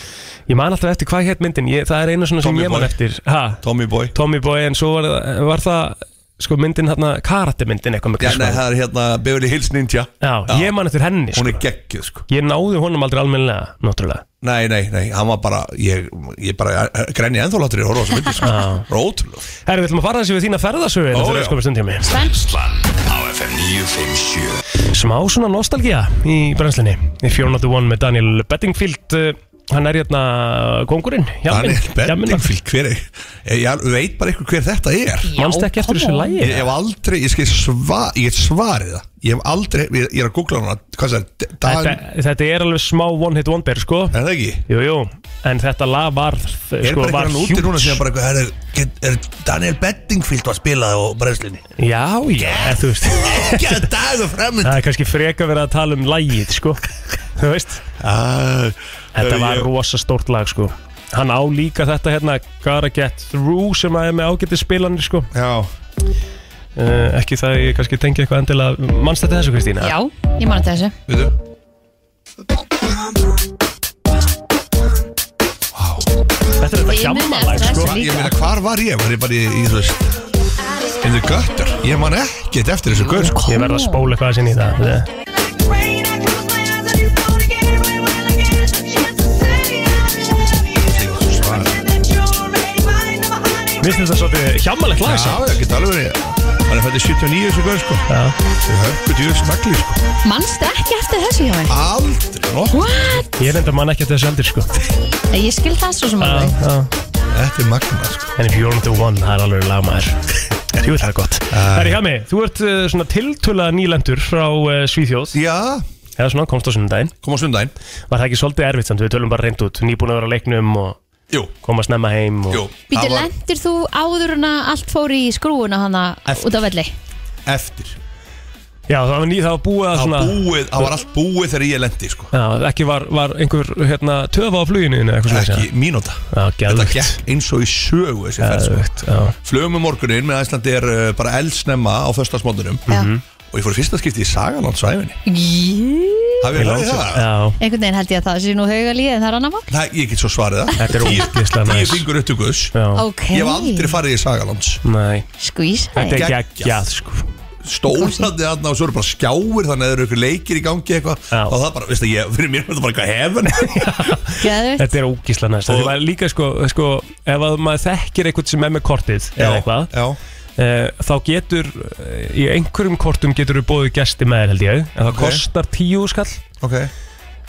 [SPEAKER 1] Ég man alltaf eftir hvað hétt myndin ég, Það er eina svona sem
[SPEAKER 9] Tommy
[SPEAKER 1] ég man
[SPEAKER 9] Boy.
[SPEAKER 1] eftir ha,
[SPEAKER 9] Tommy boy
[SPEAKER 1] Tommy Boy, en svo var, það- var það sko myndin hérna, karatemyndin eitthvað með
[SPEAKER 9] Já,
[SPEAKER 1] Chris
[SPEAKER 9] nei,
[SPEAKER 1] Farley.
[SPEAKER 9] það er hérna Beverly Hills Ninja
[SPEAKER 1] Já,
[SPEAKER 9] Já.
[SPEAKER 1] ég man eftir henni,
[SPEAKER 9] Hún
[SPEAKER 1] sko
[SPEAKER 9] er geggjuð sko
[SPEAKER 1] Ég náði honum aldrei almennilega, náttúrulega
[SPEAKER 9] Nei, nei, nei, hann var bara Ég, ég bara grenni ennþá láttur í horfa á þessu myndi sko. Rótulega
[SPEAKER 1] Herri, við ætlum að fara þessi við þína ferðasögu hérna
[SPEAKER 9] Ó,
[SPEAKER 1] Þetta er
[SPEAKER 9] já.
[SPEAKER 1] skomið stundtími
[SPEAKER 3] Brennslan á FM 957
[SPEAKER 1] Smá svona nostalgía í brennslinni Í 401 með Daniel Bettingfield eh, Hann er hérna kongurinn Jamin,
[SPEAKER 9] Daniel Bedingfield, hver er ég, ég veit bara ykkur hver þetta er
[SPEAKER 1] Manstu ekki eftir þessu lægi?
[SPEAKER 9] Ég hef aldrei, ég skal sva, ég get svarið það Ég hef aldrei, ég, ég er að googla hana Hvað það er, Dan,
[SPEAKER 1] Þetta, þetta er alveg smá one hit wonder sko
[SPEAKER 9] er það ekki?
[SPEAKER 1] Jú, jú, en þetta lag var
[SPEAKER 9] Er
[SPEAKER 1] sko,
[SPEAKER 9] bara
[SPEAKER 1] var
[SPEAKER 9] einhvern
[SPEAKER 1] huge.
[SPEAKER 9] úti núna sem bara eitthvað "Herra, get- Er Daniel Bedingfield að spila á brennslinni?
[SPEAKER 1] Já, já, þú veist
[SPEAKER 9] Ekki að dagur fremund
[SPEAKER 1] Það er kannski freka verið að tala um lægið sko Þú veist Þetta var rosa stórt lag sko Hann á líka þetta hérna Gotta Get Through sem að er með ágæti spilanir sko
[SPEAKER 9] Já,
[SPEAKER 1] uh, Ekki það ég kannski tengi eitthvað endilega Manst þetta þessu Kristína?
[SPEAKER 2] Já, ég man þetta þessu
[SPEAKER 9] veitu
[SPEAKER 1] Þetta er þetta
[SPEAKER 2] Ég muni
[SPEAKER 1] hjammalag
[SPEAKER 2] eftir
[SPEAKER 1] sko
[SPEAKER 2] þessu.
[SPEAKER 9] Ég
[SPEAKER 2] Líka.
[SPEAKER 9] meina, hvar var ég? Var ég bara í, í þú veist In the gutter Ég man ekkert eftir þessu gutt sko.
[SPEAKER 1] Ég verð að spóla eitthvað sinni í það Eh, Mér finnst þetta svolítið hjammalegt lag
[SPEAKER 9] Já,
[SPEAKER 1] samt.
[SPEAKER 9] ég get alveg verið Hann er fættið 79 þessu gutt sko
[SPEAKER 1] Já.
[SPEAKER 9] Þau hörku djúð smagli sko
[SPEAKER 2] Manstu ekki eftir þessu hjá henni?
[SPEAKER 9] Aldrei nokkuð
[SPEAKER 2] What?
[SPEAKER 1] Ég reynda mann ekki að þessu heldur sko
[SPEAKER 2] Ég skil það svo sem
[SPEAKER 1] Já,
[SPEAKER 2] alveg
[SPEAKER 1] já.
[SPEAKER 9] Þetta er magna sko
[SPEAKER 1] En if you're on the one, það er alveg lagmaður Jú, það er gott Það er hjá mig, þú ert uh, svona tiltölulega nýlendur frá uh, Svíþjóð
[SPEAKER 9] Já,
[SPEAKER 1] Eða svona, komst á sunnudaginn
[SPEAKER 9] kom á sundaginn
[SPEAKER 1] Var það ekki svolítið erfitt samt, við tölum bara reynd út Nýbúin að vera á leiknum og
[SPEAKER 9] Jú,
[SPEAKER 1] koma snemma heim og...
[SPEAKER 9] jú
[SPEAKER 2] Býtu,
[SPEAKER 9] Það var
[SPEAKER 2] lendir þú áður en að allt fór í skrúuna hana
[SPEAKER 9] Eftir.
[SPEAKER 2] út á velli?
[SPEAKER 9] Eftir
[SPEAKER 1] Já, það var, ný, það var búið að
[SPEAKER 9] Það
[SPEAKER 1] svona
[SPEAKER 9] var búið, það var allt búið þegar ég lendi sko
[SPEAKER 1] Já, ekki var, var einhver hérna, töfa á fluginu þínu, eitthvað svona
[SPEAKER 9] Ekki mínúta
[SPEAKER 1] Já,
[SPEAKER 9] Þetta
[SPEAKER 1] geðvögt
[SPEAKER 9] gekk eins og í sögu þessi ferð sko
[SPEAKER 1] Geðvögt, já
[SPEAKER 9] Flugum um morgunin með Æslandir uh, bara eldsnemma á föstasmóndunum
[SPEAKER 2] Já.
[SPEAKER 1] Mhm.
[SPEAKER 9] Og ég fór í fyrsta skipti í Sagalandsæfinni Hafið
[SPEAKER 1] Ég
[SPEAKER 9] hlæðið
[SPEAKER 1] langt-
[SPEAKER 9] það?
[SPEAKER 1] Já,
[SPEAKER 2] Einhvern veginn held ég að það sé nú hauga líði en það er annar mál
[SPEAKER 9] Nei, ég get svo svarið það
[SPEAKER 1] þetta er ógislega
[SPEAKER 9] Tíu
[SPEAKER 1] næs
[SPEAKER 9] fingur upp til guðs
[SPEAKER 1] Já,
[SPEAKER 2] Ok, Sko,
[SPEAKER 9] Ég hef aldrei farið í Sagalands
[SPEAKER 1] nei
[SPEAKER 2] skvísa
[SPEAKER 1] Þetta
[SPEAKER 2] þig
[SPEAKER 1] er
[SPEAKER 9] Geggjað.
[SPEAKER 1] geggjað, sko
[SPEAKER 9] Stólandi þarna og svo eru bara skjáir Þannig að það eru ykkur leikir í gangi eitthvað
[SPEAKER 1] Já.
[SPEAKER 9] Og það bara, veistu, ég, fyrir mér var þetta bara eitthvað hefn
[SPEAKER 2] Geðveikt.
[SPEAKER 1] Þetta er ógísla næst Þetta var líka sko, sko Ef að maður þekkir eitthvað sem er með kortið Eða eitthvað
[SPEAKER 9] Já,
[SPEAKER 1] e, Þá getur e, Í einhverjum kortum getur við bóðið gesti með þér held ég En það
[SPEAKER 9] Ok.
[SPEAKER 1] kostar tíu skall
[SPEAKER 9] ok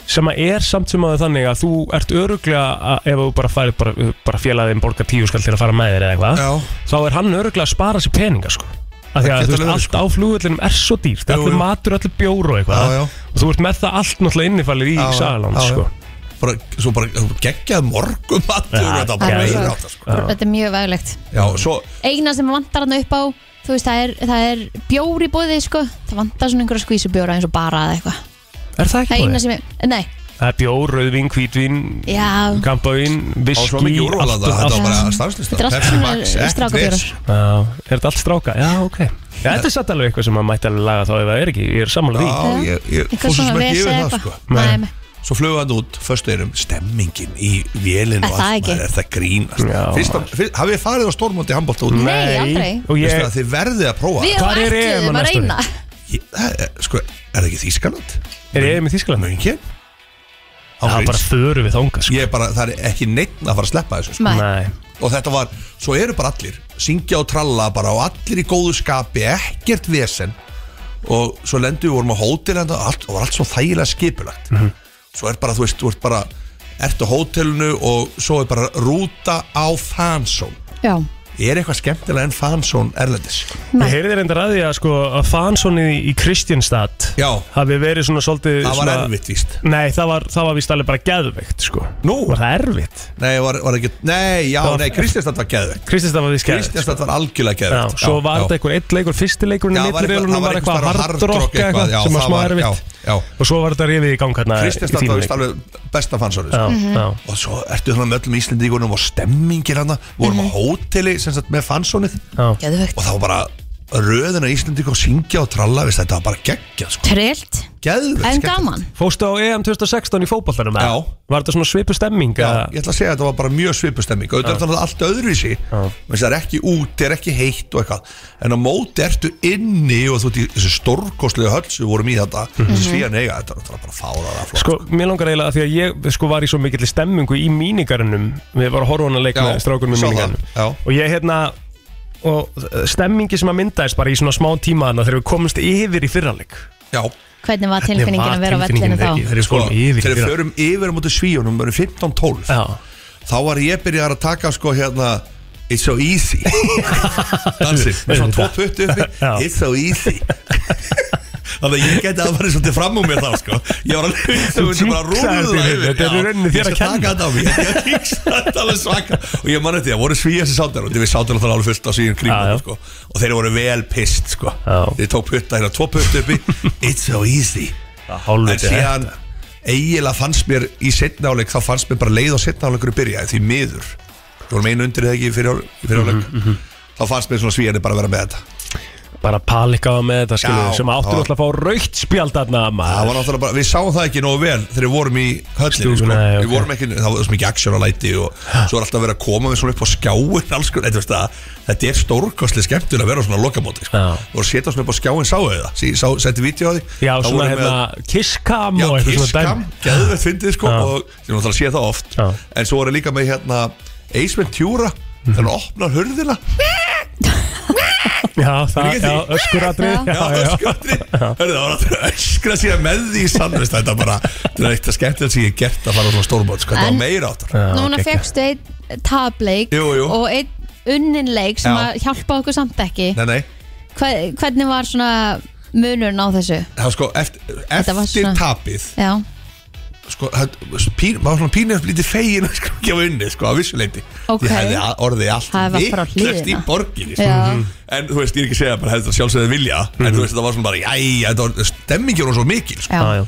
[SPEAKER 1] Sem að er samt sem að þannig að þú ert öruglega að, Ef þú bara færið bara, bara félagðin borgar tíu skall til að fara með þér eða eitthvað
[SPEAKER 9] Já,
[SPEAKER 1] Þá er hann öruglega að spara sér peninga sko Af því að
[SPEAKER 9] Það getur
[SPEAKER 1] þú veist,
[SPEAKER 9] alveg verið,
[SPEAKER 1] allt
[SPEAKER 9] sko.
[SPEAKER 1] á flugullinum er svo dýrt
[SPEAKER 9] Jú,
[SPEAKER 1] Allir
[SPEAKER 9] jú.
[SPEAKER 1] matur, allir bjór og eitthvað
[SPEAKER 9] Já, já.
[SPEAKER 1] Og þú ert með það allt náttúrulega innifælið í
[SPEAKER 9] Já, já,
[SPEAKER 1] salan
[SPEAKER 9] já, já.
[SPEAKER 1] sko.
[SPEAKER 9] bara, svo bara geggjað morgum Þetta
[SPEAKER 1] Já,
[SPEAKER 9] var bara
[SPEAKER 2] það er
[SPEAKER 9] meira
[SPEAKER 2] svo.
[SPEAKER 9] átt sko.
[SPEAKER 2] Þetta er mjög veglegt
[SPEAKER 9] Já, svo,
[SPEAKER 2] Eina sem vantar hann upp á þú veist, það er, það er bjór í bóði sko, það vantar svona einhverja skvísubjóra eins og bara eða eitthvað
[SPEAKER 1] Er það
[SPEAKER 2] Það
[SPEAKER 1] ekki
[SPEAKER 2] er eina
[SPEAKER 1] búið?
[SPEAKER 2] sem ég, nei,
[SPEAKER 1] Það er bjór, rauðvin, hvítvín,
[SPEAKER 2] Já.
[SPEAKER 1] kampavín, viski
[SPEAKER 9] Og svo mikið úrval að það, þetta var bara stanslista.
[SPEAKER 2] Þetta er allt
[SPEAKER 9] Pepsi
[SPEAKER 2] svona
[SPEAKER 9] Max, ekkert
[SPEAKER 2] strákabjórar.
[SPEAKER 9] vesen.
[SPEAKER 1] Já, er þetta allt stráka? Já, ok Já, þetta er satt alveg eitthvað sem maður mætti alveg laga þá ef það er ekki, ég er sammála
[SPEAKER 9] Já,
[SPEAKER 1] því
[SPEAKER 9] ég, ég
[SPEAKER 2] Eitthvað
[SPEAKER 9] fór
[SPEAKER 2] svona
[SPEAKER 9] svo sem ekki
[SPEAKER 2] vesen
[SPEAKER 9] yfir það
[SPEAKER 2] eitthvað.
[SPEAKER 9] sko
[SPEAKER 2] Nei, nei.
[SPEAKER 9] Svo flög hann út, förstu erum stemmingin í vélinu
[SPEAKER 2] Er
[SPEAKER 9] og
[SPEAKER 2] það
[SPEAKER 9] allt,
[SPEAKER 2] ekki?
[SPEAKER 9] maður, Er það grínast Fyrsta, fyrst, hafið þið farið á stórmóti handbólta út?
[SPEAKER 2] Nei, aldrei.
[SPEAKER 9] Og ég Vistu að Þið verðið að prófa
[SPEAKER 2] Við Hvar er ætluðum EM á að næsta ári? reyna.
[SPEAKER 9] Ég- það er- Sko, er það ekki Þískaland?
[SPEAKER 1] Er EM í Þískaland?
[SPEAKER 9] Mönkin?
[SPEAKER 1] Það er bara sko. föru við þánga
[SPEAKER 9] Ég er bara, það er ekki neitt að fara að sleppa þessu sko.
[SPEAKER 2] Nei.
[SPEAKER 9] Og þetta var, svo eru bara allir Syngja og tralla bara og allir í góðu skapi Ekkert vesen Og svo lendum við vorum á hótel og allt, og var allt svo þægilega skipulagt Svo er bara, þú veist, þú ert bara Ertu á hótelinu og svo er bara Rúta á fansón
[SPEAKER 2] já
[SPEAKER 9] Er eitthvað skemmtilega en fansón Erlendis?
[SPEAKER 1] Ég heyrði reyndar að því að sko að fansónið í, í Kristjánstad
[SPEAKER 9] Já
[SPEAKER 1] hafi verið svona svolítið
[SPEAKER 9] Það var
[SPEAKER 1] svona,
[SPEAKER 9] erfitt víst
[SPEAKER 1] Nei, það var, það var víst alveg bara geðveikt sko Nú? Var það erfitt?
[SPEAKER 9] Nei, var, var ekki, nei, já, nei, Kristjánstad var geðvegt
[SPEAKER 1] Kristjánstad var víst geðveikt
[SPEAKER 9] Kristjánstad var algjörlega
[SPEAKER 1] Já,
[SPEAKER 9] geðvegt
[SPEAKER 1] svo var þetta einhver eitt leikur, fyrsti leikurinn í
[SPEAKER 9] Já, var eitthvað-
[SPEAKER 1] millirreilunum
[SPEAKER 9] það var
[SPEAKER 1] var eitthvað
[SPEAKER 9] einhvers staðar hardrock
[SPEAKER 1] hardrock
[SPEAKER 9] eitthvað,
[SPEAKER 1] eitthvað
[SPEAKER 9] já,
[SPEAKER 1] sem var
[SPEAKER 9] það
[SPEAKER 1] smá
[SPEAKER 9] var-
[SPEAKER 1] erfitt
[SPEAKER 9] já, já.
[SPEAKER 1] og svo var þetta rifið í gang hérna í
[SPEAKER 9] Kristjánstad
[SPEAKER 1] þínum
[SPEAKER 9] var
[SPEAKER 1] leik.
[SPEAKER 9] veist alveg besta fansóri
[SPEAKER 1] Já, Mhm. já.
[SPEAKER 9] og svo ertu þannig með öllum Íslendingunum og stemmingir hann vorum
[SPEAKER 2] Mhm.
[SPEAKER 9] á hóteli sem sagt með fansónið
[SPEAKER 2] Geðvögt
[SPEAKER 9] og það var bara röðina Íslendingu og syngja og tralla veist, þetta var bara geggjað sko.
[SPEAKER 2] Trillt,
[SPEAKER 9] Geðveikt
[SPEAKER 2] en
[SPEAKER 9] skemmtilegt.
[SPEAKER 2] gaman
[SPEAKER 1] Fóstu á EM 2016 í fótballtanum?
[SPEAKER 9] Já.
[SPEAKER 1] Var þetta svona svipu stemming?
[SPEAKER 9] Já, ég ætla að segja að þetta var bara mjög svipustemming og þetta er náttúrulega allt öðruvísi Veist, það er ekki út, það er ekki heitt og eitthvað en á móti ertu inni og þú ert í þessu stórkostlegu höll sem við vorum í þetta þessi svíjan eiga, þetta er náttúrulega bara fáraða flott
[SPEAKER 1] Mhm. Sko, mér langar eiginlega að því að ég sko var í svo mikill stemmingu í míningarinnum Við varum að horfa á hana leik
[SPEAKER 9] Já,
[SPEAKER 1] með strákunum í
[SPEAKER 9] sá það,
[SPEAKER 1] míningarinnum
[SPEAKER 9] já.
[SPEAKER 1] Og ég hérna og eh, stemmingi sem að myndaðist bara í svona smá tíma þarna þegar við komst yfir í fyrraleg
[SPEAKER 9] Já,
[SPEAKER 2] Hvernig var
[SPEAKER 1] Hvernig
[SPEAKER 2] tilfinningin
[SPEAKER 1] var
[SPEAKER 2] að vera á
[SPEAKER 1] tilfinningin
[SPEAKER 2] vellinu þá?
[SPEAKER 1] þegar- þegar við
[SPEAKER 9] sko,
[SPEAKER 1] komum yfir í
[SPEAKER 9] þegar við
[SPEAKER 1] fyrra?
[SPEAKER 9] förum yfir á móti svíjunum, við erum 15-12 þá var ég byrjar að taka sko hérna It's so easy Dansir, með svona tvo puttu uppi It's so easy Þannig að ég geti að fara svolítið fram úr mér þá sko Ég var alveg
[SPEAKER 1] Þú
[SPEAKER 9] sem þetta bara
[SPEAKER 1] jinxaðir
[SPEAKER 9] rúðu
[SPEAKER 1] þetta, þetta er í rauninni þér að kenna.
[SPEAKER 9] Ég skal taka þetta á mig, ég tíksa þetta alveg svaka Og ég man eftir, það voru svíja sem sátt þér Og við sáttum alltaf alveg fullt á svíjum
[SPEAKER 1] Já, já.
[SPEAKER 9] kringum sko Og þeir voru vel pist sko Þeir tók putta hérna, tvo putta uppi It's so easy En
[SPEAKER 1] Hálfviti
[SPEAKER 9] síðan eiginlega fannst mér í setna áleik þá fannst mér bara leið á setna áleikur að byrja því miður, þú vorum einu undir eða ekki í fyrir, ál- í fyrir áleik
[SPEAKER 1] Mhm,
[SPEAKER 9] þá fannst mér svona svíjarni bara að vera með þetta
[SPEAKER 1] Bara palikaða með þetta skilur
[SPEAKER 9] Já,
[SPEAKER 1] við, sem áttur
[SPEAKER 9] það var-
[SPEAKER 1] alltaf að fá raukt spjald þarna
[SPEAKER 9] það var
[SPEAKER 1] maður
[SPEAKER 9] náttúrulega bara, við sáum það ekki nógu vel þegar við vorum í höllinu
[SPEAKER 1] Stúkunni,
[SPEAKER 9] sko.
[SPEAKER 1] nei, ok.
[SPEAKER 9] við vorum ekki, það var þessum ekki aksjón að læti og svo er alltaf verið að koma við svona upp á skjáin alls, sko, þetta, veist það, þetta er stórkostli skemmtun að vera á svona lokamóti sko.
[SPEAKER 1] Já.
[SPEAKER 9] og setja svona upp á skjáin, sáu þið það Sí- sá- setti vídeo á því
[SPEAKER 1] Já,
[SPEAKER 9] Þá
[SPEAKER 1] svona
[SPEAKER 9] vorum við að-
[SPEAKER 1] hérna kisskam
[SPEAKER 9] Já,
[SPEAKER 1] og eitthvað svona
[SPEAKER 9] kisskam,
[SPEAKER 1] dæmi
[SPEAKER 9] geðveitt fyndið sko
[SPEAKER 1] Já.
[SPEAKER 9] og ég náttúrulega sé það oft
[SPEAKER 1] Já.
[SPEAKER 9] en svo er ég líka með hérna Ace Ventura þannig að hann opnar hurðina
[SPEAKER 1] Já, það,
[SPEAKER 9] ekki
[SPEAKER 1] já,
[SPEAKER 9] því?
[SPEAKER 1] öskuratrið
[SPEAKER 9] já, öskratri hörðu það var alltaf öskra síðan með því sannvist þetta er bara þetta er eitt að skemmtilega sem ég hef gert að fara á svona stórbót sko þetta
[SPEAKER 2] En-
[SPEAKER 9] var meira áttar
[SPEAKER 1] Já,
[SPEAKER 2] Núna
[SPEAKER 1] geggjað.
[SPEAKER 2] fegstu einn tableik
[SPEAKER 9] Jú, jú.
[SPEAKER 2] og einn unninleik sem
[SPEAKER 9] Já.
[SPEAKER 2] að hjálpa okkur samt ekki
[SPEAKER 9] nei nei
[SPEAKER 2] Hva- Hvernig var svona munurinn á þessu?
[SPEAKER 9] það var sko eftir,
[SPEAKER 2] Þetta var
[SPEAKER 9] eftir
[SPEAKER 2] svona-
[SPEAKER 9] tapið
[SPEAKER 2] Já,
[SPEAKER 9] sko, það- pín, maður var svona pínu lítið fegin að sko ekki hafa unnið sko, að vissu leiti
[SPEAKER 2] Ok.
[SPEAKER 9] ég hefði a- orðið allt
[SPEAKER 2] Það var bara á
[SPEAKER 9] vitlaust í
[SPEAKER 2] hliðina.
[SPEAKER 9] borginni
[SPEAKER 2] Já.
[SPEAKER 9] sko. en þú veist, ég er ekki að segja bara hefði það sjálfsögðið vilja en þú
[SPEAKER 1] Mhm.
[SPEAKER 9] veist, það var svona bara, jæja, þetta var stemmingjur og svo mikil sko.
[SPEAKER 2] já,
[SPEAKER 1] Já, já.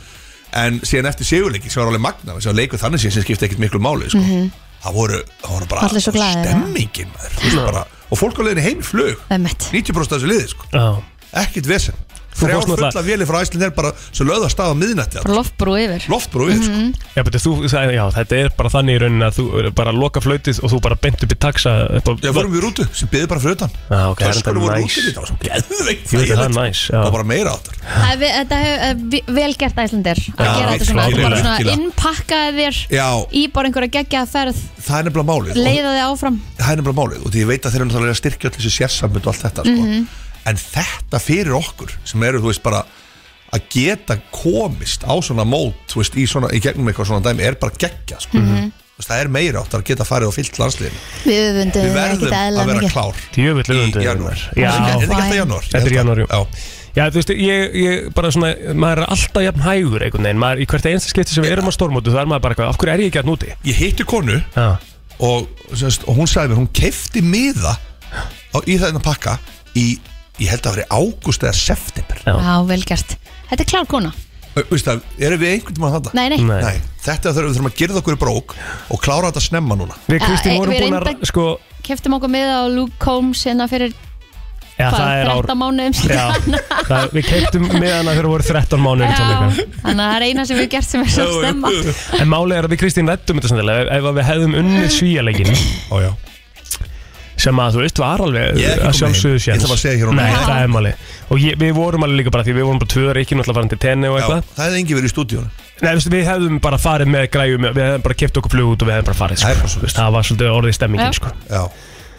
[SPEAKER 9] en síðan eftir sigurleiki sem var alveg magna sem var leikur þannig síðan sem skipti ekkert miklu máli sko. það, voru, það voru bara
[SPEAKER 2] Mhm. Allir svo glaðir, já.
[SPEAKER 9] stemmingin maður, þú veist, bara, og fólk á leiðinni heim í flug
[SPEAKER 2] emmitt
[SPEAKER 9] 90% af þessu liði, sko.
[SPEAKER 1] Já.
[SPEAKER 9] ekkit vesen
[SPEAKER 1] Þú
[SPEAKER 9] þrjár
[SPEAKER 1] fórst náttúrulega-
[SPEAKER 9] fulla vélir frá Æsland er bara sem löða stað á miðnætti
[SPEAKER 2] Bara loftbrú yfir
[SPEAKER 9] loftbrú við,
[SPEAKER 2] Mhm.
[SPEAKER 9] sko.
[SPEAKER 1] Já, betur, þú, það, já, þetta er bara þannig í rauninni að þú er bara loka flautið og þú bara beint upp í taxa upp á,
[SPEAKER 9] Já, fórum við í rútu sem byggði bara fyrir utan
[SPEAKER 1] Já, ok, það er
[SPEAKER 9] Töskunum
[SPEAKER 1] þetta
[SPEAKER 9] voru
[SPEAKER 1] næs.
[SPEAKER 9] nice. úti, það var svo geðveikt
[SPEAKER 1] Jú, þetta er
[SPEAKER 9] þægilegt.
[SPEAKER 1] næs, já.
[SPEAKER 9] Það var bara meira áttur
[SPEAKER 2] Það er, við- Þetta hefur eh, vel gert Æslandir að
[SPEAKER 9] Já,
[SPEAKER 2] gera þetta svona,
[SPEAKER 9] virkilega,
[SPEAKER 2] þetta bara svona
[SPEAKER 9] virkilega.
[SPEAKER 2] innpakkaði þér
[SPEAKER 9] Já,
[SPEAKER 2] í bara einhverja geggjaða ferð,
[SPEAKER 9] það er nefnilega málið og,
[SPEAKER 2] leiða þig áfram
[SPEAKER 9] Það er nefnilega málið og því ég veit að þeir eru náttúrulega að styrkja öll þessi sérsambund og allt þetta sko.
[SPEAKER 2] Mhm.
[SPEAKER 9] En þetta fyrir okkur sem eru, þú veist, bara að geta komist á svona mót þú veist, í, svona, í gegnum eitthvað svona dæmi er bara geggja sko.
[SPEAKER 2] Mhm.
[SPEAKER 9] Þú veist, Það er meira áttur að geta farið og fyllt landsliðinu
[SPEAKER 2] Við
[SPEAKER 9] Við
[SPEAKER 2] öfundum
[SPEAKER 9] verðum
[SPEAKER 2] ekkert
[SPEAKER 9] að
[SPEAKER 2] eðla
[SPEAKER 9] vera
[SPEAKER 2] mikið
[SPEAKER 9] klár
[SPEAKER 1] Djöfull öfunduðu
[SPEAKER 9] í
[SPEAKER 1] þér.
[SPEAKER 9] janúar
[SPEAKER 1] Já.
[SPEAKER 9] Er þetta ekki janúar?
[SPEAKER 1] Þetta er í janúar, jú.
[SPEAKER 9] Já,
[SPEAKER 1] Já, þú veist, ég, ég bara svona, maður er alltaf jafn hægur einhvern veginn, maður í hvert einsta skipti sem við erum á stormótu, það er maður bara eitthvað, af hverju er ég ekki að núti?
[SPEAKER 9] Ég hitti konu
[SPEAKER 1] Já,
[SPEAKER 9] og, semst, og hún sagði mér, hún kefti miða á, í þetta pakka í ég held að það veri ágúst eða september
[SPEAKER 2] Já, vel gert Þetta er klár kona
[SPEAKER 9] Ö, Veistu það, erum við einhvern tímann þetta?
[SPEAKER 2] Nei, nei. Nei.
[SPEAKER 9] Þetta þurfum við þurfum að girða okkur í brók og klára þetta snemma núna
[SPEAKER 2] Við, Kristín, Já, e- vorum við búnar- reyndar-
[SPEAKER 1] sko
[SPEAKER 2] Keftum okkur með á Luke Combs hérna fyrir
[SPEAKER 1] Já,
[SPEAKER 2] hvað,
[SPEAKER 1] það er ár-
[SPEAKER 2] 13 mánuðum
[SPEAKER 1] Já,
[SPEAKER 2] síðan
[SPEAKER 1] það, við keiptum með hana þegar voru 13 mánuðir í tónleikana
[SPEAKER 2] Þannig að það er eina sem við gerst sem er svo stemma
[SPEAKER 1] En málið er að við Kristín rættum þetta samtilega ef, ef að við hefðum unnið svíjaleikin
[SPEAKER 9] Ójá
[SPEAKER 1] sem að þú veist var alveg
[SPEAKER 9] Ég er
[SPEAKER 1] að
[SPEAKER 9] ekki kominn
[SPEAKER 1] sjálfsögðu
[SPEAKER 9] heim. Ég
[SPEAKER 1] séns
[SPEAKER 9] ætla bara að segja hér og nú.
[SPEAKER 1] Nei,
[SPEAKER 9] Já.
[SPEAKER 1] það er málið Og ég, við vorum alveg líka bara því við vorum bara tvöður ekki náttúrulega farin til tenni og
[SPEAKER 9] Já,
[SPEAKER 1] eitthvað
[SPEAKER 9] það hefði engi verið í stúdíónu
[SPEAKER 1] Nei, veistu, við hefðum bara farið með græjum Við hefðum bara keft okkur flug út og við hefðum bara farið sko. Þú veist, Það var svolítið orðið
[SPEAKER 2] Já.
[SPEAKER 1] stemmingin sko.
[SPEAKER 9] Já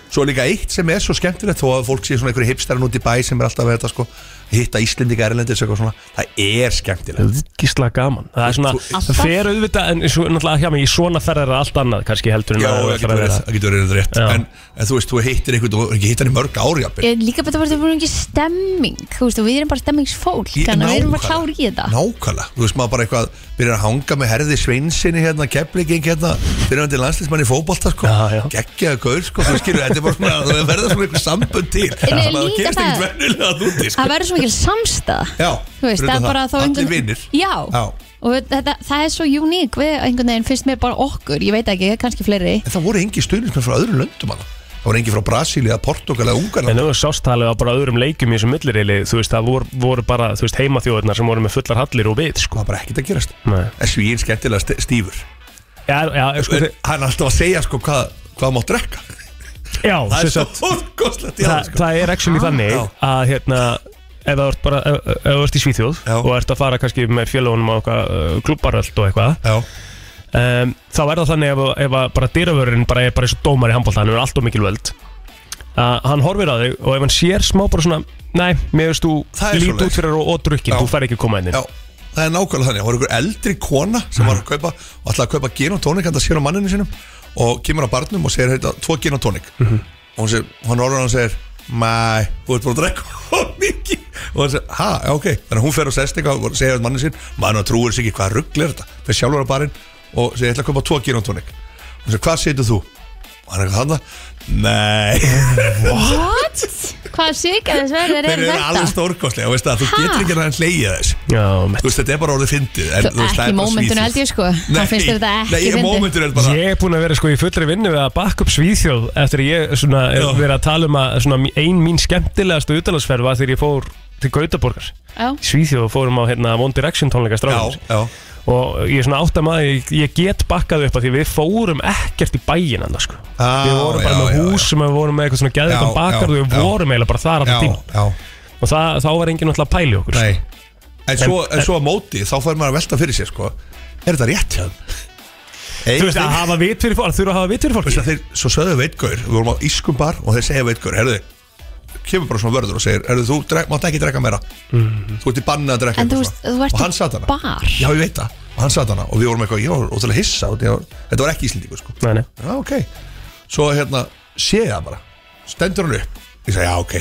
[SPEAKER 9] Svo er líka eitt sem er svo skemmtilegt þó að fólk sé svona einhverju hipsterinn út í bæ sem er alltaf að þetta sko hitta Íslendinga Erlendis eitthvað svona það er skemmtilegt
[SPEAKER 1] Gísla gaman Það er svona, það fer auðvitað En svo, náttúrulega hjá mig, í svona ferðar er allt annað Kannski heldur en
[SPEAKER 9] Já,
[SPEAKER 1] að-
[SPEAKER 9] það getur verið, það getur verið rétt en, en þú veist, þú hittir einhvern, þú hefur ekki hitt hann í mörg ári jafnvel.
[SPEAKER 2] Ég er líka betur bara þetta er bara ekki stemming Þú veist, og við erum bara stemmingsfólk
[SPEAKER 9] Ég-
[SPEAKER 2] Þannig að við erum bara
[SPEAKER 9] nákvæmlega.
[SPEAKER 2] klár í þetta
[SPEAKER 9] Nákvæmlega, þú veist maður bara eitthvað byrjar að hanga með herði sveinsinni hérna, keflinging hérna, fyrirhandi landslýsmann í fótbolta sko, geggjaða gaur sko, þú skilur, þetta er bara svona, það verður svona einhver sambönd til,
[SPEAKER 2] Nei,
[SPEAKER 9] þannig að það
[SPEAKER 2] líka
[SPEAKER 9] gerist
[SPEAKER 2] það-
[SPEAKER 9] ekkert vennilega úti sko.
[SPEAKER 2] Það verður svo mikil samstæða
[SPEAKER 9] Já,
[SPEAKER 2] Þú veist,
[SPEAKER 9] fyrir
[SPEAKER 2] það
[SPEAKER 9] utan
[SPEAKER 2] er bara þá
[SPEAKER 9] allir vinnir
[SPEAKER 2] Já, og við- þetta, það er svo uník við einhvern veginn finnst mér bara okkur Ég veit ekki, kannski fleiri
[SPEAKER 9] En það voru engi stuðnismenn frá öðrum löndum hana. Það voru engi frá Brasíli eða Portugal eða Ungarland.
[SPEAKER 1] En þú veist, sástalið á bara öðrum leikum í þessum millirili Þú veist, það voru, voru bara, þú veist, heimaþjóðurnar sem voru með fullar hallir og við, sko
[SPEAKER 9] Það var bara ekkert að gerast
[SPEAKER 1] Nei.
[SPEAKER 9] En svíinn skemmtilega st- stífur
[SPEAKER 1] Já, já, sko
[SPEAKER 9] En Hann er alltaf að segja sko hvað, hvað má drekka
[SPEAKER 1] Já,
[SPEAKER 9] Það er
[SPEAKER 1] sem
[SPEAKER 9] svo
[SPEAKER 1] sagt,
[SPEAKER 9] fórkostlegt
[SPEAKER 1] Þa, það er actually þannig
[SPEAKER 9] Já.
[SPEAKER 1] að hérna ef þú ert bara, ef, ef þú ert í Svíþjóð og ert að fara kannski með félagunum á eitthvað uh, klubbaröld og eitthvað um, þá er það þannig ef, ef að bara dyravörurinn bara er bara eins og dómar í handbólta hann er allt og mikil völd að hann horfir að þig og ef hann sér smá bara svona nei, mér veist þú
[SPEAKER 9] Það er
[SPEAKER 1] lít
[SPEAKER 9] svoleiðis.
[SPEAKER 1] út fyrir og, og drukkin,
[SPEAKER 9] Já.
[SPEAKER 1] þú fær ekki að koma inn
[SPEAKER 9] Já, það er nákvæmlega þannig Það voru ykkur eldri kona sem var að kaupa og ætlaði að kaupa gin og tónik hann það sér á manninu sinum og kemur á barnum og segir hérna tvo gin og tónik
[SPEAKER 1] Mhm.
[SPEAKER 9] og hann segir, hann orður hann og segir Mæ, þú ert bara að drekka of mikið og hann segir, ha, já, ok þannig að hún fer og sest eitthvað og segir að manni sín maður trúir sig ekki hvað ruggl er þetta fer sjálfur á barinn og segir, ég ætla að kaupa tvo gin og tónik og hann segir, hvað setur þú? og hann er eitthvað þarna, nei
[SPEAKER 2] What? Hvað sigur þess verður
[SPEAKER 9] Þeir
[SPEAKER 2] er
[SPEAKER 9] eru alveg
[SPEAKER 2] þetta?
[SPEAKER 9] stórkostlega, veist það, þú getur ekki að hleyja þess
[SPEAKER 1] Já,
[SPEAKER 9] Þú veist, þetta er bara orðið fyndið en, þú veist, það
[SPEAKER 2] Ekki
[SPEAKER 9] er bara
[SPEAKER 2] mómentinu
[SPEAKER 9] Svíþjóð.
[SPEAKER 2] held ég sko Hann finnst þér þetta
[SPEAKER 9] Nei,
[SPEAKER 2] ekki
[SPEAKER 9] ég
[SPEAKER 2] fyndið
[SPEAKER 9] mómentur er bara
[SPEAKER 1] Ég er búinn að vera sko í fullri vinnu við að bakka upp Svíþjóð eftir að ég svona er verið að tala um að svona ein mín skemmtilegasta utalagsferð var þegar ég fór til Gautaborgar
[SPEAKER 2] Já.
[SPEAKER 1] í Svíþjóð og fórum á hérna One Direction tónleika stráðum
[SPEAKER 9] já, já.
[SPEAKER 1] og ég er svona átt að maður ég, ég get bakkað upp að því við fórum ekkert í bæin annars sko
[SPEAKER 9] ah,
[SPEAKER 1] við vorum bara
[SPEAKER 9] já,
[SPEAKER 1] með
[SPEAKER 9] já,
[SPEAKER 1] hús sem við vorum með eitthvað svona
[SPEAKER 9] Já,
[SPEAKER 1] geðvikan bakar
[SPEAKER 9] já,
[SPEAKER 1] og við
[SPEAKER 9] já.
[SPEAKER 1] vorum eiginlega bara þar
[SPEAKER 9] Já,
[SPEAKER 1] alltaf tím
[SPEAKER 9] já.
[SPEAKER 1] og það, þá var enginn alltaf að pæli okkur sko.
[SPEAKER 9] Nei. En svo, en svo að móti, þá fær maður að velta fyrir sér sko. Er þetta rétt hjá þeim?
[SPEAKER 1] Þú veist að hafa vit fyrir fólk, þurfa að hafa vit fyrir fólk sko.
[SPEAKER 9] Veist að þeir, svo sögðu veitgaur, við vorum á Ískum bar og þeir segja veitgaur, herðu kemur bara svona vörður og segir, herðu þú drek, mátt ekki drekka meira
[SPEAKER 1] Mhm.
[SPEAKER 9] þú ert í banni að drekka
[SPEAKER 2] En þú
[SPEAKER 9] eitthvað
[SPEAKER 2] veist,
[SPEAKER 9] svona."
[SPEAKER 2] þú ert
[SPEAKER 9] og hann
[SPEAKER 2] í
[SPEAKER 9] satt hana
[SPEAKER 2] bar.
[SPEAKER 9] já ég veit það, og hann satt hana og við vorum eitthvað, ég var ótrúlega hissa og var, þetta var ekki íslendingur sko
[SPEAKER 1] nei, nei.
[SPEAKER 9] já ok, svo hérna sé ég það bara, stendur hann upp ég sagði já ok,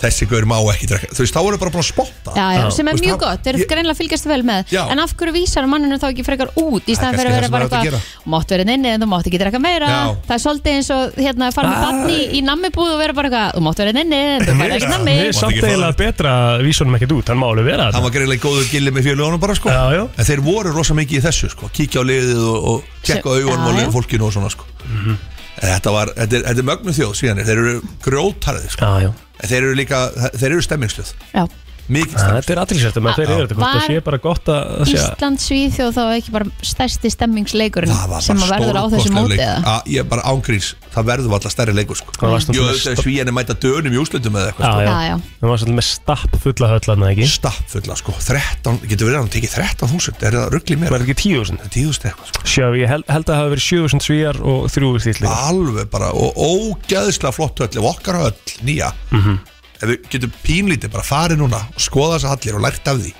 [SPEAKER 9] þessi gaur má ekki drekka þú veist, þá voru bara búin að spotta
[SPEAKER 2] Já, já, sem er
[SPEAKER 9] Þú veist,
[SPEAKER 2] mjög
[SPEAKER 9] hann-
[SPEAKER 2] gott, þeir eru
[SPEAKER 9] ég-
[SPEAKER 2] greinlega að fylgjast vel með
[SPEAKER 9] Já.
[SPEAKER 2] En af hverju vísar manninu þá ekki frekar út Í staðan
[SPEAKER 9] Það er
[SPEAKER 2] fyrir að vera
[SPEAKER 9] kannski
[SPEAKER 2] bara
[SPEAKER 9] það sem er hægt að
[SPEAKER 2] eitthvað Mátt verið inni en þú mátt ekki drekka meira
[SPEAKER 9] Já.
[SPEAKER 2] Það er svolítið eins og hérna að fara með barni í- í nammibúð Og vera bara eitthvað, þú mátt verið inni en þú
[SPEAKER 1] Mér
[SPEAKER 2] færð
[SPEAKER 1] er
[SPEAKER 2] ekki nammi
[SPEAKER 1] mér er samt eiginlega betra að vísa honum ekkert út, hann má alveg vera
[SPEAKER 9] hann
[SPEAKER 1] þetta
[SPEAKER 9] var greiðlega góður gillið með fjölugunum bara sko
[SPEAKER 1] Já, já.
[SPEAKER 9] en þeir voru rosa mikið í þessu sko kíkja á liðið og, og tjekka á
[SPEAKER 2] Sem- já,
[SPEAKER 9] augunum og
[SPEAKER 2] já.
[SPEAKER 9] liðið fólkinu og svona sko
[SPEAKER 1] Mhm.
[SPEAKER 9] en þetta var, þetta er, þetta er mögnu þjóð síðan þeir eru grjótarði sko
[SPEAKER 1] já, já.
[SPEAKER 9] en þeir eru líka, þeir eru stemmingsluð
[SPEAKER 2] Já.
[SPEAKER 9] mikið
[SPEAKER 1] Þetta er aðtilsvært að þeir eru þetta, hvort það
[SPEAKER 2] Var-
[SPEAKER 1] sé bara gott að að sé að-
[SPEAKER 2] Ísland, Svíþjóð þá ekki bara stærsti stemmingsleikurinn Sem að verður á þessu
[SPEAKER 9] stórkostlegur
[SPEAKER 2] móti
[SPEAKER 9] leik.
[SPEAKER 2] eða?
[SPEAKER 9] Að- ég er bara ángríns, það verður alltaf stærri leikur sko
[SPEAKER 1] Það var svona
[SPEAKER 9] jú,
[SPEAKER 1] svona
[SPEAKER 9] þetta er
[SPEAKER 1] stór-
[SPEAKER 9] svíjarni mæta dönum í úslutum eða eitthvað sko.
[SPEAKER 1] Já,
[SPEAKER 2] Já, já.
[SPEAKER 1] já. Það var svolítið með stapp fulla höllana, ekki?
[SPEAKER 9] Stapp fulla, sko. 13, getur verið að hann tekið 13.000 er það ruggli mér?
[SPEAKER 1] Var það ekki 10.000?
[SPEAKER 9] 10.000 eitthvað sko.
[SPEAKER 1] Sjá, ég held, held að það hafi verið 7.000 svíjar og 3.000 þýtlingar.
[SPEAKER 9] alveg bara og ógeðslega flott höll ef okkar höll nýja
[SPEAKER 1] Mhm.
[SPEAKER 9] ef við getum pínlítið bara farið núna og skoða þess að allir og lært af því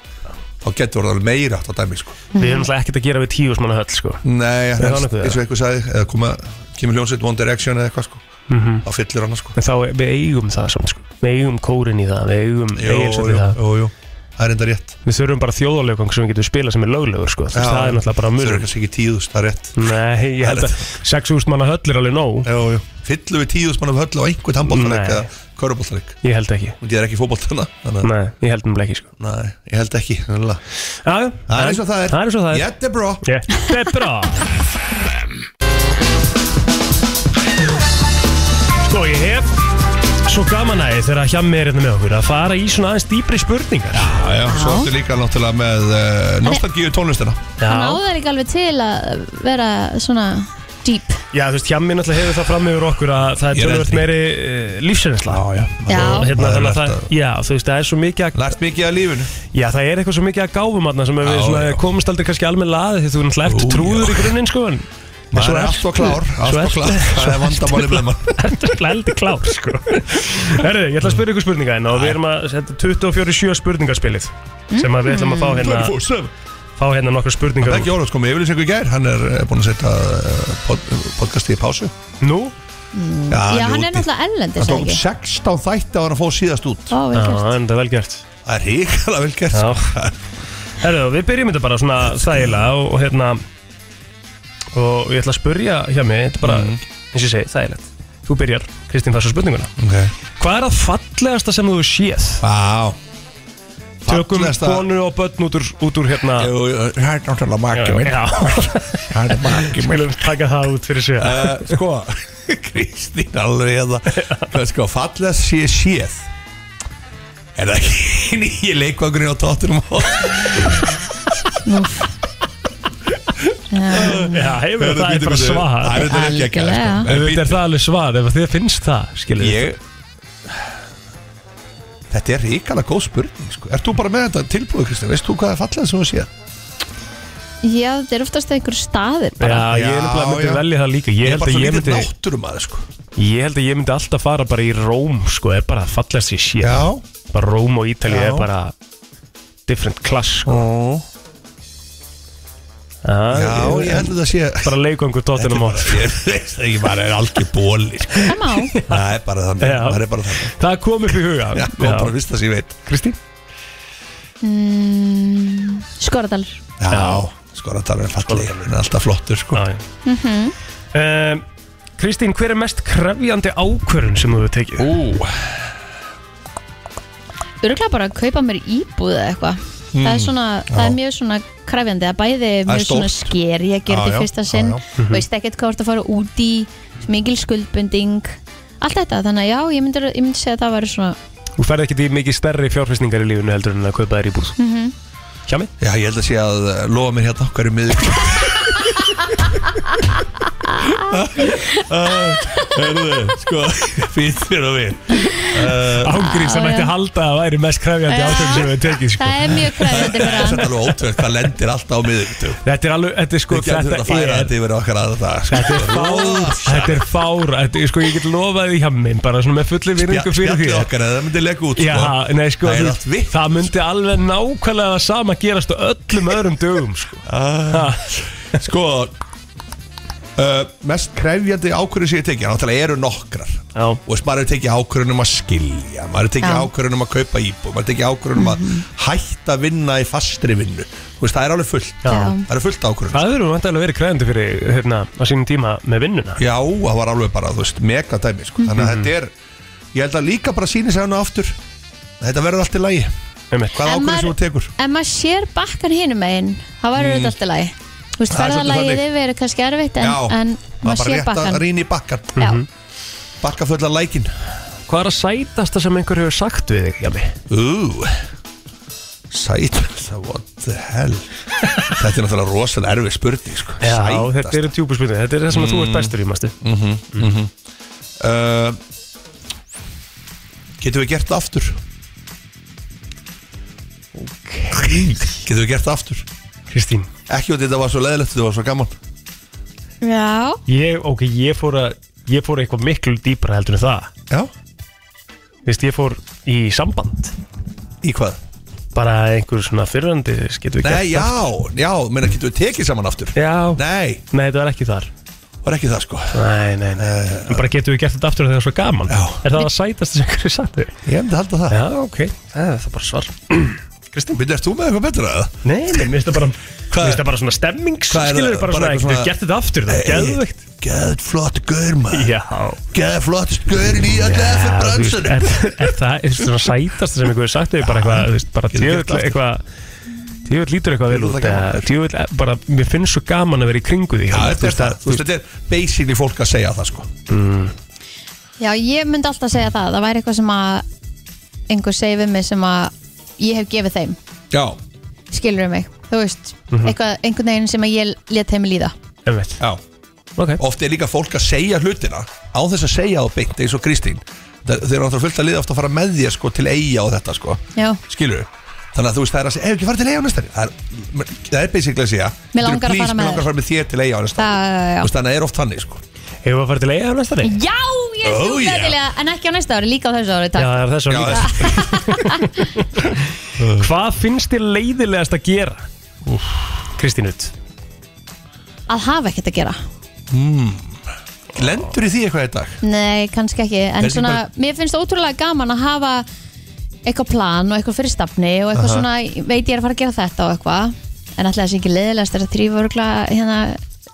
[SPEAKER 9] þá getur við alveg meira átt á dæmi sko.
[SPEAKER 1] Við erum alltaf ekkert að gera við 10.000 manna höll, sko.
[SPEAKER 9] Nei,
[SPEAKER 1] Er það
[SPEAKER 9] helst,
[SPEAKER 1] nokkuð,
[SPEAKER 9] eins og eitthvað sagði eða koma, kemur hljónsveit One Direction eða eitthvað sko.
[SPEAKER 1] Mhm.
[SPEAKER 9] þá fyllir hann sko.
[SPEAKER 1] En þá, við eigum það samt, sko. Við eigum kórin í það, við eigum
[SPEAKER 9] Jú,
[SPEAKER 1] eigilsöld í
[SPEAKER 9] jú,
[SPEAKER 1] það.
[SPEAKER 9] jú, jú. það er enda rétt
[SPEAKER 1] Við þurfum bara þjóðalöggang sem við getum spilað sem er löglegur sko. Já,
[SPEAKER 9] Já.
[SPEAKER 1] það er náttúrulega bara mjög
[SPEAKER 9] Þurfum kannski ekki tíðust, það er rétt
[SPEAKER 1] Nei, ég held að 6.000 manna höll er alveg nóg
[SPEAKER 9] Jú, jú Fyllum við tíðust mann af höll á einhvern handbóltaleg
[SPEAKER 1] Nei.
[SPEAKER 9] eða körubóltaleg
[SPEAKER 1] Ég held ekki
[SPEAKER 9] Og ég er ekki fótbóltana
[SPEAKER 1] Nei, ég held nefnilega ekki sko.
[SPEAKER 9] Nei, ég held ekki nefnilega.
[SPEAKER 1] Já, já,
[SPEAKER 9] Það er eins og það er
[SPEAKER 1] Það er eins og það er
[SPEAKER 9] Ég er bró
[SPEAKER 1] Þetta er bra Sko, ég hef svo gaman að þegar að hjá er hérna með okkur að fara í svona aðeins dýpri spurningar
[SPEAKER 9] Já, já, svo ertu líka náttúrulega með uh, nostalgíu tónlistina
[SPEAKER 2] Hann áður ekki alveg til að vera svona deep
[SPEAKER 1] Já, þú veist, hjammi náttúrulega hefur það fram yfir okkur að það er
[SPEAKER 9] Ég er
[SPEAKER 1] tölvöld
[SPEAKER 9] eldri.
[SPEAKER 1] meiri uh, lífsreynsla Já, já
[SPEAKER 2] Já.
[SPEAKER 1] Og hérna
[SPEAKER 9] Maður
[SPEAKER 1] þannig að
[SPEAKER 9] lært
[SPEAKER 1] það, já, þú veist, það er svo mikið að
[SPEAKER 9] Lært mikið af lífinu
[SPEAKER 1] Já, það er eitthvað svo mikið að gáfum aðna sem við
[SPEAKER 9] Já,
[SPEAKER 1] svona,
[SPEAKER 9] já.
[SPEAKER 1] komist aldrei kannski alveg laði því þú náttúrulega
[SPEAKER 9] Ú,
[SPEAKER 1] eftir trúður
[SPEAKER 9] já.
[SPEAKER 1] í grunninn, sko en en
[SPEAKER 9] Maður
[SPEAKER 1] svo
[SPEAKER 9] er alltaf
[SPEAKER 1] ertu-
[SPEAKER 9] klár,
[SPEAKER 1] svo
[SPEAKER 9] alltaf
[SPEAKER 1] ertu-
[SPEAKER 9] klár Það
[SPEAKER 1] svo
[SPEAKER 9] er vandamáli með mann
[SPEAKER 1] ertu bara eldi klár, sko Herðu, ég ætla að spyrja ykkur spurninga hérna og við erum að, þetta er 24-7 spurningaspilið sem að við ætlum að fá hérna
[SPEAKER 9] 24/7.
[SPEAKER 1] fá hérna nokkra
[SPEAKER 9] Það
[SPEAKER 1] spurningar
[SPEAKER 9] er ekki ólega, sko, með yfirlýsingu í gær Hann er eh, búinn að setja eh, pod, podcasti í pásu
[SPEAKER 1] Nú?
[SPEAKER 9] Já,
[SPEAKER 2] Já, hann
[SPEAKER 9] úti.
[SPEAKER 2] er náttúrulega erlendis eða
[SPEAKER 9] Það tók
[SPEAKER 2] ekki
[SPEAKER 9] 16 þætti á hann að fá síðast út
[SPEAKER 2] Ó,
[SPEAKER 1] Já,
[SPEAKER 2] vel gert.
[SPEAKER 1] en það er vel gert
[SPEAKER 9] Það er ríkala vel gert
[SPEAKER 1] Já.
[SPEAKER 9] sko.
[SPEAKER 1] Herðu, við byrjum þetta bara svona þægilega og, og hérna og ég ætla að spurja hjá mig þetta er bara,
[SPEAKER 9] Mm.
[SPEAKER 1] eins og ég segi, þægilegt Þú byrjar, Kristín, það er svo spurninguna
[SPEAKER 9] Ok
[SPEAKER 1] Hvað er að fallegasta sem þú hefur séð?
[SPEAKER 9] Vá
[SPEAKER 1] Tökum
[SPEAKER 9] Fallegasta-
[SPEAKER 1] konu og börn út úr, út úr hérna
[SPEAKER 9] Jú, jú, Það er náttúrulega makið minn
[SPEAKER 1] Já,
[SPEAKER 9] Það er makið minn
[SPEAKER 1] viljum taka það út fyrir sig
[SPEAKER 9] Eh, Sko Kristín alveg hérna Sko, fallega sé séð Er það ekki nýji leikvangurinn á tóttunum
[SPEAKER 1] Já, hefur það er
[SPEAKER 9] Bíddu,
[SPEAKER 1] bara
[SPEAKER 9] bíddu. Það
[SPEAKER 1] svar
[SPEAKER 9] er þetta ekki ekki
[SPEAKER 2] Algjörlega.
[SPEAKER 9] En
[SPEAKER 1] Þetta
[SPEAKER 9] bíddu,
[SPEAKER 1] er það alveg svar, ef þið finnst það, skilur
[SPEAKER 9] Ég Þetta er ríkala góð spurning sko. Ert þú bara með þetta tilbúið Kristján? Veist þú hvað er fallega sem þú séð?
[SPEAKER 2] Já, þetta er oftast einhver staðir
[SPEAKER 1] Já,
[SPEAKER 2] bara
[SPEAKER 1] ég er nefnilega
[SPEAKER 9] Já,
[SPEAKER 1] myndi
[SPEAKER 9] já.
[SPEAKER 1] velja það líka Ég
[SPEAKER 9] er
[SPEAKER 1] held
[SPEAKER 9] bara
[SPEAKER 1] að
[SPEAKER 9] svo
[SPEAKER 1] ég
[SPEAKER 9] lítið
[SPEAKER 1] myndi
[SPEAKER 9] náttúrum aðeins sko.
[SPEAKER 1] Ég held að ég myndi alltaf fara bara í Róm sko, er bara að fallast ég sé
[SPEAKER 9] Já
[SPEAKER 1] bara Róm og Ítali
[SPEAKER 9] Já.
[SPEAKER 1] er bara different class sko.
[SPEAKER 9] Já, ég held að það sé
[SPEAKER 1] bara leikvangur
[SPEAKER 9] Þetta er
[SPEAKER 1] tóttunum á
[SPEAKER 9] bara- Ég veist það ekki, maður er algjör bóli sko.
[SPEAKER 2] Það má
[SPEAKER 9] Það er bara þannig
[SPEAKER 1] Já.
[SPEAKER 9] Það er bara þannig
[SPEAKER 1] það kom upp í huga
[SPEAKER 9] Já, kom bara fyrst það sem ég veit
[SPEAKER 1] Kristín
[SPEAKER 2] mm, Skorðalur
[SPEAKER 9] Já, skoratalur er fallið Hann er alltaf flottur sko
[SPEAKER 1] Já, já. um, Kristín, hver er mest krefjandi ákvörun sem þú hefur tekið?
[SPEAKER 9] Ú,
[SPEAKER 2] Öruglega bara að kaupa mér íbúð eða eitthvað Það
[SPEAKER 9] Mm.
[SPEAKER 2] er svona, það er mjög svona krefjandi að bæði mjög svona
[SPEAKER 9] stórt.
[SPEAKER 2] sker ég
[SPEAKER 9] Já,
[SPEAKER 2] gerði
[SPEAKER 9] já,
[SPEAKER 2] í fyrsta
[SPEAKER 9] já,
[SPEAKER 2] sinn
[SPEAKER 9] já. Mhm.
[SPEAKER 2] veist ekkert hvað þú ert að fara út í mikil skuldbunding allt þetta, þannig að já, ég myndi, ég myndi segja að það væri svona
[SPEAKER 1] Þú ferð ekki í mikið stærri fjárfæsningar í lífunu heldur en að kaupa þær í búð mm -hmm. Hjá mig?
[SPEAKER 9] já, ég held að sé að eh, lofa mér hérna hverju miður Hörðu, sko Fýtt fyrir og við Uh,
[SPEAKER 1] Ángrið sem
[SPEAKER 2] já.
[SPEAKER 1] ætti að halda að væri mest krefjandi ákvörun sem þú hefur tekið sko.
[SPEAKER 2] það er mjög krefjandi fyrir
[SPEAKER 9] Þetta
[SPEAKER 2] hann
[SPEAKER 9] er alveg ótrúið, hvað lendir alltaf á miður
[SPEAKER 1] Þetta er alveg, þetta er sko
[SPEAKER 9] Við getum þetta að færa þetta yfir á okkar aðra dag sko.
[SPEAKER 1] Þetta er fár, þetta er fár þetta, sko, Ég get lofað því hjá minn Bara svona með fulli virðingu fyrir því
[SPEAKER 9] Spjallið okkar eða það myndi lega út
[SPEAKER 1] Já,
[SPEAKER 9] sko.
[SPEAKER 1] nei, sko,
[SPEAKER 9] Það er
[SPEAKER 1] þú-
[SPEAKER 9] allt vitt
[SPEAKER 1] það myndi alveg nákvæmlega það sama gerast á öllum öðrum dögum sko. ah.
[SPEAKER 9] Sko uh, Mest krefjandi ákvörðu sem ég tekið Náttúrulega eru nokkrar
[SPEAKER 1] Já,
[SPEAKER 9] og veist, maður hefur tekið ákvörðun um að skilja maður hefur
[SPEAKER 2] Já.
[SPEAKER 9] tekið
[SPEAKER 2] Mhm.
[SPEAKER 9] ákvörðun um að kaupa íbú maður hefur tekið ákvörðun um að hætta að vinna í fastri vinnu Þú veist, það er alveg fullt
[SPEAKER 1] Já.
[SPEAKER 9] það er fullt ákvörðun
[SPEAKER 1] það verður vantilega verið krefandi fyrir hérna, á sínum tíma með vinnuna
[SPEAKER 9] já, það var alveg bara, þú veist, mega dæmi sko. þannig
[SPEAKER 1] Mhm.
[SPEAKER 9] að þetta er, ég held að líka bara síni sér hana aftur þetta verður allt í lagi
[SPEAKER 1] Einmitt.
[SPEAKER 9] hvað
[SPEAKER 2] En
[SPEAKER 9] ákvörðun sem
[SPEAKER 2] maður-
[SPEAKER 9] þú tekur
[SPEAKER 2] ef maður sér bakkan hinum meginn það væri auðvitað allt í lagi Þú veist,
[SPEAKER 9] Mm. Það er svolítið
[SPEAKER 2] ferðalagið
[SPEAKER 9] þannig.
[SPEAKER 2] yfir er kannski erfitt en,
[SPEAKER 9] Já,
[SPEAKER 2] en
[SPEAKER 9] það er
[SPEAKER 2] maður
[SPEAKER 9] bara
[SPEAKER 2] sér
[SPEAKER 9] rétt að Mhm.
[SPEAKER 2] bakkan
[SPEAKER 9] rýna í bakkan
[SPEAKER 2] Já,
[SPEAKER 9] bakka fulla lækin
[SPEAKER 1] Hvað er að sætasta sem einhver hefur sagt við þig, Jami?
[SPEAKER 9] ú sæt, what the hell þetta er náttúrulega rosalega erfið spurning sko.
[SPEAKER 1] Já,
[SPEAKER 9] Sætasta.
[SPEAKER 1] þetta eru tjúpuspunni, þetta er það sem að þú ert bestur í mástu
[SPEAKER 9] uh, Getum við gert það aftur? Getum við gert það aftur?
[SPEAKER 1] Kristín
[SPEAKER 9] Ekki að þetta var svo leðilegt, þetta var svo gaman
[SPEAKER 2] já,
[SPEAKER 1] ég, ok, ég fór að ég fór eitthvað miklu dýpra heldur en það
[SPEAKER 9] Já
[SPEAKER 1] Vist, ég fór í samband
[SPEAKER 9] Í hvað?
[SPEAKER 1] bara einhver svona fyrrandi getur við gert
[SPEAKER 9] Nei, já, já, menna getum við tekið saman aftur
[SPEAKER 1] það? já, nei.
[SPEAKER 9] Nei,
[SPEAKER 1] þetta var ekki þar
[SPEAKER 9] var ekki það sko
[SPEAKER 1] nei, nei, nei, en bara getur við gert þetta aftur þegar það er svo gaman
[SPEAKER 9] Já.
[SPEAKER 1] er það að sætast sem hverju sagt þig?
[SPEAKER 9] Ég hefndi að halda það
[SPEAKER 1] já, ok, það er það bara svar Kristinn
[SPEAKER 9] Býttu, ert þú með eitthvað betra eða?
[SPEAKER 1] Nei, nei, mér finnst það bara Mér finnst það bara svona stemmings
[SPEAKER 9] Hvað er
[SPEAKER 1] Skilur
[SPEAKER 9] það?
[SPEAKER 1] bara
[SPEAKER 9] Bara
[SPEAKER 1] svona
[SPEAKER 9] eitthvað
[SPEAKER 1] Þú
[SPEAKER 9] svona-
[SPEAKER 1] gert þetta aftur, það er geðveikt
[SPEAKER 9] Gæð flott gaur maður
[SPEAKER 1] Já
[SPEAKER 9] Gæð flott gaur í að gæð fyrir
[SPEAKER 1] þú veist,
[SPEAKER 9] bransunum
[SPEAKER 1] er, er það er svona sætast sem einhver hefur sagt þau bara eitthvað, þú veist, bara
[SPEAKER 9] Getur gert
[SPEAKER 1] djöfull
[SPEAKER 9] aftur.
[SPEAKER 1] eitthvað djöfull lítur eitthvað vel
[SPEAKER 9] Getur
[SPEAKER 1] út
[SPEAKER 9] það gaman.
[SPEAKER 1] eða djöfull, eh, bara, mér finnst svo gaman að vera í kringu því
[SPEAKER 9] Já, þetta er það, þú veist, þetta er basically fólk að segja það sko
[SPEAKER 2] Já, ég myndi alltaf segja það Það væri eitthvað sem að einhver segi við mig sem að ég hef gefið þeim
[SPEAKER 9] Já,
[SPEAKER 2] skilur mig, þú veist
[SPEAKER 9] Mhm.
[SPEAKER 2] eitthvað, einhvern veginn sem að ég let þeim líða
[SPEAKER 1] einmitt
[SPEAKER 9] Já,
[SPEAKER 1] okay.
[SPEAKER 9] oft er líka fólk að segja hlutina á þess að segja á beint eins og Kristín Þa- Þeir eru náttúrulega fullt að liða oft að fara með þér sko til eiga og þetta sko
[SPEAKER 2] Já,
[SPEAKER 9] Skilur Þannig að þú veist, það er að segja, ef ekki farið til eiga á næstari Það er, það er basically að segja
[SPEAKER 2] Mig langar að
[SPEAKER 9] "Geturðu please,
[SPEAKER 2] fara með
[SPEAKER 9] mig langar
[SPEAKER 2] þér."
[SPEAKER 9] að fara með þér til eiga á næstari
[SPEAKER 2] það, já
[SPEAKER 9] Þú veist, þannig að það er oft þannig sko
[SPEAKER 1] Hefur við að fara til eiga á næstari?
[SPEAKER 2] Já, ég er
[SPEAKER 9] Oh,
[SPEAKER 2] oh,
[SPEAKER 9] yeah.
[SPEAKER 2] en ekki á næsta ári, líka á þessu ári, takk
[SPEAKER 1] það er þess að líka Hvað finnst þér leiðilegast að gera? Kristín Ut
[SPEAKER 2] Að hafa ekkert að gera
[SPEAKER 9] mm. Lendur í því eitthvað í dag?
[SPEAKER 2] Nei, kannski ekki, en
[SPEAKER 9] Kannski
[SPEAKER 2] svona,
[SPEAKER 9] bara-
[SPEAKER 2] mér finnst ótrúlega gaman að hafa eitthvað plan og eitthvað fyrirstafni og eitthvað
[SPEAKER 9] Aha.
[SPEAKER 2] svona, veit ég er að fara að gera þetta og eitthvað, en alltaf þessi ekki leiðilegast er að þrýfa örgla hérna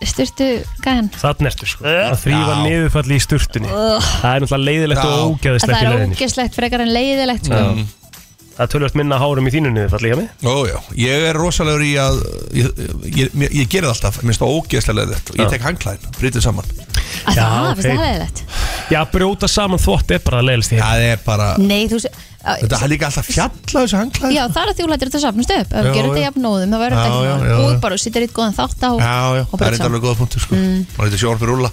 [SPEAKER 2] styrtu gæðan
[SPEAKER 1] Þannig ertu sko Að þrýfa niðurfalli í sturtunni
[SPEAKER 2] Ugh.
[SPEAKER 1] Það er náttúrulega leiðilegt og
[SPEAKER 2] En
[SPEAKER 1] ógeðislegt
[SPEAKER 2] það
[SPEAKER 1] í
[SPEAKER 2] er
[SPEAKER 1] leiðinni
[SPEAKER 2] ógeslegt frekar en leiðilegt sko.
[SPEAKER 1] Já. Það er tölvöld minna hárum í þínu niðurfalli hjá mig
[SPEAKER 9] Ó, já, ég er rosalegur í að ég, ég, ég, ég gerir það alltaf, minnst það ógeðslega leðið ég tek hangklæðin, brýtið saman
[SPEAKER 2] Að
[SPEAKER 1] Já,
[SPEAKER 2] það,
[SPEAKER 1] ok.
[SPEAKER 2] finnst það leiðilegt
[SPEAKER 1] Já, brjóta saman þvott er bara leiðilegt í heimi
[SPEAKER 9] það er bara
[SPEAKER 2] Nei, þú sé
[SPEAKER 9] þetta er líka alltaf fjalla þessu hangklæðin
[SPEAKER 2] Já, það er að þú lætir þetta safnast upp Ef
[SPEAKER 9] Já,
[SPEAKER 2] við gerum þetta
[SPEAKER 9] já.
[SPEAKER 2] jafnóðum, það verður
[SPEAKER 9] Já,
[SPEAKER 2] þetta
[SPEAKER 9] já,
[SPEAKER 2] ekki
[SPEAKER 9] já,
[SPEAKER 2] mál
[SPEAKER 9] já.
[SPEAKER 2] Og bara sittir eitt góðan þátt á
[SPEAKER 9] já, já,
[SPEAKER 2] og
[SPEAKER 9] það
[SPEAKER 2] bara
[SPEAKER 9] er þetta
[SPEAKER 2] saman
[SPEAKER 9] alveg góða punktu sko mm. maður þetta sjónarfyrir rúla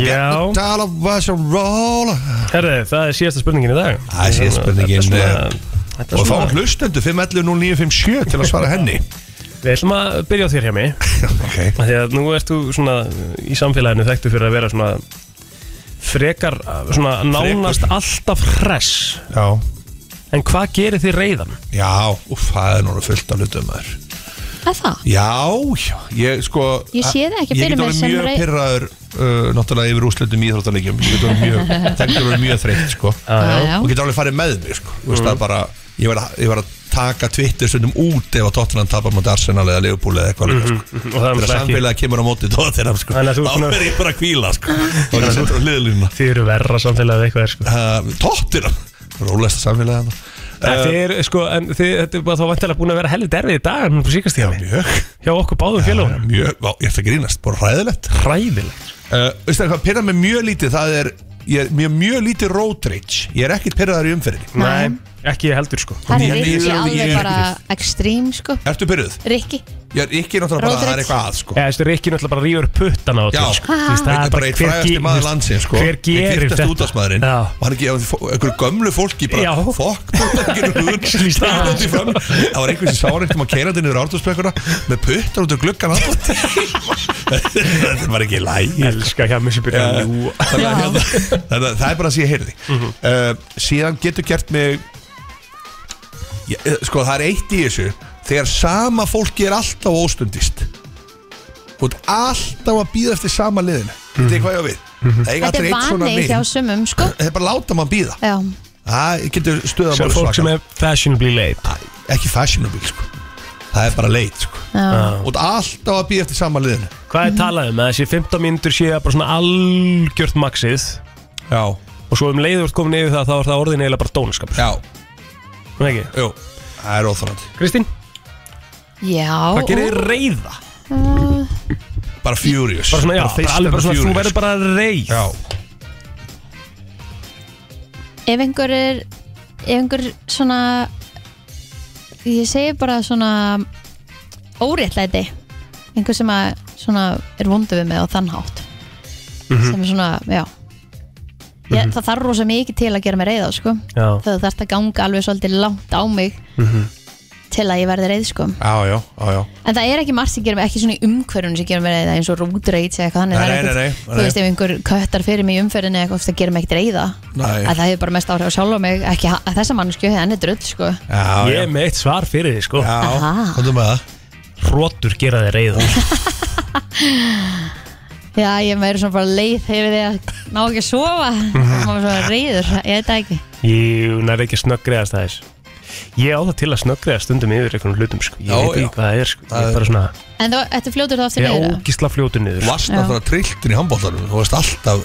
[SPEAKER 1] Já
[SPEAKER 9] Tala was a roll
[SPEAKER 1] Herði, það er síðasta spurningin í dag
[SPEAKER 9] Það er síðasta spurningin,
[SPEAKER 1] Þetta er
[SPEAKER 9] eh,
[SPEAKER 1] svona, þetta
[SPEAKER 9] og
[SPEAKER 1] er
[SPEAKER 9] þá
[SPEAKER 1] svona
[SPEAKER 9] hlustendu 511-0957 til að svara henni
[SPEAKER 1] Við ætlum að byrja á þér hjá mig
[SPEAKER 9] ok
[SPEAKER 1] Af Því að nú ert þú svona í samfélaginu þekktu fyrir að vera svona frekar, svona nánast alltaf hress
[SPEAKER 9] já,
[SPEAKER 1] En hvað gerir þið reyðan?
[SPEAKER 9] já, úf, það er núna fullt af hlutum maður
[SPEAKER 2] Það er það
[SPEAKER 9] já, já, ég sko
[SPEAKER 2] Ég sé það ekki
[SPEAKER 9] ég
[SPEAKER 2] fyrir
[SPEAKER 9] get
[SPEAKER 2] mér
[SPEAKER 9] orðið
[SPEAKER 2] sem
[SPEAKER 9] mjög
[SPEAKER 2] rei-
[SPEAKER 9] pyrraður uh, náttúrulega yfir úslutum í Íþróttalegjum ég get orðið mjög, það getur orðið mjög þreytt sko
[SPEAKER 2] já. Já, já.
[SPEAKER 9] og getur alveg farið með mig sko Þú veist það
[SPEAKER 1] Mm.
[SPEAKER 9] er bara ég var, að- ég var að taka Twitter stundum út ef að Tottenham tapar mot Arsenal eða Liverpool eða eitthvað mm sko.
[SPEAKER 1] Og það er
[SPEAKER 9] þegar
[SPEAKER 1] náttúrulega ekki-
[SPEAKER 9] samfélagið kemur á móti Tottenham sko
[SPEAKER 1] Þannig að þú ert
[SPEAKER 9] þá
[SPEAKER 1] svona-
[SPEAKER 9] er ég bara að kvíla sko þá er ég sendur á hliðlínuna
[SPEAKER 1] Þið eru verra samfélagið eitthvað er sko
[SPEAKER 9] uh, Tottenham rólegasta samfélagið þarna.
[SPEAKER 1] Nei, Þið eru sko, en þið, þetta er bara þá vantilega búin að vera helvið derfið í dag en på síkast hjá mig
[SPEAKER 9] mjög
[SPEAKER 1] Hjá okkur báðum félagunum
[SPEAKER 9] mjög vá, ég ætla að grínast bara hræðilegt
[SPEAKER 1] Ræðilegt
[SPEAKER 9] uh, veistu það hvað pyrra mig mjög lítið það er ég er mjög, mjög lítið road rage ég er ekkert pyrraðar í
[SPEAKER 6] Mm.
[SPEAKER 9] umferðinni
[SPEAKER 1] Nei, ekki ég heldur sko
[SPEAKER 2] Það er
[SPEAKER 9] Ég-
[SPEAKER 2] Rikki
[SPEAKER 9] ég-
[SPEAKER 2] alveg
[SPEAKER 9] ég-
[SPEAKER 2] bara extrím sko
[SPEAKER 9] ertu pyrruð?
[SPEAKER 2] Rikki,
[SPEAKER 9] ég er ekki náttúrulega bara
[SPEAKER 2] Road
[SPEAKER 9] að það er
[SPEAKER 2] rage.
[SPEAKER 9] eitthvað að sko
[SPEAKER 1] Eða, þú veist, Rikki náttúrulega bara rýfur puttana á
[SPEAKER 9] Já,
[SPEAKER 1] til sko. Þú veist,
[SPEAKER 9] það er bara eitt
[SPEAKER 1] hver
[SPEAKER 9] frægasti
[SPEAKER 1] ge-
[SPEAKER 9] maður
[SPEAKER 1] þú veist,
[SPEAKER 9] landsin sko
[SPEAKER 1] Hver gerir
[SPEAKER 9] þetta? útastmaðurinn
[SPEAKER 1] Já.
[SPEAKER 9] Og hann ekki, einhverju gömlu fólki
[SPEAKER 1] Já.
[SPEAKER 9] bara Fokk, það gerir húður
[SPEAKER 1] Actually, það-
[SPEAKER 9] Það var einhver sem sá hann eitthvað keirandi niður ártúrsbrekkuna Með puttar út af gluggan hann Þetta var ekki læg
[SPEAKER 1] Elskar hjá mér sem byrja að ljúa
[SPEAKER 9] Þannig að hérna- þannig að það er bara að sé að heyrði uh, Síðan getur gert mig Já, eh, Sko það er eitt í þessu Þegar sama fólki er alltaf óstundist Þú ert alltaf að býða eftir sama liðinu Þetta er hvað ég á við Það eiga
[SPEAKER 2] þetta
[SPEAKER 9] allir
[SPEAKER 2] er
[SPEAKER 9] eitt svona
[SPEAKER 2] vani
[SPEAKER 9] mig
[SPEAKER 2] hjá sumum sko
[SPEAKER 9] Það er bara að láta mann býða
[SPEAKER 2] Já,
[SPEAKER 9] Það getur stöða
[SPEAKER 1] Svo
[SPEAKER 9] málið
[SPEAKER 1] fólk sem
[SPEAKER 9] svakar.
[SPEAKER 1] er fashionably late
[SPEAKER 9] Ekki fashionable sko Það er bara leit sko
[SPEAKER 2] já,
[SPEAKER 9] Þú ert alltaf að býða eftir sama liðinu
[SPEAKER 1] Hvað er talað um? Að Þessi 15 mínútur séu bara svona algjört maxið
[SPEAKER 9] Já,
[SPEAKER 1] Og svo um leiður komin yfir það Þá er það orðin eiginlega bara dónskap
[SPEAKER 9] já,
[SPEAKER 1] Nú ekki?
[SPEAKER 9] jú Það er óþrandi
[SPEAKER 1] Kristín,
[SPEAKER 2] já
[SPEAKER 1] hvað gerir þið reyða?
[SPEAKER 9] Bara furious
[SPEAKER 1] Bara svona, já, bara
[SPEAKER 9] fyrst
[SPEAKER 1] alveg
[SPEAKER 9] and
[SPEAKER 1] bara svona Þú
[SPEAKER 9] furious.
[SPEAKER 1] verður bara reyð
[SPEAKER 9] Já,
[SPEAKER 2] Ef einhver er Ef einhver svona Ég segi bara svona Óréttlæti Einhver sem að svona er vondu við mig á þann hátt Sem er svona, já Ég, Það þarf rosa mikið til að gera mig reyða sko.
[SPEAKER 1] Já,
[SPEAKER 2] Það þarf að ganga alveg svolítið langt á mig Til að ég verði reyð sko.
[SPEAKER 9] já, já, já, já.
[SPEAKER 2] En það er ekki margt sem gerum ekki svona í umhverjun sem gerum reyða eins og rúdreit eða eitthvað þannig
[SPEAKER 9] Nei,
[SPEAKER 2] það er
[SPEAKER 9] nei,
[SPEAKER 2] ekkert-
[SPEAKER 9] nei, nei,
[SPEAKER 2] Þú
[SPEAKER 9] nei.
[SPEAKER 2] veist ef einhver köttar fyrir mig í umhverjunni eða eitthvað það gerum ekkert reyða
[SPEAKER 9] Nei.
[SPEAKER 2] að það hefur bara mest áhrif á sjálf og mig ekki ha- að þessa mannsku hefði henni drull sko
[SPEAKER 9] já,
[SPEAKER 1] ég er með eitt svar fyrir þið sko
[SPEAKER 9] Já,
[SPEAKER 2] Aha.
[SPEAKER 9] komdu með það
[SPEAKER 1] Hrótur gera þið reyða
[SPEAKER 2] Já ég meður svona bara leið hefur þið að ná ekki að sofa maður svona reyður ég veit það ekki
[SPEAKER 1] Jú, nær ekki snöggriðast aðeins Ég á það til að snögglega stundum yfir einhvern hlutum sko. Ég
[SPEAKER 9] Já,
[SPEAKER 1] veit
[SPEAKER 9] já.
[SPEAKER 1] ekki hvað það er sko. Ég er bara svona
[SPEAKER 2] En þú, þetta fljótur þá aftur
[SPEAKER 1] Ég
[SPEAKER 2] niður
[SPEAKER 1] er
[SPEAKER 2] eða?
[SPEAKER 1] ógísla fljótu niður sko.
[SPEAKER 9] Varst
[SPEAKER 2] Já.
[SPEAKER 9] náttúrulega trilltin í handbóltanum Þú varst alltaf,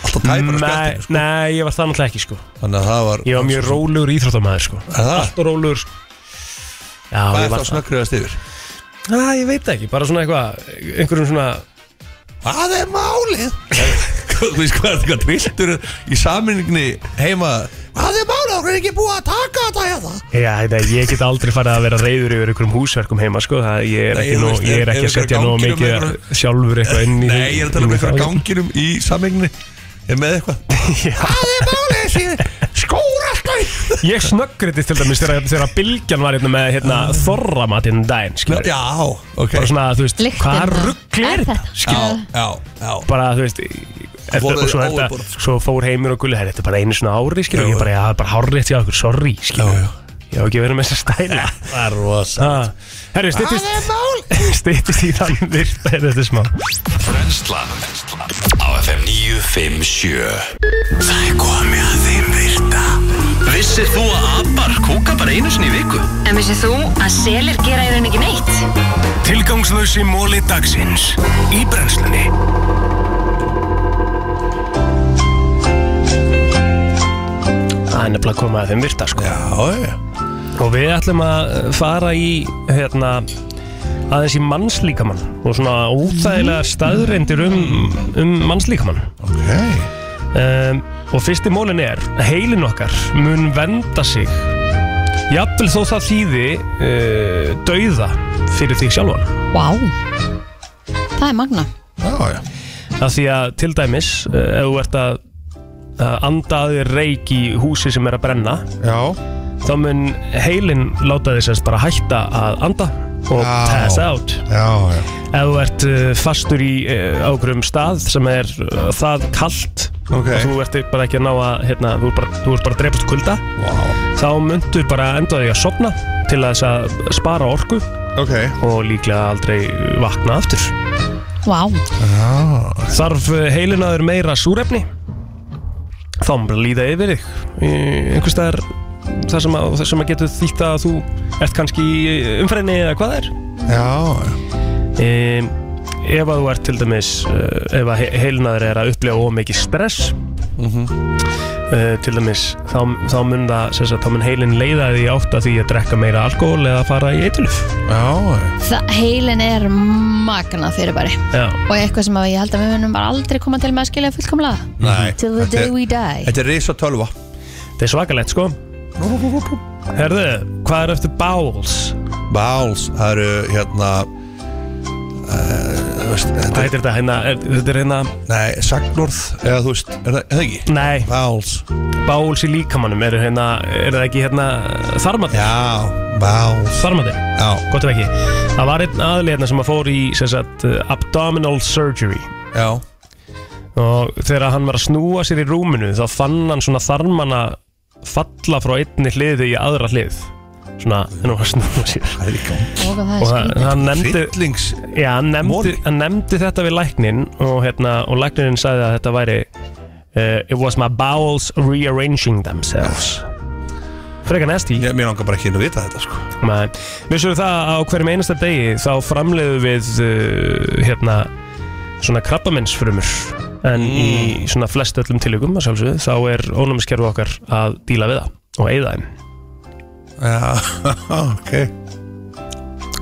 [SPEAKER 9] alltaf tæmur að
[SPEAKER 1] Nei,
[SPEAKER 9] spjaldinu sko.
[SPEAKER 1] nei, ég var það náttúrulega ekki sko.
[SPEAKER 9] Þannig að það var
[SPEAKER 1] Ég var mjög rólegur íþróttamæður sko. Alltaf rólegur sko. Já,
[SPEAKER 9] Hvað
[SPEAKER 1] ég
[SPEAKER 9] er
[SPEAKER 1] var
[SPEAKER 9] þá snöggriðast yfir?
[SPEAKER 1] Næ, ég veit það ekki, bara svona eitthvað Einhverjum svona
[SPEAKER 9] Hvað er málið? Þú veist hvað er þetta trilltur í saminni heima Hvað er málið? Þú er ekki búið að taka þetta hérna
[SPEAKER 1] Já, þetta, ég get aldrei farið að vera reyður yfir einhverjum húsverkum heima sko. það, ég, er
[SPEAKER 9] Nei,
[SPEAKER 1] ekki
[SPEAKER 9] þú
[SPEAKER 1] nú,
[SPEAKER 9] veist,
[SPEAKER 1] ég er
[SPEAKER 9] er-
[SPEAKER 1] ekki að
[SPEAKER 9] eru
[SPEAKER 1] setja
[SPEAKER 9] einhverjar
[SPEAKER 1] nóg
[SPEAKER 9] gangir um
[SPEAKER 1] mikið
[SPEAKER 9] einhverju-
[SPEAKER 1] sjálfur eitthvað inn í
[SPEAKER 9] Nei, ég er að tala um
[SPEAKER 1] í-
[SPEAKER 9] eitthvað ganginum í saminni Er með eitthvað Hvað er málið? Sér- Skór alltaf í-
[SPEAKER 1] Ég snöggriði til dæmis þegar, þegar bylgjan var hérna, með hérna, þorramat hérna um daginn skilur.
[SPEAKER 9] Já, ok
[SPEAKER 1] bara svona, þú veist,
[SPEAKER 2] Lyktin
[SPEAKER 1] hvað
[SPEAKER 2] þá.
[SPEAKER 1] ruggli er
[SPEAKER 2] Er
[SPEAKER 1] þetta?
[SPEAKER 2] þetta?
[SPEAKER 9] Já,
[SPEAKER 1] Skilur,
[SPEAKER 9] já, já
[SPEAKER 1] bara, þú veist Eftir,
[SPEAKER 9] fóru
[SPEAKER 1] og svo,
[SPEAKER 9] þeir
[SPEAKER 1] þetta,
[SPEAKER 9] overboard, sko.
[SPEAKER 1] svo fór heimur og gulli "Herra, Þetta er bara einu svona ári, skilur
[SPEAKER 9] Já,
[SPEAKER 1] Ég bara, já, það er bara hárrétt hjá okkur, sorry, skilur
[SPEAKER 9] Já, já.
[SPEAKER 1] Ég hef ekki verið með þess að stæla
[SPEAKER 9] Það er rosa
[SPEAKER 1] Ah, Herru,
[SPEAKER 9] er málið?
[SPEAKER 1] styttist Styttist í þann virta er þetta smá
[SPEAKER 3] Brenslan Á FM 957 Það er komið að þeim virta Vissir þú að abar kúka bara einu sinni í viku?
[SPEAKER 4] En vissið þú að selir gera í rauninni ekki neitt?
[SPEAKER 3] Tilgangslösi móli dagsins Í brennslunni
[SPEAKER 1] Það er nefnilega komið að þeim virta, sko
[SPEAKER 9] Já, já
[SPEAKER 1] Og við ætlum að eh, fara í hérna, aðeins í mannslíkamann og svona óþægilega staðreindir um, um mannslíkamann
[SPEAKER 9] Ok
[SPEAKER 1] um, og fyrsti mólin er heilin okkar mun venda sig jafnvel þó það þýði uh, dauða fyrir þig sjálfan
[SPEAKER 2] Vá Það er magna
[SPEAKER 9] Já, já
[SPEAKER 1] af því að til dæmis uh, ef þú ert að að andaði reik í húsi sem er að brenna
[SPEAKER 9] Já
[SPEAKER 1] þá mun heilin láta þess að bara hætta að anda og
[SPEAKER 9] Já.
[SPEAKER 1] pass out
[SPEAKER 9] Já, já
[SPEAKER 1] ef þú ert uh, fastur í uh, ákveðum stað sem er uh, það kalt
[SPEAKER 9] Ok.
[SPEAKER 1] og þú ert bara ekki að ná að hérna, þú, ert bara, þú ert bara að drepast úr kulda
[SPEAKER 9] Vá
[SPEAKER 1] þá myndur bara enda á því að sopna til að þess að spara orku
[SPEAKER 9] Ok
[SPEAKER 1] og líklega aldrei vakna aftur
[SPEAKER 2] Vá
[SPEAKER 1] þarf eh, heilinaður meira súrefni þá mun bara líða yfir þig Í einhvers staðar þar sem að, þar sem að getur þýtt að þú ert kannski í umfrenni eða hvað það er
[SPEAKER 9] Já,
[SPEAKER 1] um, ef að þú ert til dæmis uh, ef að he- heilnaður er að upplifa ómikið stress uh, til dæmis þá, þá mun það sem sagt, þá mun heilin leiða því átt að því að drekka meira alkohól eða fara í eitiluf
[SPEAKER 9] já
[SPEAKER 2] Það, heilin er magna fyrirbæri
[SPEAKER 1] já,
[SPEAKER 2] Og eitthvað sem að ég held að við munum bara aldrei koma til með að skilja fullkomlega
[SPEAKER 9] Nei
[SPEAKER 2] Till the
[SPEAKER 9] þetta
[SPEAKER 2] day
[SPEAKER 9] er-
[SPEAKER 2] we die
[SPEAKER 9] Þetta er risa tölva
[SPEAKER 1] þetta er svakalegt sko herðu, hvað er eftir bowels
[SPEAKER 9] Báls, það eru hérna uh, veist,
[SPEAKER 1] hvað
[SPEAKER 9] þetta,
[SPEAKER 1] heitir þetta hérna, er, þetta er hérna
[SPEAKER 9] Nei, sagnorð Eða þú veist, er það, er það ekki?
[SPEAKER 1] nei,
[SPEAKER 9] Báls
[SPEAKER 1] bowels í líkamannum er, hérna, er það ekki hérna þarmandi
[SPEAKER 9] Já, báls
[SPEAKER 1] þarmandi,
[SPEAKER 9] Já,
[SPEAKER 1] gott ef ekki það var einn aðli hérna sem að fór í sem sagt, uh, abdominal surgery
[SPEAKER 9] já
[SPEAKER 1] og þegar hann var að snúa sér í rúminu þá fann hann svona þarmana falla frá einni hliði í aðra hlið svona þegar hann var að snúa sér
[SPEAKER 9] Það er í gang
[SPEAKER 2] Og það er
[SPEAKER 1] og hann,
[SPEAKER 2] skrítið
[SPEAKER 1] hann nefndi
[SPEAKER 9] Fyllings
[SPEAKER 1] Já, hann nefndi,
[SPEAKER 9] Moli.
[SPEAKER 1] hann nefndi þetta við læknin og, hérna, og læknin sagði að þetta væri uh, It was my bowels rearranging themselves Frekar næstí
[SPEAKER 9] Ég, mér langar bara ekki að vita þetta sko
[SPEAKER 1] Nei. Vissur það að á hverjum einasta degi þá framleiðu við uh, hérna svona krabbamennsfrumur en í svona flest öllum tilökum að sjálfsögðu þá er ónæmiskerfi okkar að díla við það og eigða þeim.
[SPEAKER 9] Já, ok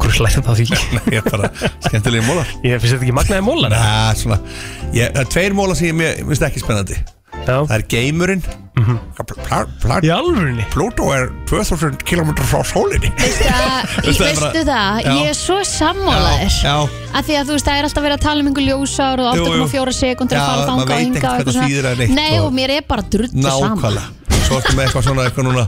[SPEAKER 1] Hvor slærið það því?
[SPEAKER 9] Ég er bara skemmtilegi mólar
[SPEAKER 1] Ég finnst þetta ekki magnaði mólar.
[SPEAKER 9] Já, svona ég, Það er tveir mólar sem ég mér- mér finnst ekki spennandi Það
[SPEAKER 1] Já. Mhm.
[SPEAKER 9] er geimurinn mm -hmm.
[SPEAKER 1] Í alvörinni?
[SPEAKER 9] Pluto er 2000 km frá sólinni
[SPEAKER 2] Veistu það,
[SPEAKER 9] Veistu það
[SPEAKER 2] veistu það,
[SPEAKER 9] Já.
[SPEAKER 2] ég er svo sammálaðir
[SPEAKER 9] Já, já.
[SPEAKER 2] Af því að þú veist, það er alltaf verið að tala um einhver ljósár og
[SPEAKER 9] Jú, jú.
[SPEAKER 2] 8,4 sekundur
[SPEAKER 9] Já,
[SPEAKER 2] að fara
[SPEAKER 9] maður
[SPEAKER 2] þanga og
[SPEAKER 9] veit ekkert
[SPEAKER 2] hinga
[SPEAKER 9] hvað það þýðir eða neitt
[SPEAKER 2] Nei,
[SPEAKER 9] og-
[SPEAKER 2] og mér er bara drullu saman
[SPEAKER 9] Nákvæmlega Svo ertu með eitthvað svona eitthvað núna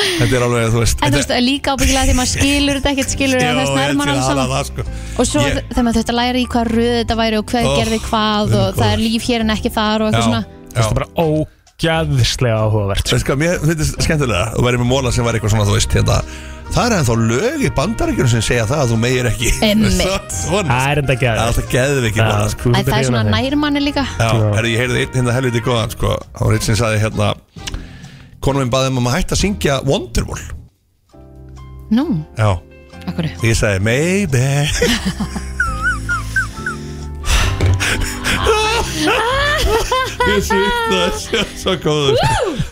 [SPEAKER 9] Þetta er alveg, þú veist
[SPEAKER 2] En þú veist, líka ábyggilega því maður skilur þetta ekkert skilur þetta, þess nærmann alveg saman
[SPEAKER 9] það, sko.
[SPEAKER 2] Og svo
[SPEAKER 9] Ég-
[SPEAKER 2] þegar maður þurfti að læra í hvað röð þetta væri og hver
[SPEAKER 9] Oh,
[SPEAKER 2] gerði hvað og
[SPEAKER 9] guð
[SPEAKER 2] það er
[SPEAKER 9] góður.
[SPEAKER 2] líf hér en ekki þar og
[SPEAKER 9] Já,
[SPEAKER 2] eitthvað svona
[SPEAKER 9] já.
[SPEAKER 1] Þetta er bara ógæðislega áhugavert.
[SPEAKER 9] Veist hvað, mér finnst þetta skemmtilega Þú væri með móla sem var eitthvað svona, þú veist hérna, Það er ennþá lög í bandarækjunum sem segja það að þú meir ekki
[SPEAKER 2] Einmitt.
[SPEAKER 9] Svo- svona.
[SPEAKER 1] Það er enda
[SPEAKER 9] Það er
[SPEAKER 1] gæðið.
[SPEAKER 9] alltaf geðviki móla sko.
[SPEAKER 2] Æ, Það er svona nærmanni líka
[SPEAKER 9] Já,
[SPEAKER 6] Sko,
[SPEAKER 9] herri, ég heyrði einn hérna helviti góðan sko, hann var einn sem sagði hérna konum minn baði um að maður hætti að syngja Wonderwall
[SPEAKER 2] Nú,
[SPEAKER 9] Já,
[SPEAKER 2] akkur
[SPEAKER 9] því ég sagði maybe Ég svitna að sjá svo góður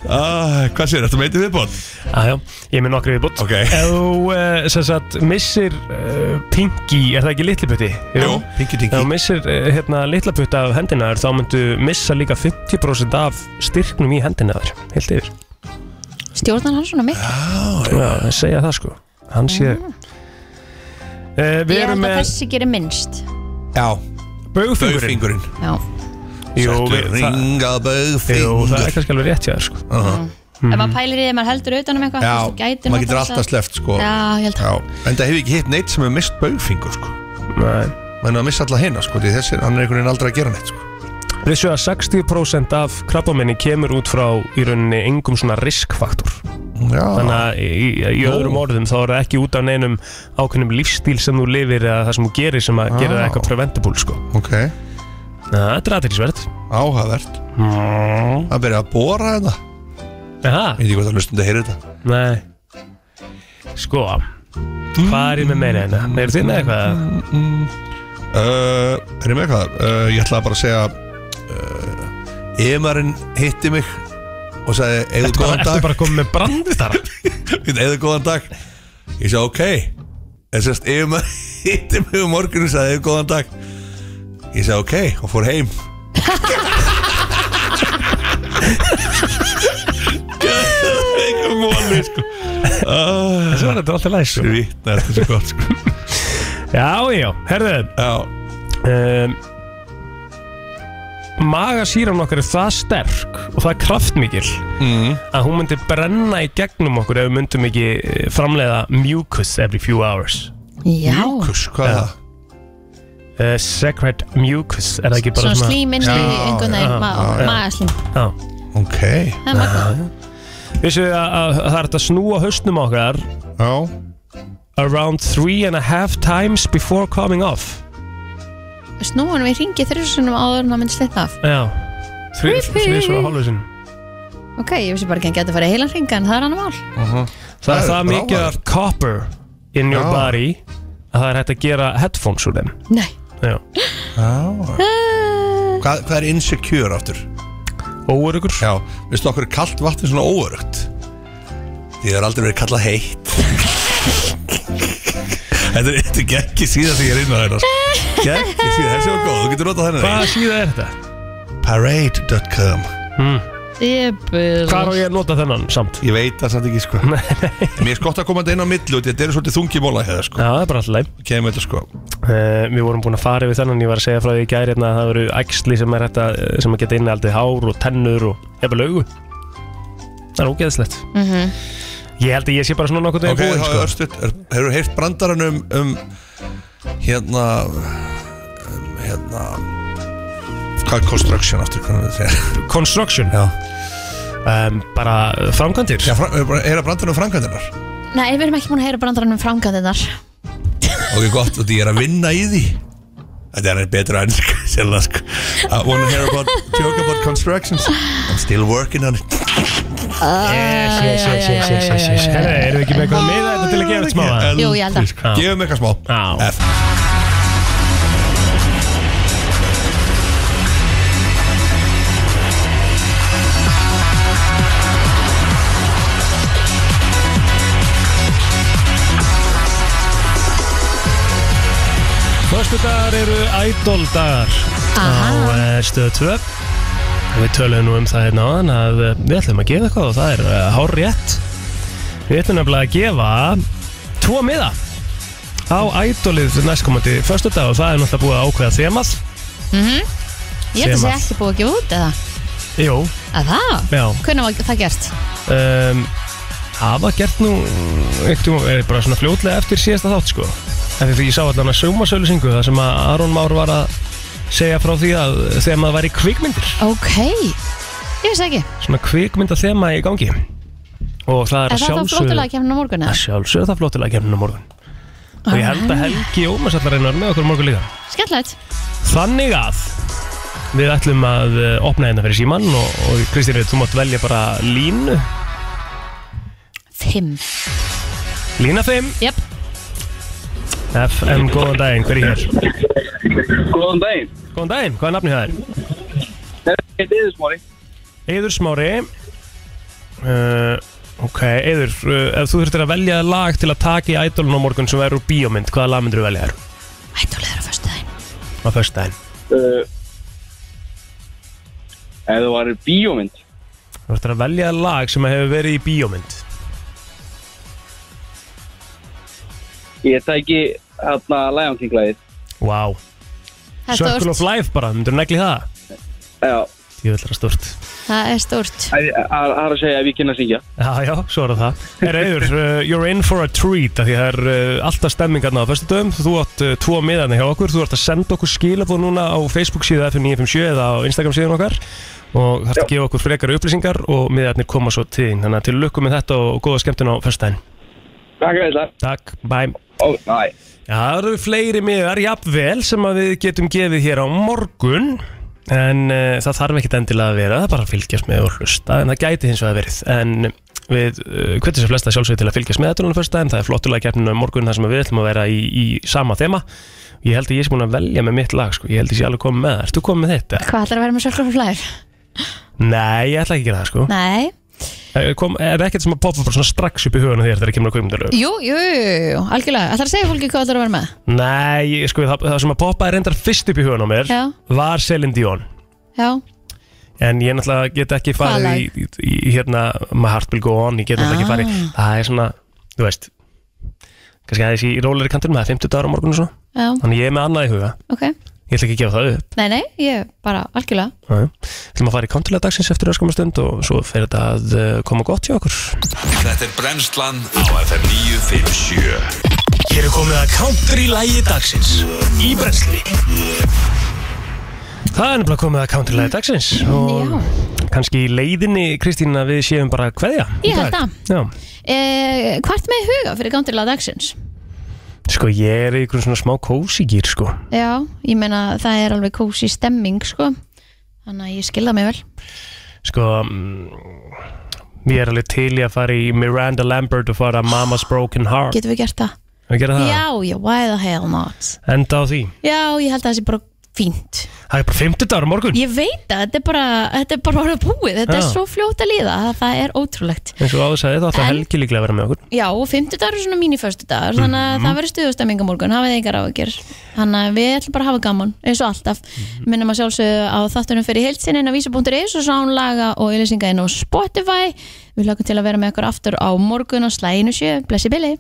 [SPEAKER 9] ah, Hvað sér, ertu meitið viðbót?
[SPEAKER 6] Já, ég er með nokkri viðbót
[SPEAKER 9] Ok
[SPEAKER 6] Þú, eh, sem sagt, missir
[SPEAKER 1] eh,
[SPEAKER 6] uh, Pinky, er það ekki litliputti? Jú,
[SPEAKER 9] Pinky Dinky
[SPEAKER 6] Ef þú missir eh, hérna, litlaputti af hendina þér þá myndu missa líka 50% af styrknum í hendina þér, heilt yfir
[SPEAKER 2] Stjórnan hann svona mikil
[SPEAKER 6] Já, þeir segja það sko Hann sé uh,
[SPEAKER 2] Ég
[SPEAKER 6] Við
[SPEAKER 2] held
[SPEAKER 6] erum
[SPEAKER 2] að
[SPEAKER 6] með
[SPEAKER 2] þessi gerir minnst
[SPEAKER 9] Já,
[SPEAKER 6] Baugfingurinn.
[SPEAKER 2] Já.
[SPEAKER 6] Jú,
[SPEAKER 9] Settu
[SPEAKER 6] við- það-
[SPEAKER 9] ring á baugfingur.
[SPEAKER 6] Jú, það er kannski alveg rétt hjá þér sko
[SPEAKER 2] Ef maður pælir í því að maður heldur utan um eitthvað þú
[SPEAKER 9] Já,
[SPEAKER 2] veist, þú gætir
[SPEAKER 9] maður
[SPEAKER 2] nú
[SPEAKER 9] getur
[SPEAKER 2] bara
[SPEAKER 9] alltaf
[SPEAKER 2] sagt-
[SPEAKER 9] sleppt sko
[SPEAKER 2] Já, ég held
[SPEAKER 9] Já, en það hefur ekki hitt neitt sem hefur mist baugfingur sko
[SPEAKER 6] Nei
[SPEAKER 9] Menna að missa alla hérna sko, því þessi, hann er einhvern veginn aldrei að gera neitt sko
[SPEAKER 6] Vissu að 60% af krabbamenni kemur út frá í rauninni engum svona riskfaktor
[SPEAKER 9] Já.
[SPEAKER 6] Þannig að í, í öðrum orðum þá er það ekki út af neinum ákveðnum lífstíl sem þú lifir eða það sem þú gerir sem að gera það
[SPEAKER 9] Já.
[SPEAKER 6] eitthvað preventable sko
[SPEAKER 9] Ok
[SPEAKER 6] Na, Þetta er aðeinsverð
[SPEAKER 9] Áhagvert Það byrja að bóra þetta
[SPEAKER 6] Aha.
[SPEAKER 9] Ég veit ekki hvað það lustum að heyra þetta
[SPEAKER 6] Nei Sko Hvað er ég með meira hérna? Eru þið með eitthvað?
[SPEAKER 9] uh, Er ég með eitthvað? Uh, ég ætlaði bara að segja uh, Emarinn hitti mig og sagði, eigðu
[SPEAKER 6] Ertu bara-
[SPEAKER 9] góðan dag
[SPEAKER 6] ertu bara komið með brandistara?
[SPEAKER 9] Eigðu góðan dag Ég sagði, ok En sérst, emarinn hitti mig um morgun og sagði, eigðu góðan dag Ég sagði, ok, og fór heim Eitthvað móli, sko Þessi
[SPEAKER 6] var þetta alltaf læs sko.
[SPEAKER 9] Svítna, þetta er svo gott, sko
[SPEAKER 6] Já, já, herðu
[SPEAKER 9] Já
[SPEAKER 6] um, Magasýran okkar er það sterk og það er kraftmikil
[SPEAKER 9] mm.
[SPEAKER 6] að hún myndi brenna í gegnum okkur ef við myndum ekki eh, framleiða mucus every few hours
[SPEAKER 2] Já.
[SPEAKER 9] Mucus, hvað er það?
[SPEAKER 6] Uh, secret mucus, er það ekki bara
[SPEAKER 2] Svona slím inn í einhvern veginn ma- Magaslím
[SPEAKER 6] Já.
[SPEAKER 9] Ok
[SPEAKER 2] Það er magnað.
[SPEAKER 6] Vissu þið að, að það er hægt að snúa hausnum okkar
[SPEAKER 9] Já
[SPEAKER 6] Around three and a half times before coming off
[SPEAKER 2] Snúanum í ringi þrjusunum áður en það myndi slitna af
[SPEAKER 6] Já Þrjú,
[SPEAKER 2] Creepy.
[SPEAKER 6] þrjú, svo hálfusinn
[SPEAKER 2] Ok, ég vissi bara ekki að þetta fara í heilan ringa en það er annar mál
[SPEAKER 6] Það
[SPEAKER 2] Það
[SPEAKER 6] er
[SPEAKER 2] er
[SPEAKER 6] það mikið af copper in your
[SPEAKER 2] Já.
[SPEAKER 6] body að það er hægt að gera headphones úr þeim
[SPEAKER 2] Nei
[SPEAKER 6] Já.
[SPEAKER 9] Hvað, hvað er insecure aftur?
[SPEAKER 6] Óörugur
[SPEAKER 9] Já, veistu okkur er kalt vatn svona óörugt Því það er aldrei verið kallað heitt Þetta er eitthvað geggi síða því ég er inn á þeirra Geggi síða, þessi var góð, þú getur notað þennan
[SPEAKER 6] Hvaða síða er þetta?
[SPEAKER 9] Parade.com
[SPEAKER 6] mm.
[SPEAKER 2] Hvar
[SPEAKER 6] á ég að nota þennan samt?
[SPEAKER 9] Ég veit það samt ekki sko Mér er skott að koma þetta inn á millu Þetta eru svolítið þungi móla hérna sko
[SPEAKER 6] Já, það er bara alltaf leið
[SPEAKER 9] Kemur þetta sko
[SPEAKER 6] Uh, við vorum búin að fara yfir þennan, ég var að segja frá því í gæri hérna að það eru æxli sem er þetta sem að geta innaldið hár og tennur og eða laugu Það er ógeðslegt
[SPEAKER 2] Mhm.
[SPEAKER 6] Ég held að ég sé bara svona nokkuð
[SPEAKER 9] Ok, þá er sko. örstuð Hefur þú heyrt brandarann um, um Hérna um, Hérna Hvað er construction aftur? Hvað er það?
[SPEAKER 6] Construction?
[SPEAKER 9] Já
[SPEAKER 6] um, Bara framkvæmdir?
[SPEAKER 9] Já, fra, er það brandarann um framkvæmdirnar?
[SPEAKER 2] Nei, við erum ekki múin að heyra brandarann um framkvæmdinnar
[SPEAKER 9] Ok, gott, því ég er að vinna í því Þetta er betra enn Sérlega sko I wanna hear about Joke about constructions I'm still working on it
[SPEAKER 6] Yes, yes, yes, yes, yes, yes, yes. Herra, erum við ekki með eitthvað að miða þetta til að gefa þetta smá?
[SPEAKER 2] Jú, ég held að.
[SPEAKER 9] Gefum eitthvað smá
[SPEAKER 6] Já.
[SPEAKER 9] F
[SPEAKER 6] Föstu dagar eru idol dagar
[SPEAKER 2] Aha.
[SPEAKER 6] á eh, stöðu 2 Við töluðum nú um það hérna áðan að eh, við ætlum að gefa eitthvað og það er uh, hár rétt Við ætlum nefnilega að gefa tvo miða á idolið næstkomandi föstu dag og það er náttúrulega búið að ákveða þemað
[SPEAKER 2] Mhm. Ég held að
[SPEAKER 6] Sem
[SPEAKER 2] segja
[SPEAKER 6] að-
[SPEAKER 2] ekki búið að gefa út eða
[SPEAKER 6] Jú,
[SPEAKER 2] Að það?
[SPEAKER 6] já
[SPEAKER 2] Hvernig var það gert?
[SPEAKER 6] um, hafa gert nú eitthvað, er bara svona fljótlega eftir síðasta þátt sko eftir því ég sá allan að sjómasölusingu það sem að Aron Már var að segja frá því að þegar maður væri kvikmyndir
[SPEAKER 2] Ok Ég veist ekki
[SPEAKER 6] svona kvikmynda þema í gangi og það er
[SPEAKER 2] Er það
[SPEAKER 6] að
[SPEAKER 2] þá
[SPEAKER 6] sjálfsögðu
[SPEAKER 2] flottulega kemna á morgun
[SPEAKER 6] að
[SPEAKER 2] eða?
[SPEAKER 6] sjálfsögðu er það flottulega kemurinn á morgun og ég held að Helgi Ómas allar reynar með okkur á morgun líka
[SPEAKER 2] Skellilegt
[SPEAKER 6] þannig að við ætlum að eh, opna hérna fyrir síman og, og Kristýn, þú mátt velja bara línu
[SPEAKER 2] Fimm
[SPEAKER 1] Lína 5
[SPEAKER 2] Jep
[SPEAKER 1] FM, góðan daginn, hver er hér?
[SPEAKER 6] Góðan daginn
[SPEAKER 1] Góðan daginn, hvað er nafnið það er?
[SPEAKER 6] Þetta er yðursmári
[SPEAKER 1] Eður Smári uh, Ok, Eður, uh, ef þú þurftir að velja lag til að taka í ædolun á morgun sem er úr bíómynd, hvaða lag myndir þú velja þér? Ædolun er á föstudaginn
[SPEAKER 6] uh, Ef það var bíómynd
[SPEAKER 1] Á föstudaginn Þú þurftir að velja lag sem hefur verið í bíómynd
[SPEAKER 6] Ég tæki hérna Lion King lagið
[SPEAKER 1] Vá
[SPEAKER 2] Það er
[SPEAKER 1] Circle
[SPEAKER 2] stórt.
[SPEAKER 1] of Life bara, myndir þú negli það?
[SPEAKER 6] Já
[SPEAKER 1] Ég vil það stort
[SPEAKER 2] Það er stórt
[SPEAKER 6] Það er að segja ef ég kynna að syngja
[SPEAKER 1] Já, já, svo er það Er Eður, uh, you're in for a treat af Því það er uh, alltaf stemmingarna á föstudöfum Þú átt uh, tvo miðan hjá okkur Þú ert að senda okkur skilabóð núna á Facebook síðu F957 eða á Instagram síðan okkar Og þarf að gefa okkur frekar upplýsingar Og miðarnir koma svo til þín Þannig að til lukku með þetta og góða skemmtun á föstudaginn
[SPEAKER 6] Takk fyrir þetta
[SPEAKER 1] Takk, bæm
[SPEAKER 6] Ó, næ
[SPEAKER 1] Já, það eru fleiri miðar, jafnvel sem að við getum gefið hér á morgun en uh, það þarf ekkit endilega að vera það er bara að fylgjast með og hlusta en það gæti hins vegar verið en við uh, hvernig sem flesta sjálfsögur til að fylgjast með þetta núna fyrsta en það er flottulega keppninu á morgun þar sem við ætlum að vera í, í sama þema ég held að ég sé múin að velja með mitt lag sko. ég held að ég sé alveg komið með það, ertu komið með þetta?
[SPEAKER 2] Hvað ætlar að vera með sjálfur flæður?
[SPEAKER 1] Nei, ég ætla ekki að gera það sko
[SPEAKER 2] Nei
[SPEAKER 1] Eh, kom, Er ekkert sem að poppa bara svona strax upp í hugunum þér þegar það kemur að kvimdalögu?
[SPEAKER 2] Jú, jú, jú, jú, algjörlega Ætlar að segja fólki hvað ætlar að vera með?
[SPEAKER 1] Nei, ég- sko, það, það sem að poppaði reyndar fyrst upp í hugunum mér
[SPEAKER 2] Já.
[SPEAKER 1] var Celine Dion
[SPEAKER 2] Já,
[SPEAKER 1] En ég náttúrulega get ekki
[SPEAKER 2] Hvaða
[SPEAKER 1] farið í, í, í, hérna My Heart Will Go On, ég get náttúrulega ekki farið
[SPEAKER 2] Ah.
[SPEAKER 6] Ah.
[SPEAKER 1] Það er svona, þú veist kannski aðeins í róleri kantinum, það er 50 dagar á morgun og svo
[SPEAKER 2] já,
[SPEAKER 1] Þannig ég er með annað í huga
[SPEAKER 2] ok
[SPEAKER 1] Ég ætla ekki að gefa það upp
[SPEAKER 2] Nei, nei, ég bara algjörlega
[SPEAKER 1] Það ætlum að fara í kontulega dagsins eftir öskum stund og svo fer þetta að eh, koma gott hjá okkur
[SPEAKER 3] Þetta er brennslan á FM 957
[SPEAKER 1] Hér er komið að country-lægi dagsins í brensli Það er nefnilega komið að country-lægi dagsins og kannski í leiðinni, Kristín, að við séum bara hverja
[SPEAKER 2] Ég held það.
[SPEAKER 1] Já
[SPEAKER 2] e, Hvað ertu með í huga fyrir gandilega dagsins?
[SPEAKER 1] Sko ég er í einhvern svona smá kósi gýr sko
[SPEAKER 2] Já, ég meina það er alveg kósi stemming sko Þannig að ég skilða mig vel
[SPEAKER 1] Sko mm, Ég er alveg til í að fara í Miranda Lambert og fara Mama's Broken Heart
[SPEAKER 2] Getum við gert það?
[SPEAKER 1] Við
[SPEAKER 6] Ah.
[SPEAKER 1] gera það?
[SPEAKER 2] Já, já, why the hell not?
[SPEAKER 1] Enda á því
[SPEAKER 2] Já, ég held að það sé bara fínt
[SPEAKER 1] Það er bara 50 dagar morgun
[SPEAKER 2] Ég veit það, þetta er bara, þetta er bara orðið búið Þetta er
[SPEAKER 1] Já.
[SPEAKER 2] svo fljótt að líða, það, það er ótrúlegt
[SPEAKER 1] eins og áður sagði þá ætla
[SPEAKER 2] En-
[SPEAKER 1] Helgi líklega að vera með okkur
[SPEAKER 2] Já, og fimmtudagur er svona míniföstudagur Þannig að
[SPEAKER 1] Mhm.
[SPEAKER 2] það verður stuðustemming á morgun, hafið þið engar áhyggjur Þannig að við ætlum bara að hafa gaman, eins og alltaf
[SPEAKER 1] Mhm.
[SPEAKER 2] Minnum að sjálfsögðu á þáttunum fyrir heilsin inn á vísa.is og sánlaga og ylisinga inn á Spotify Við lögum til að vera með okkur aftur á morgun og slæginu sjö Blessi Billy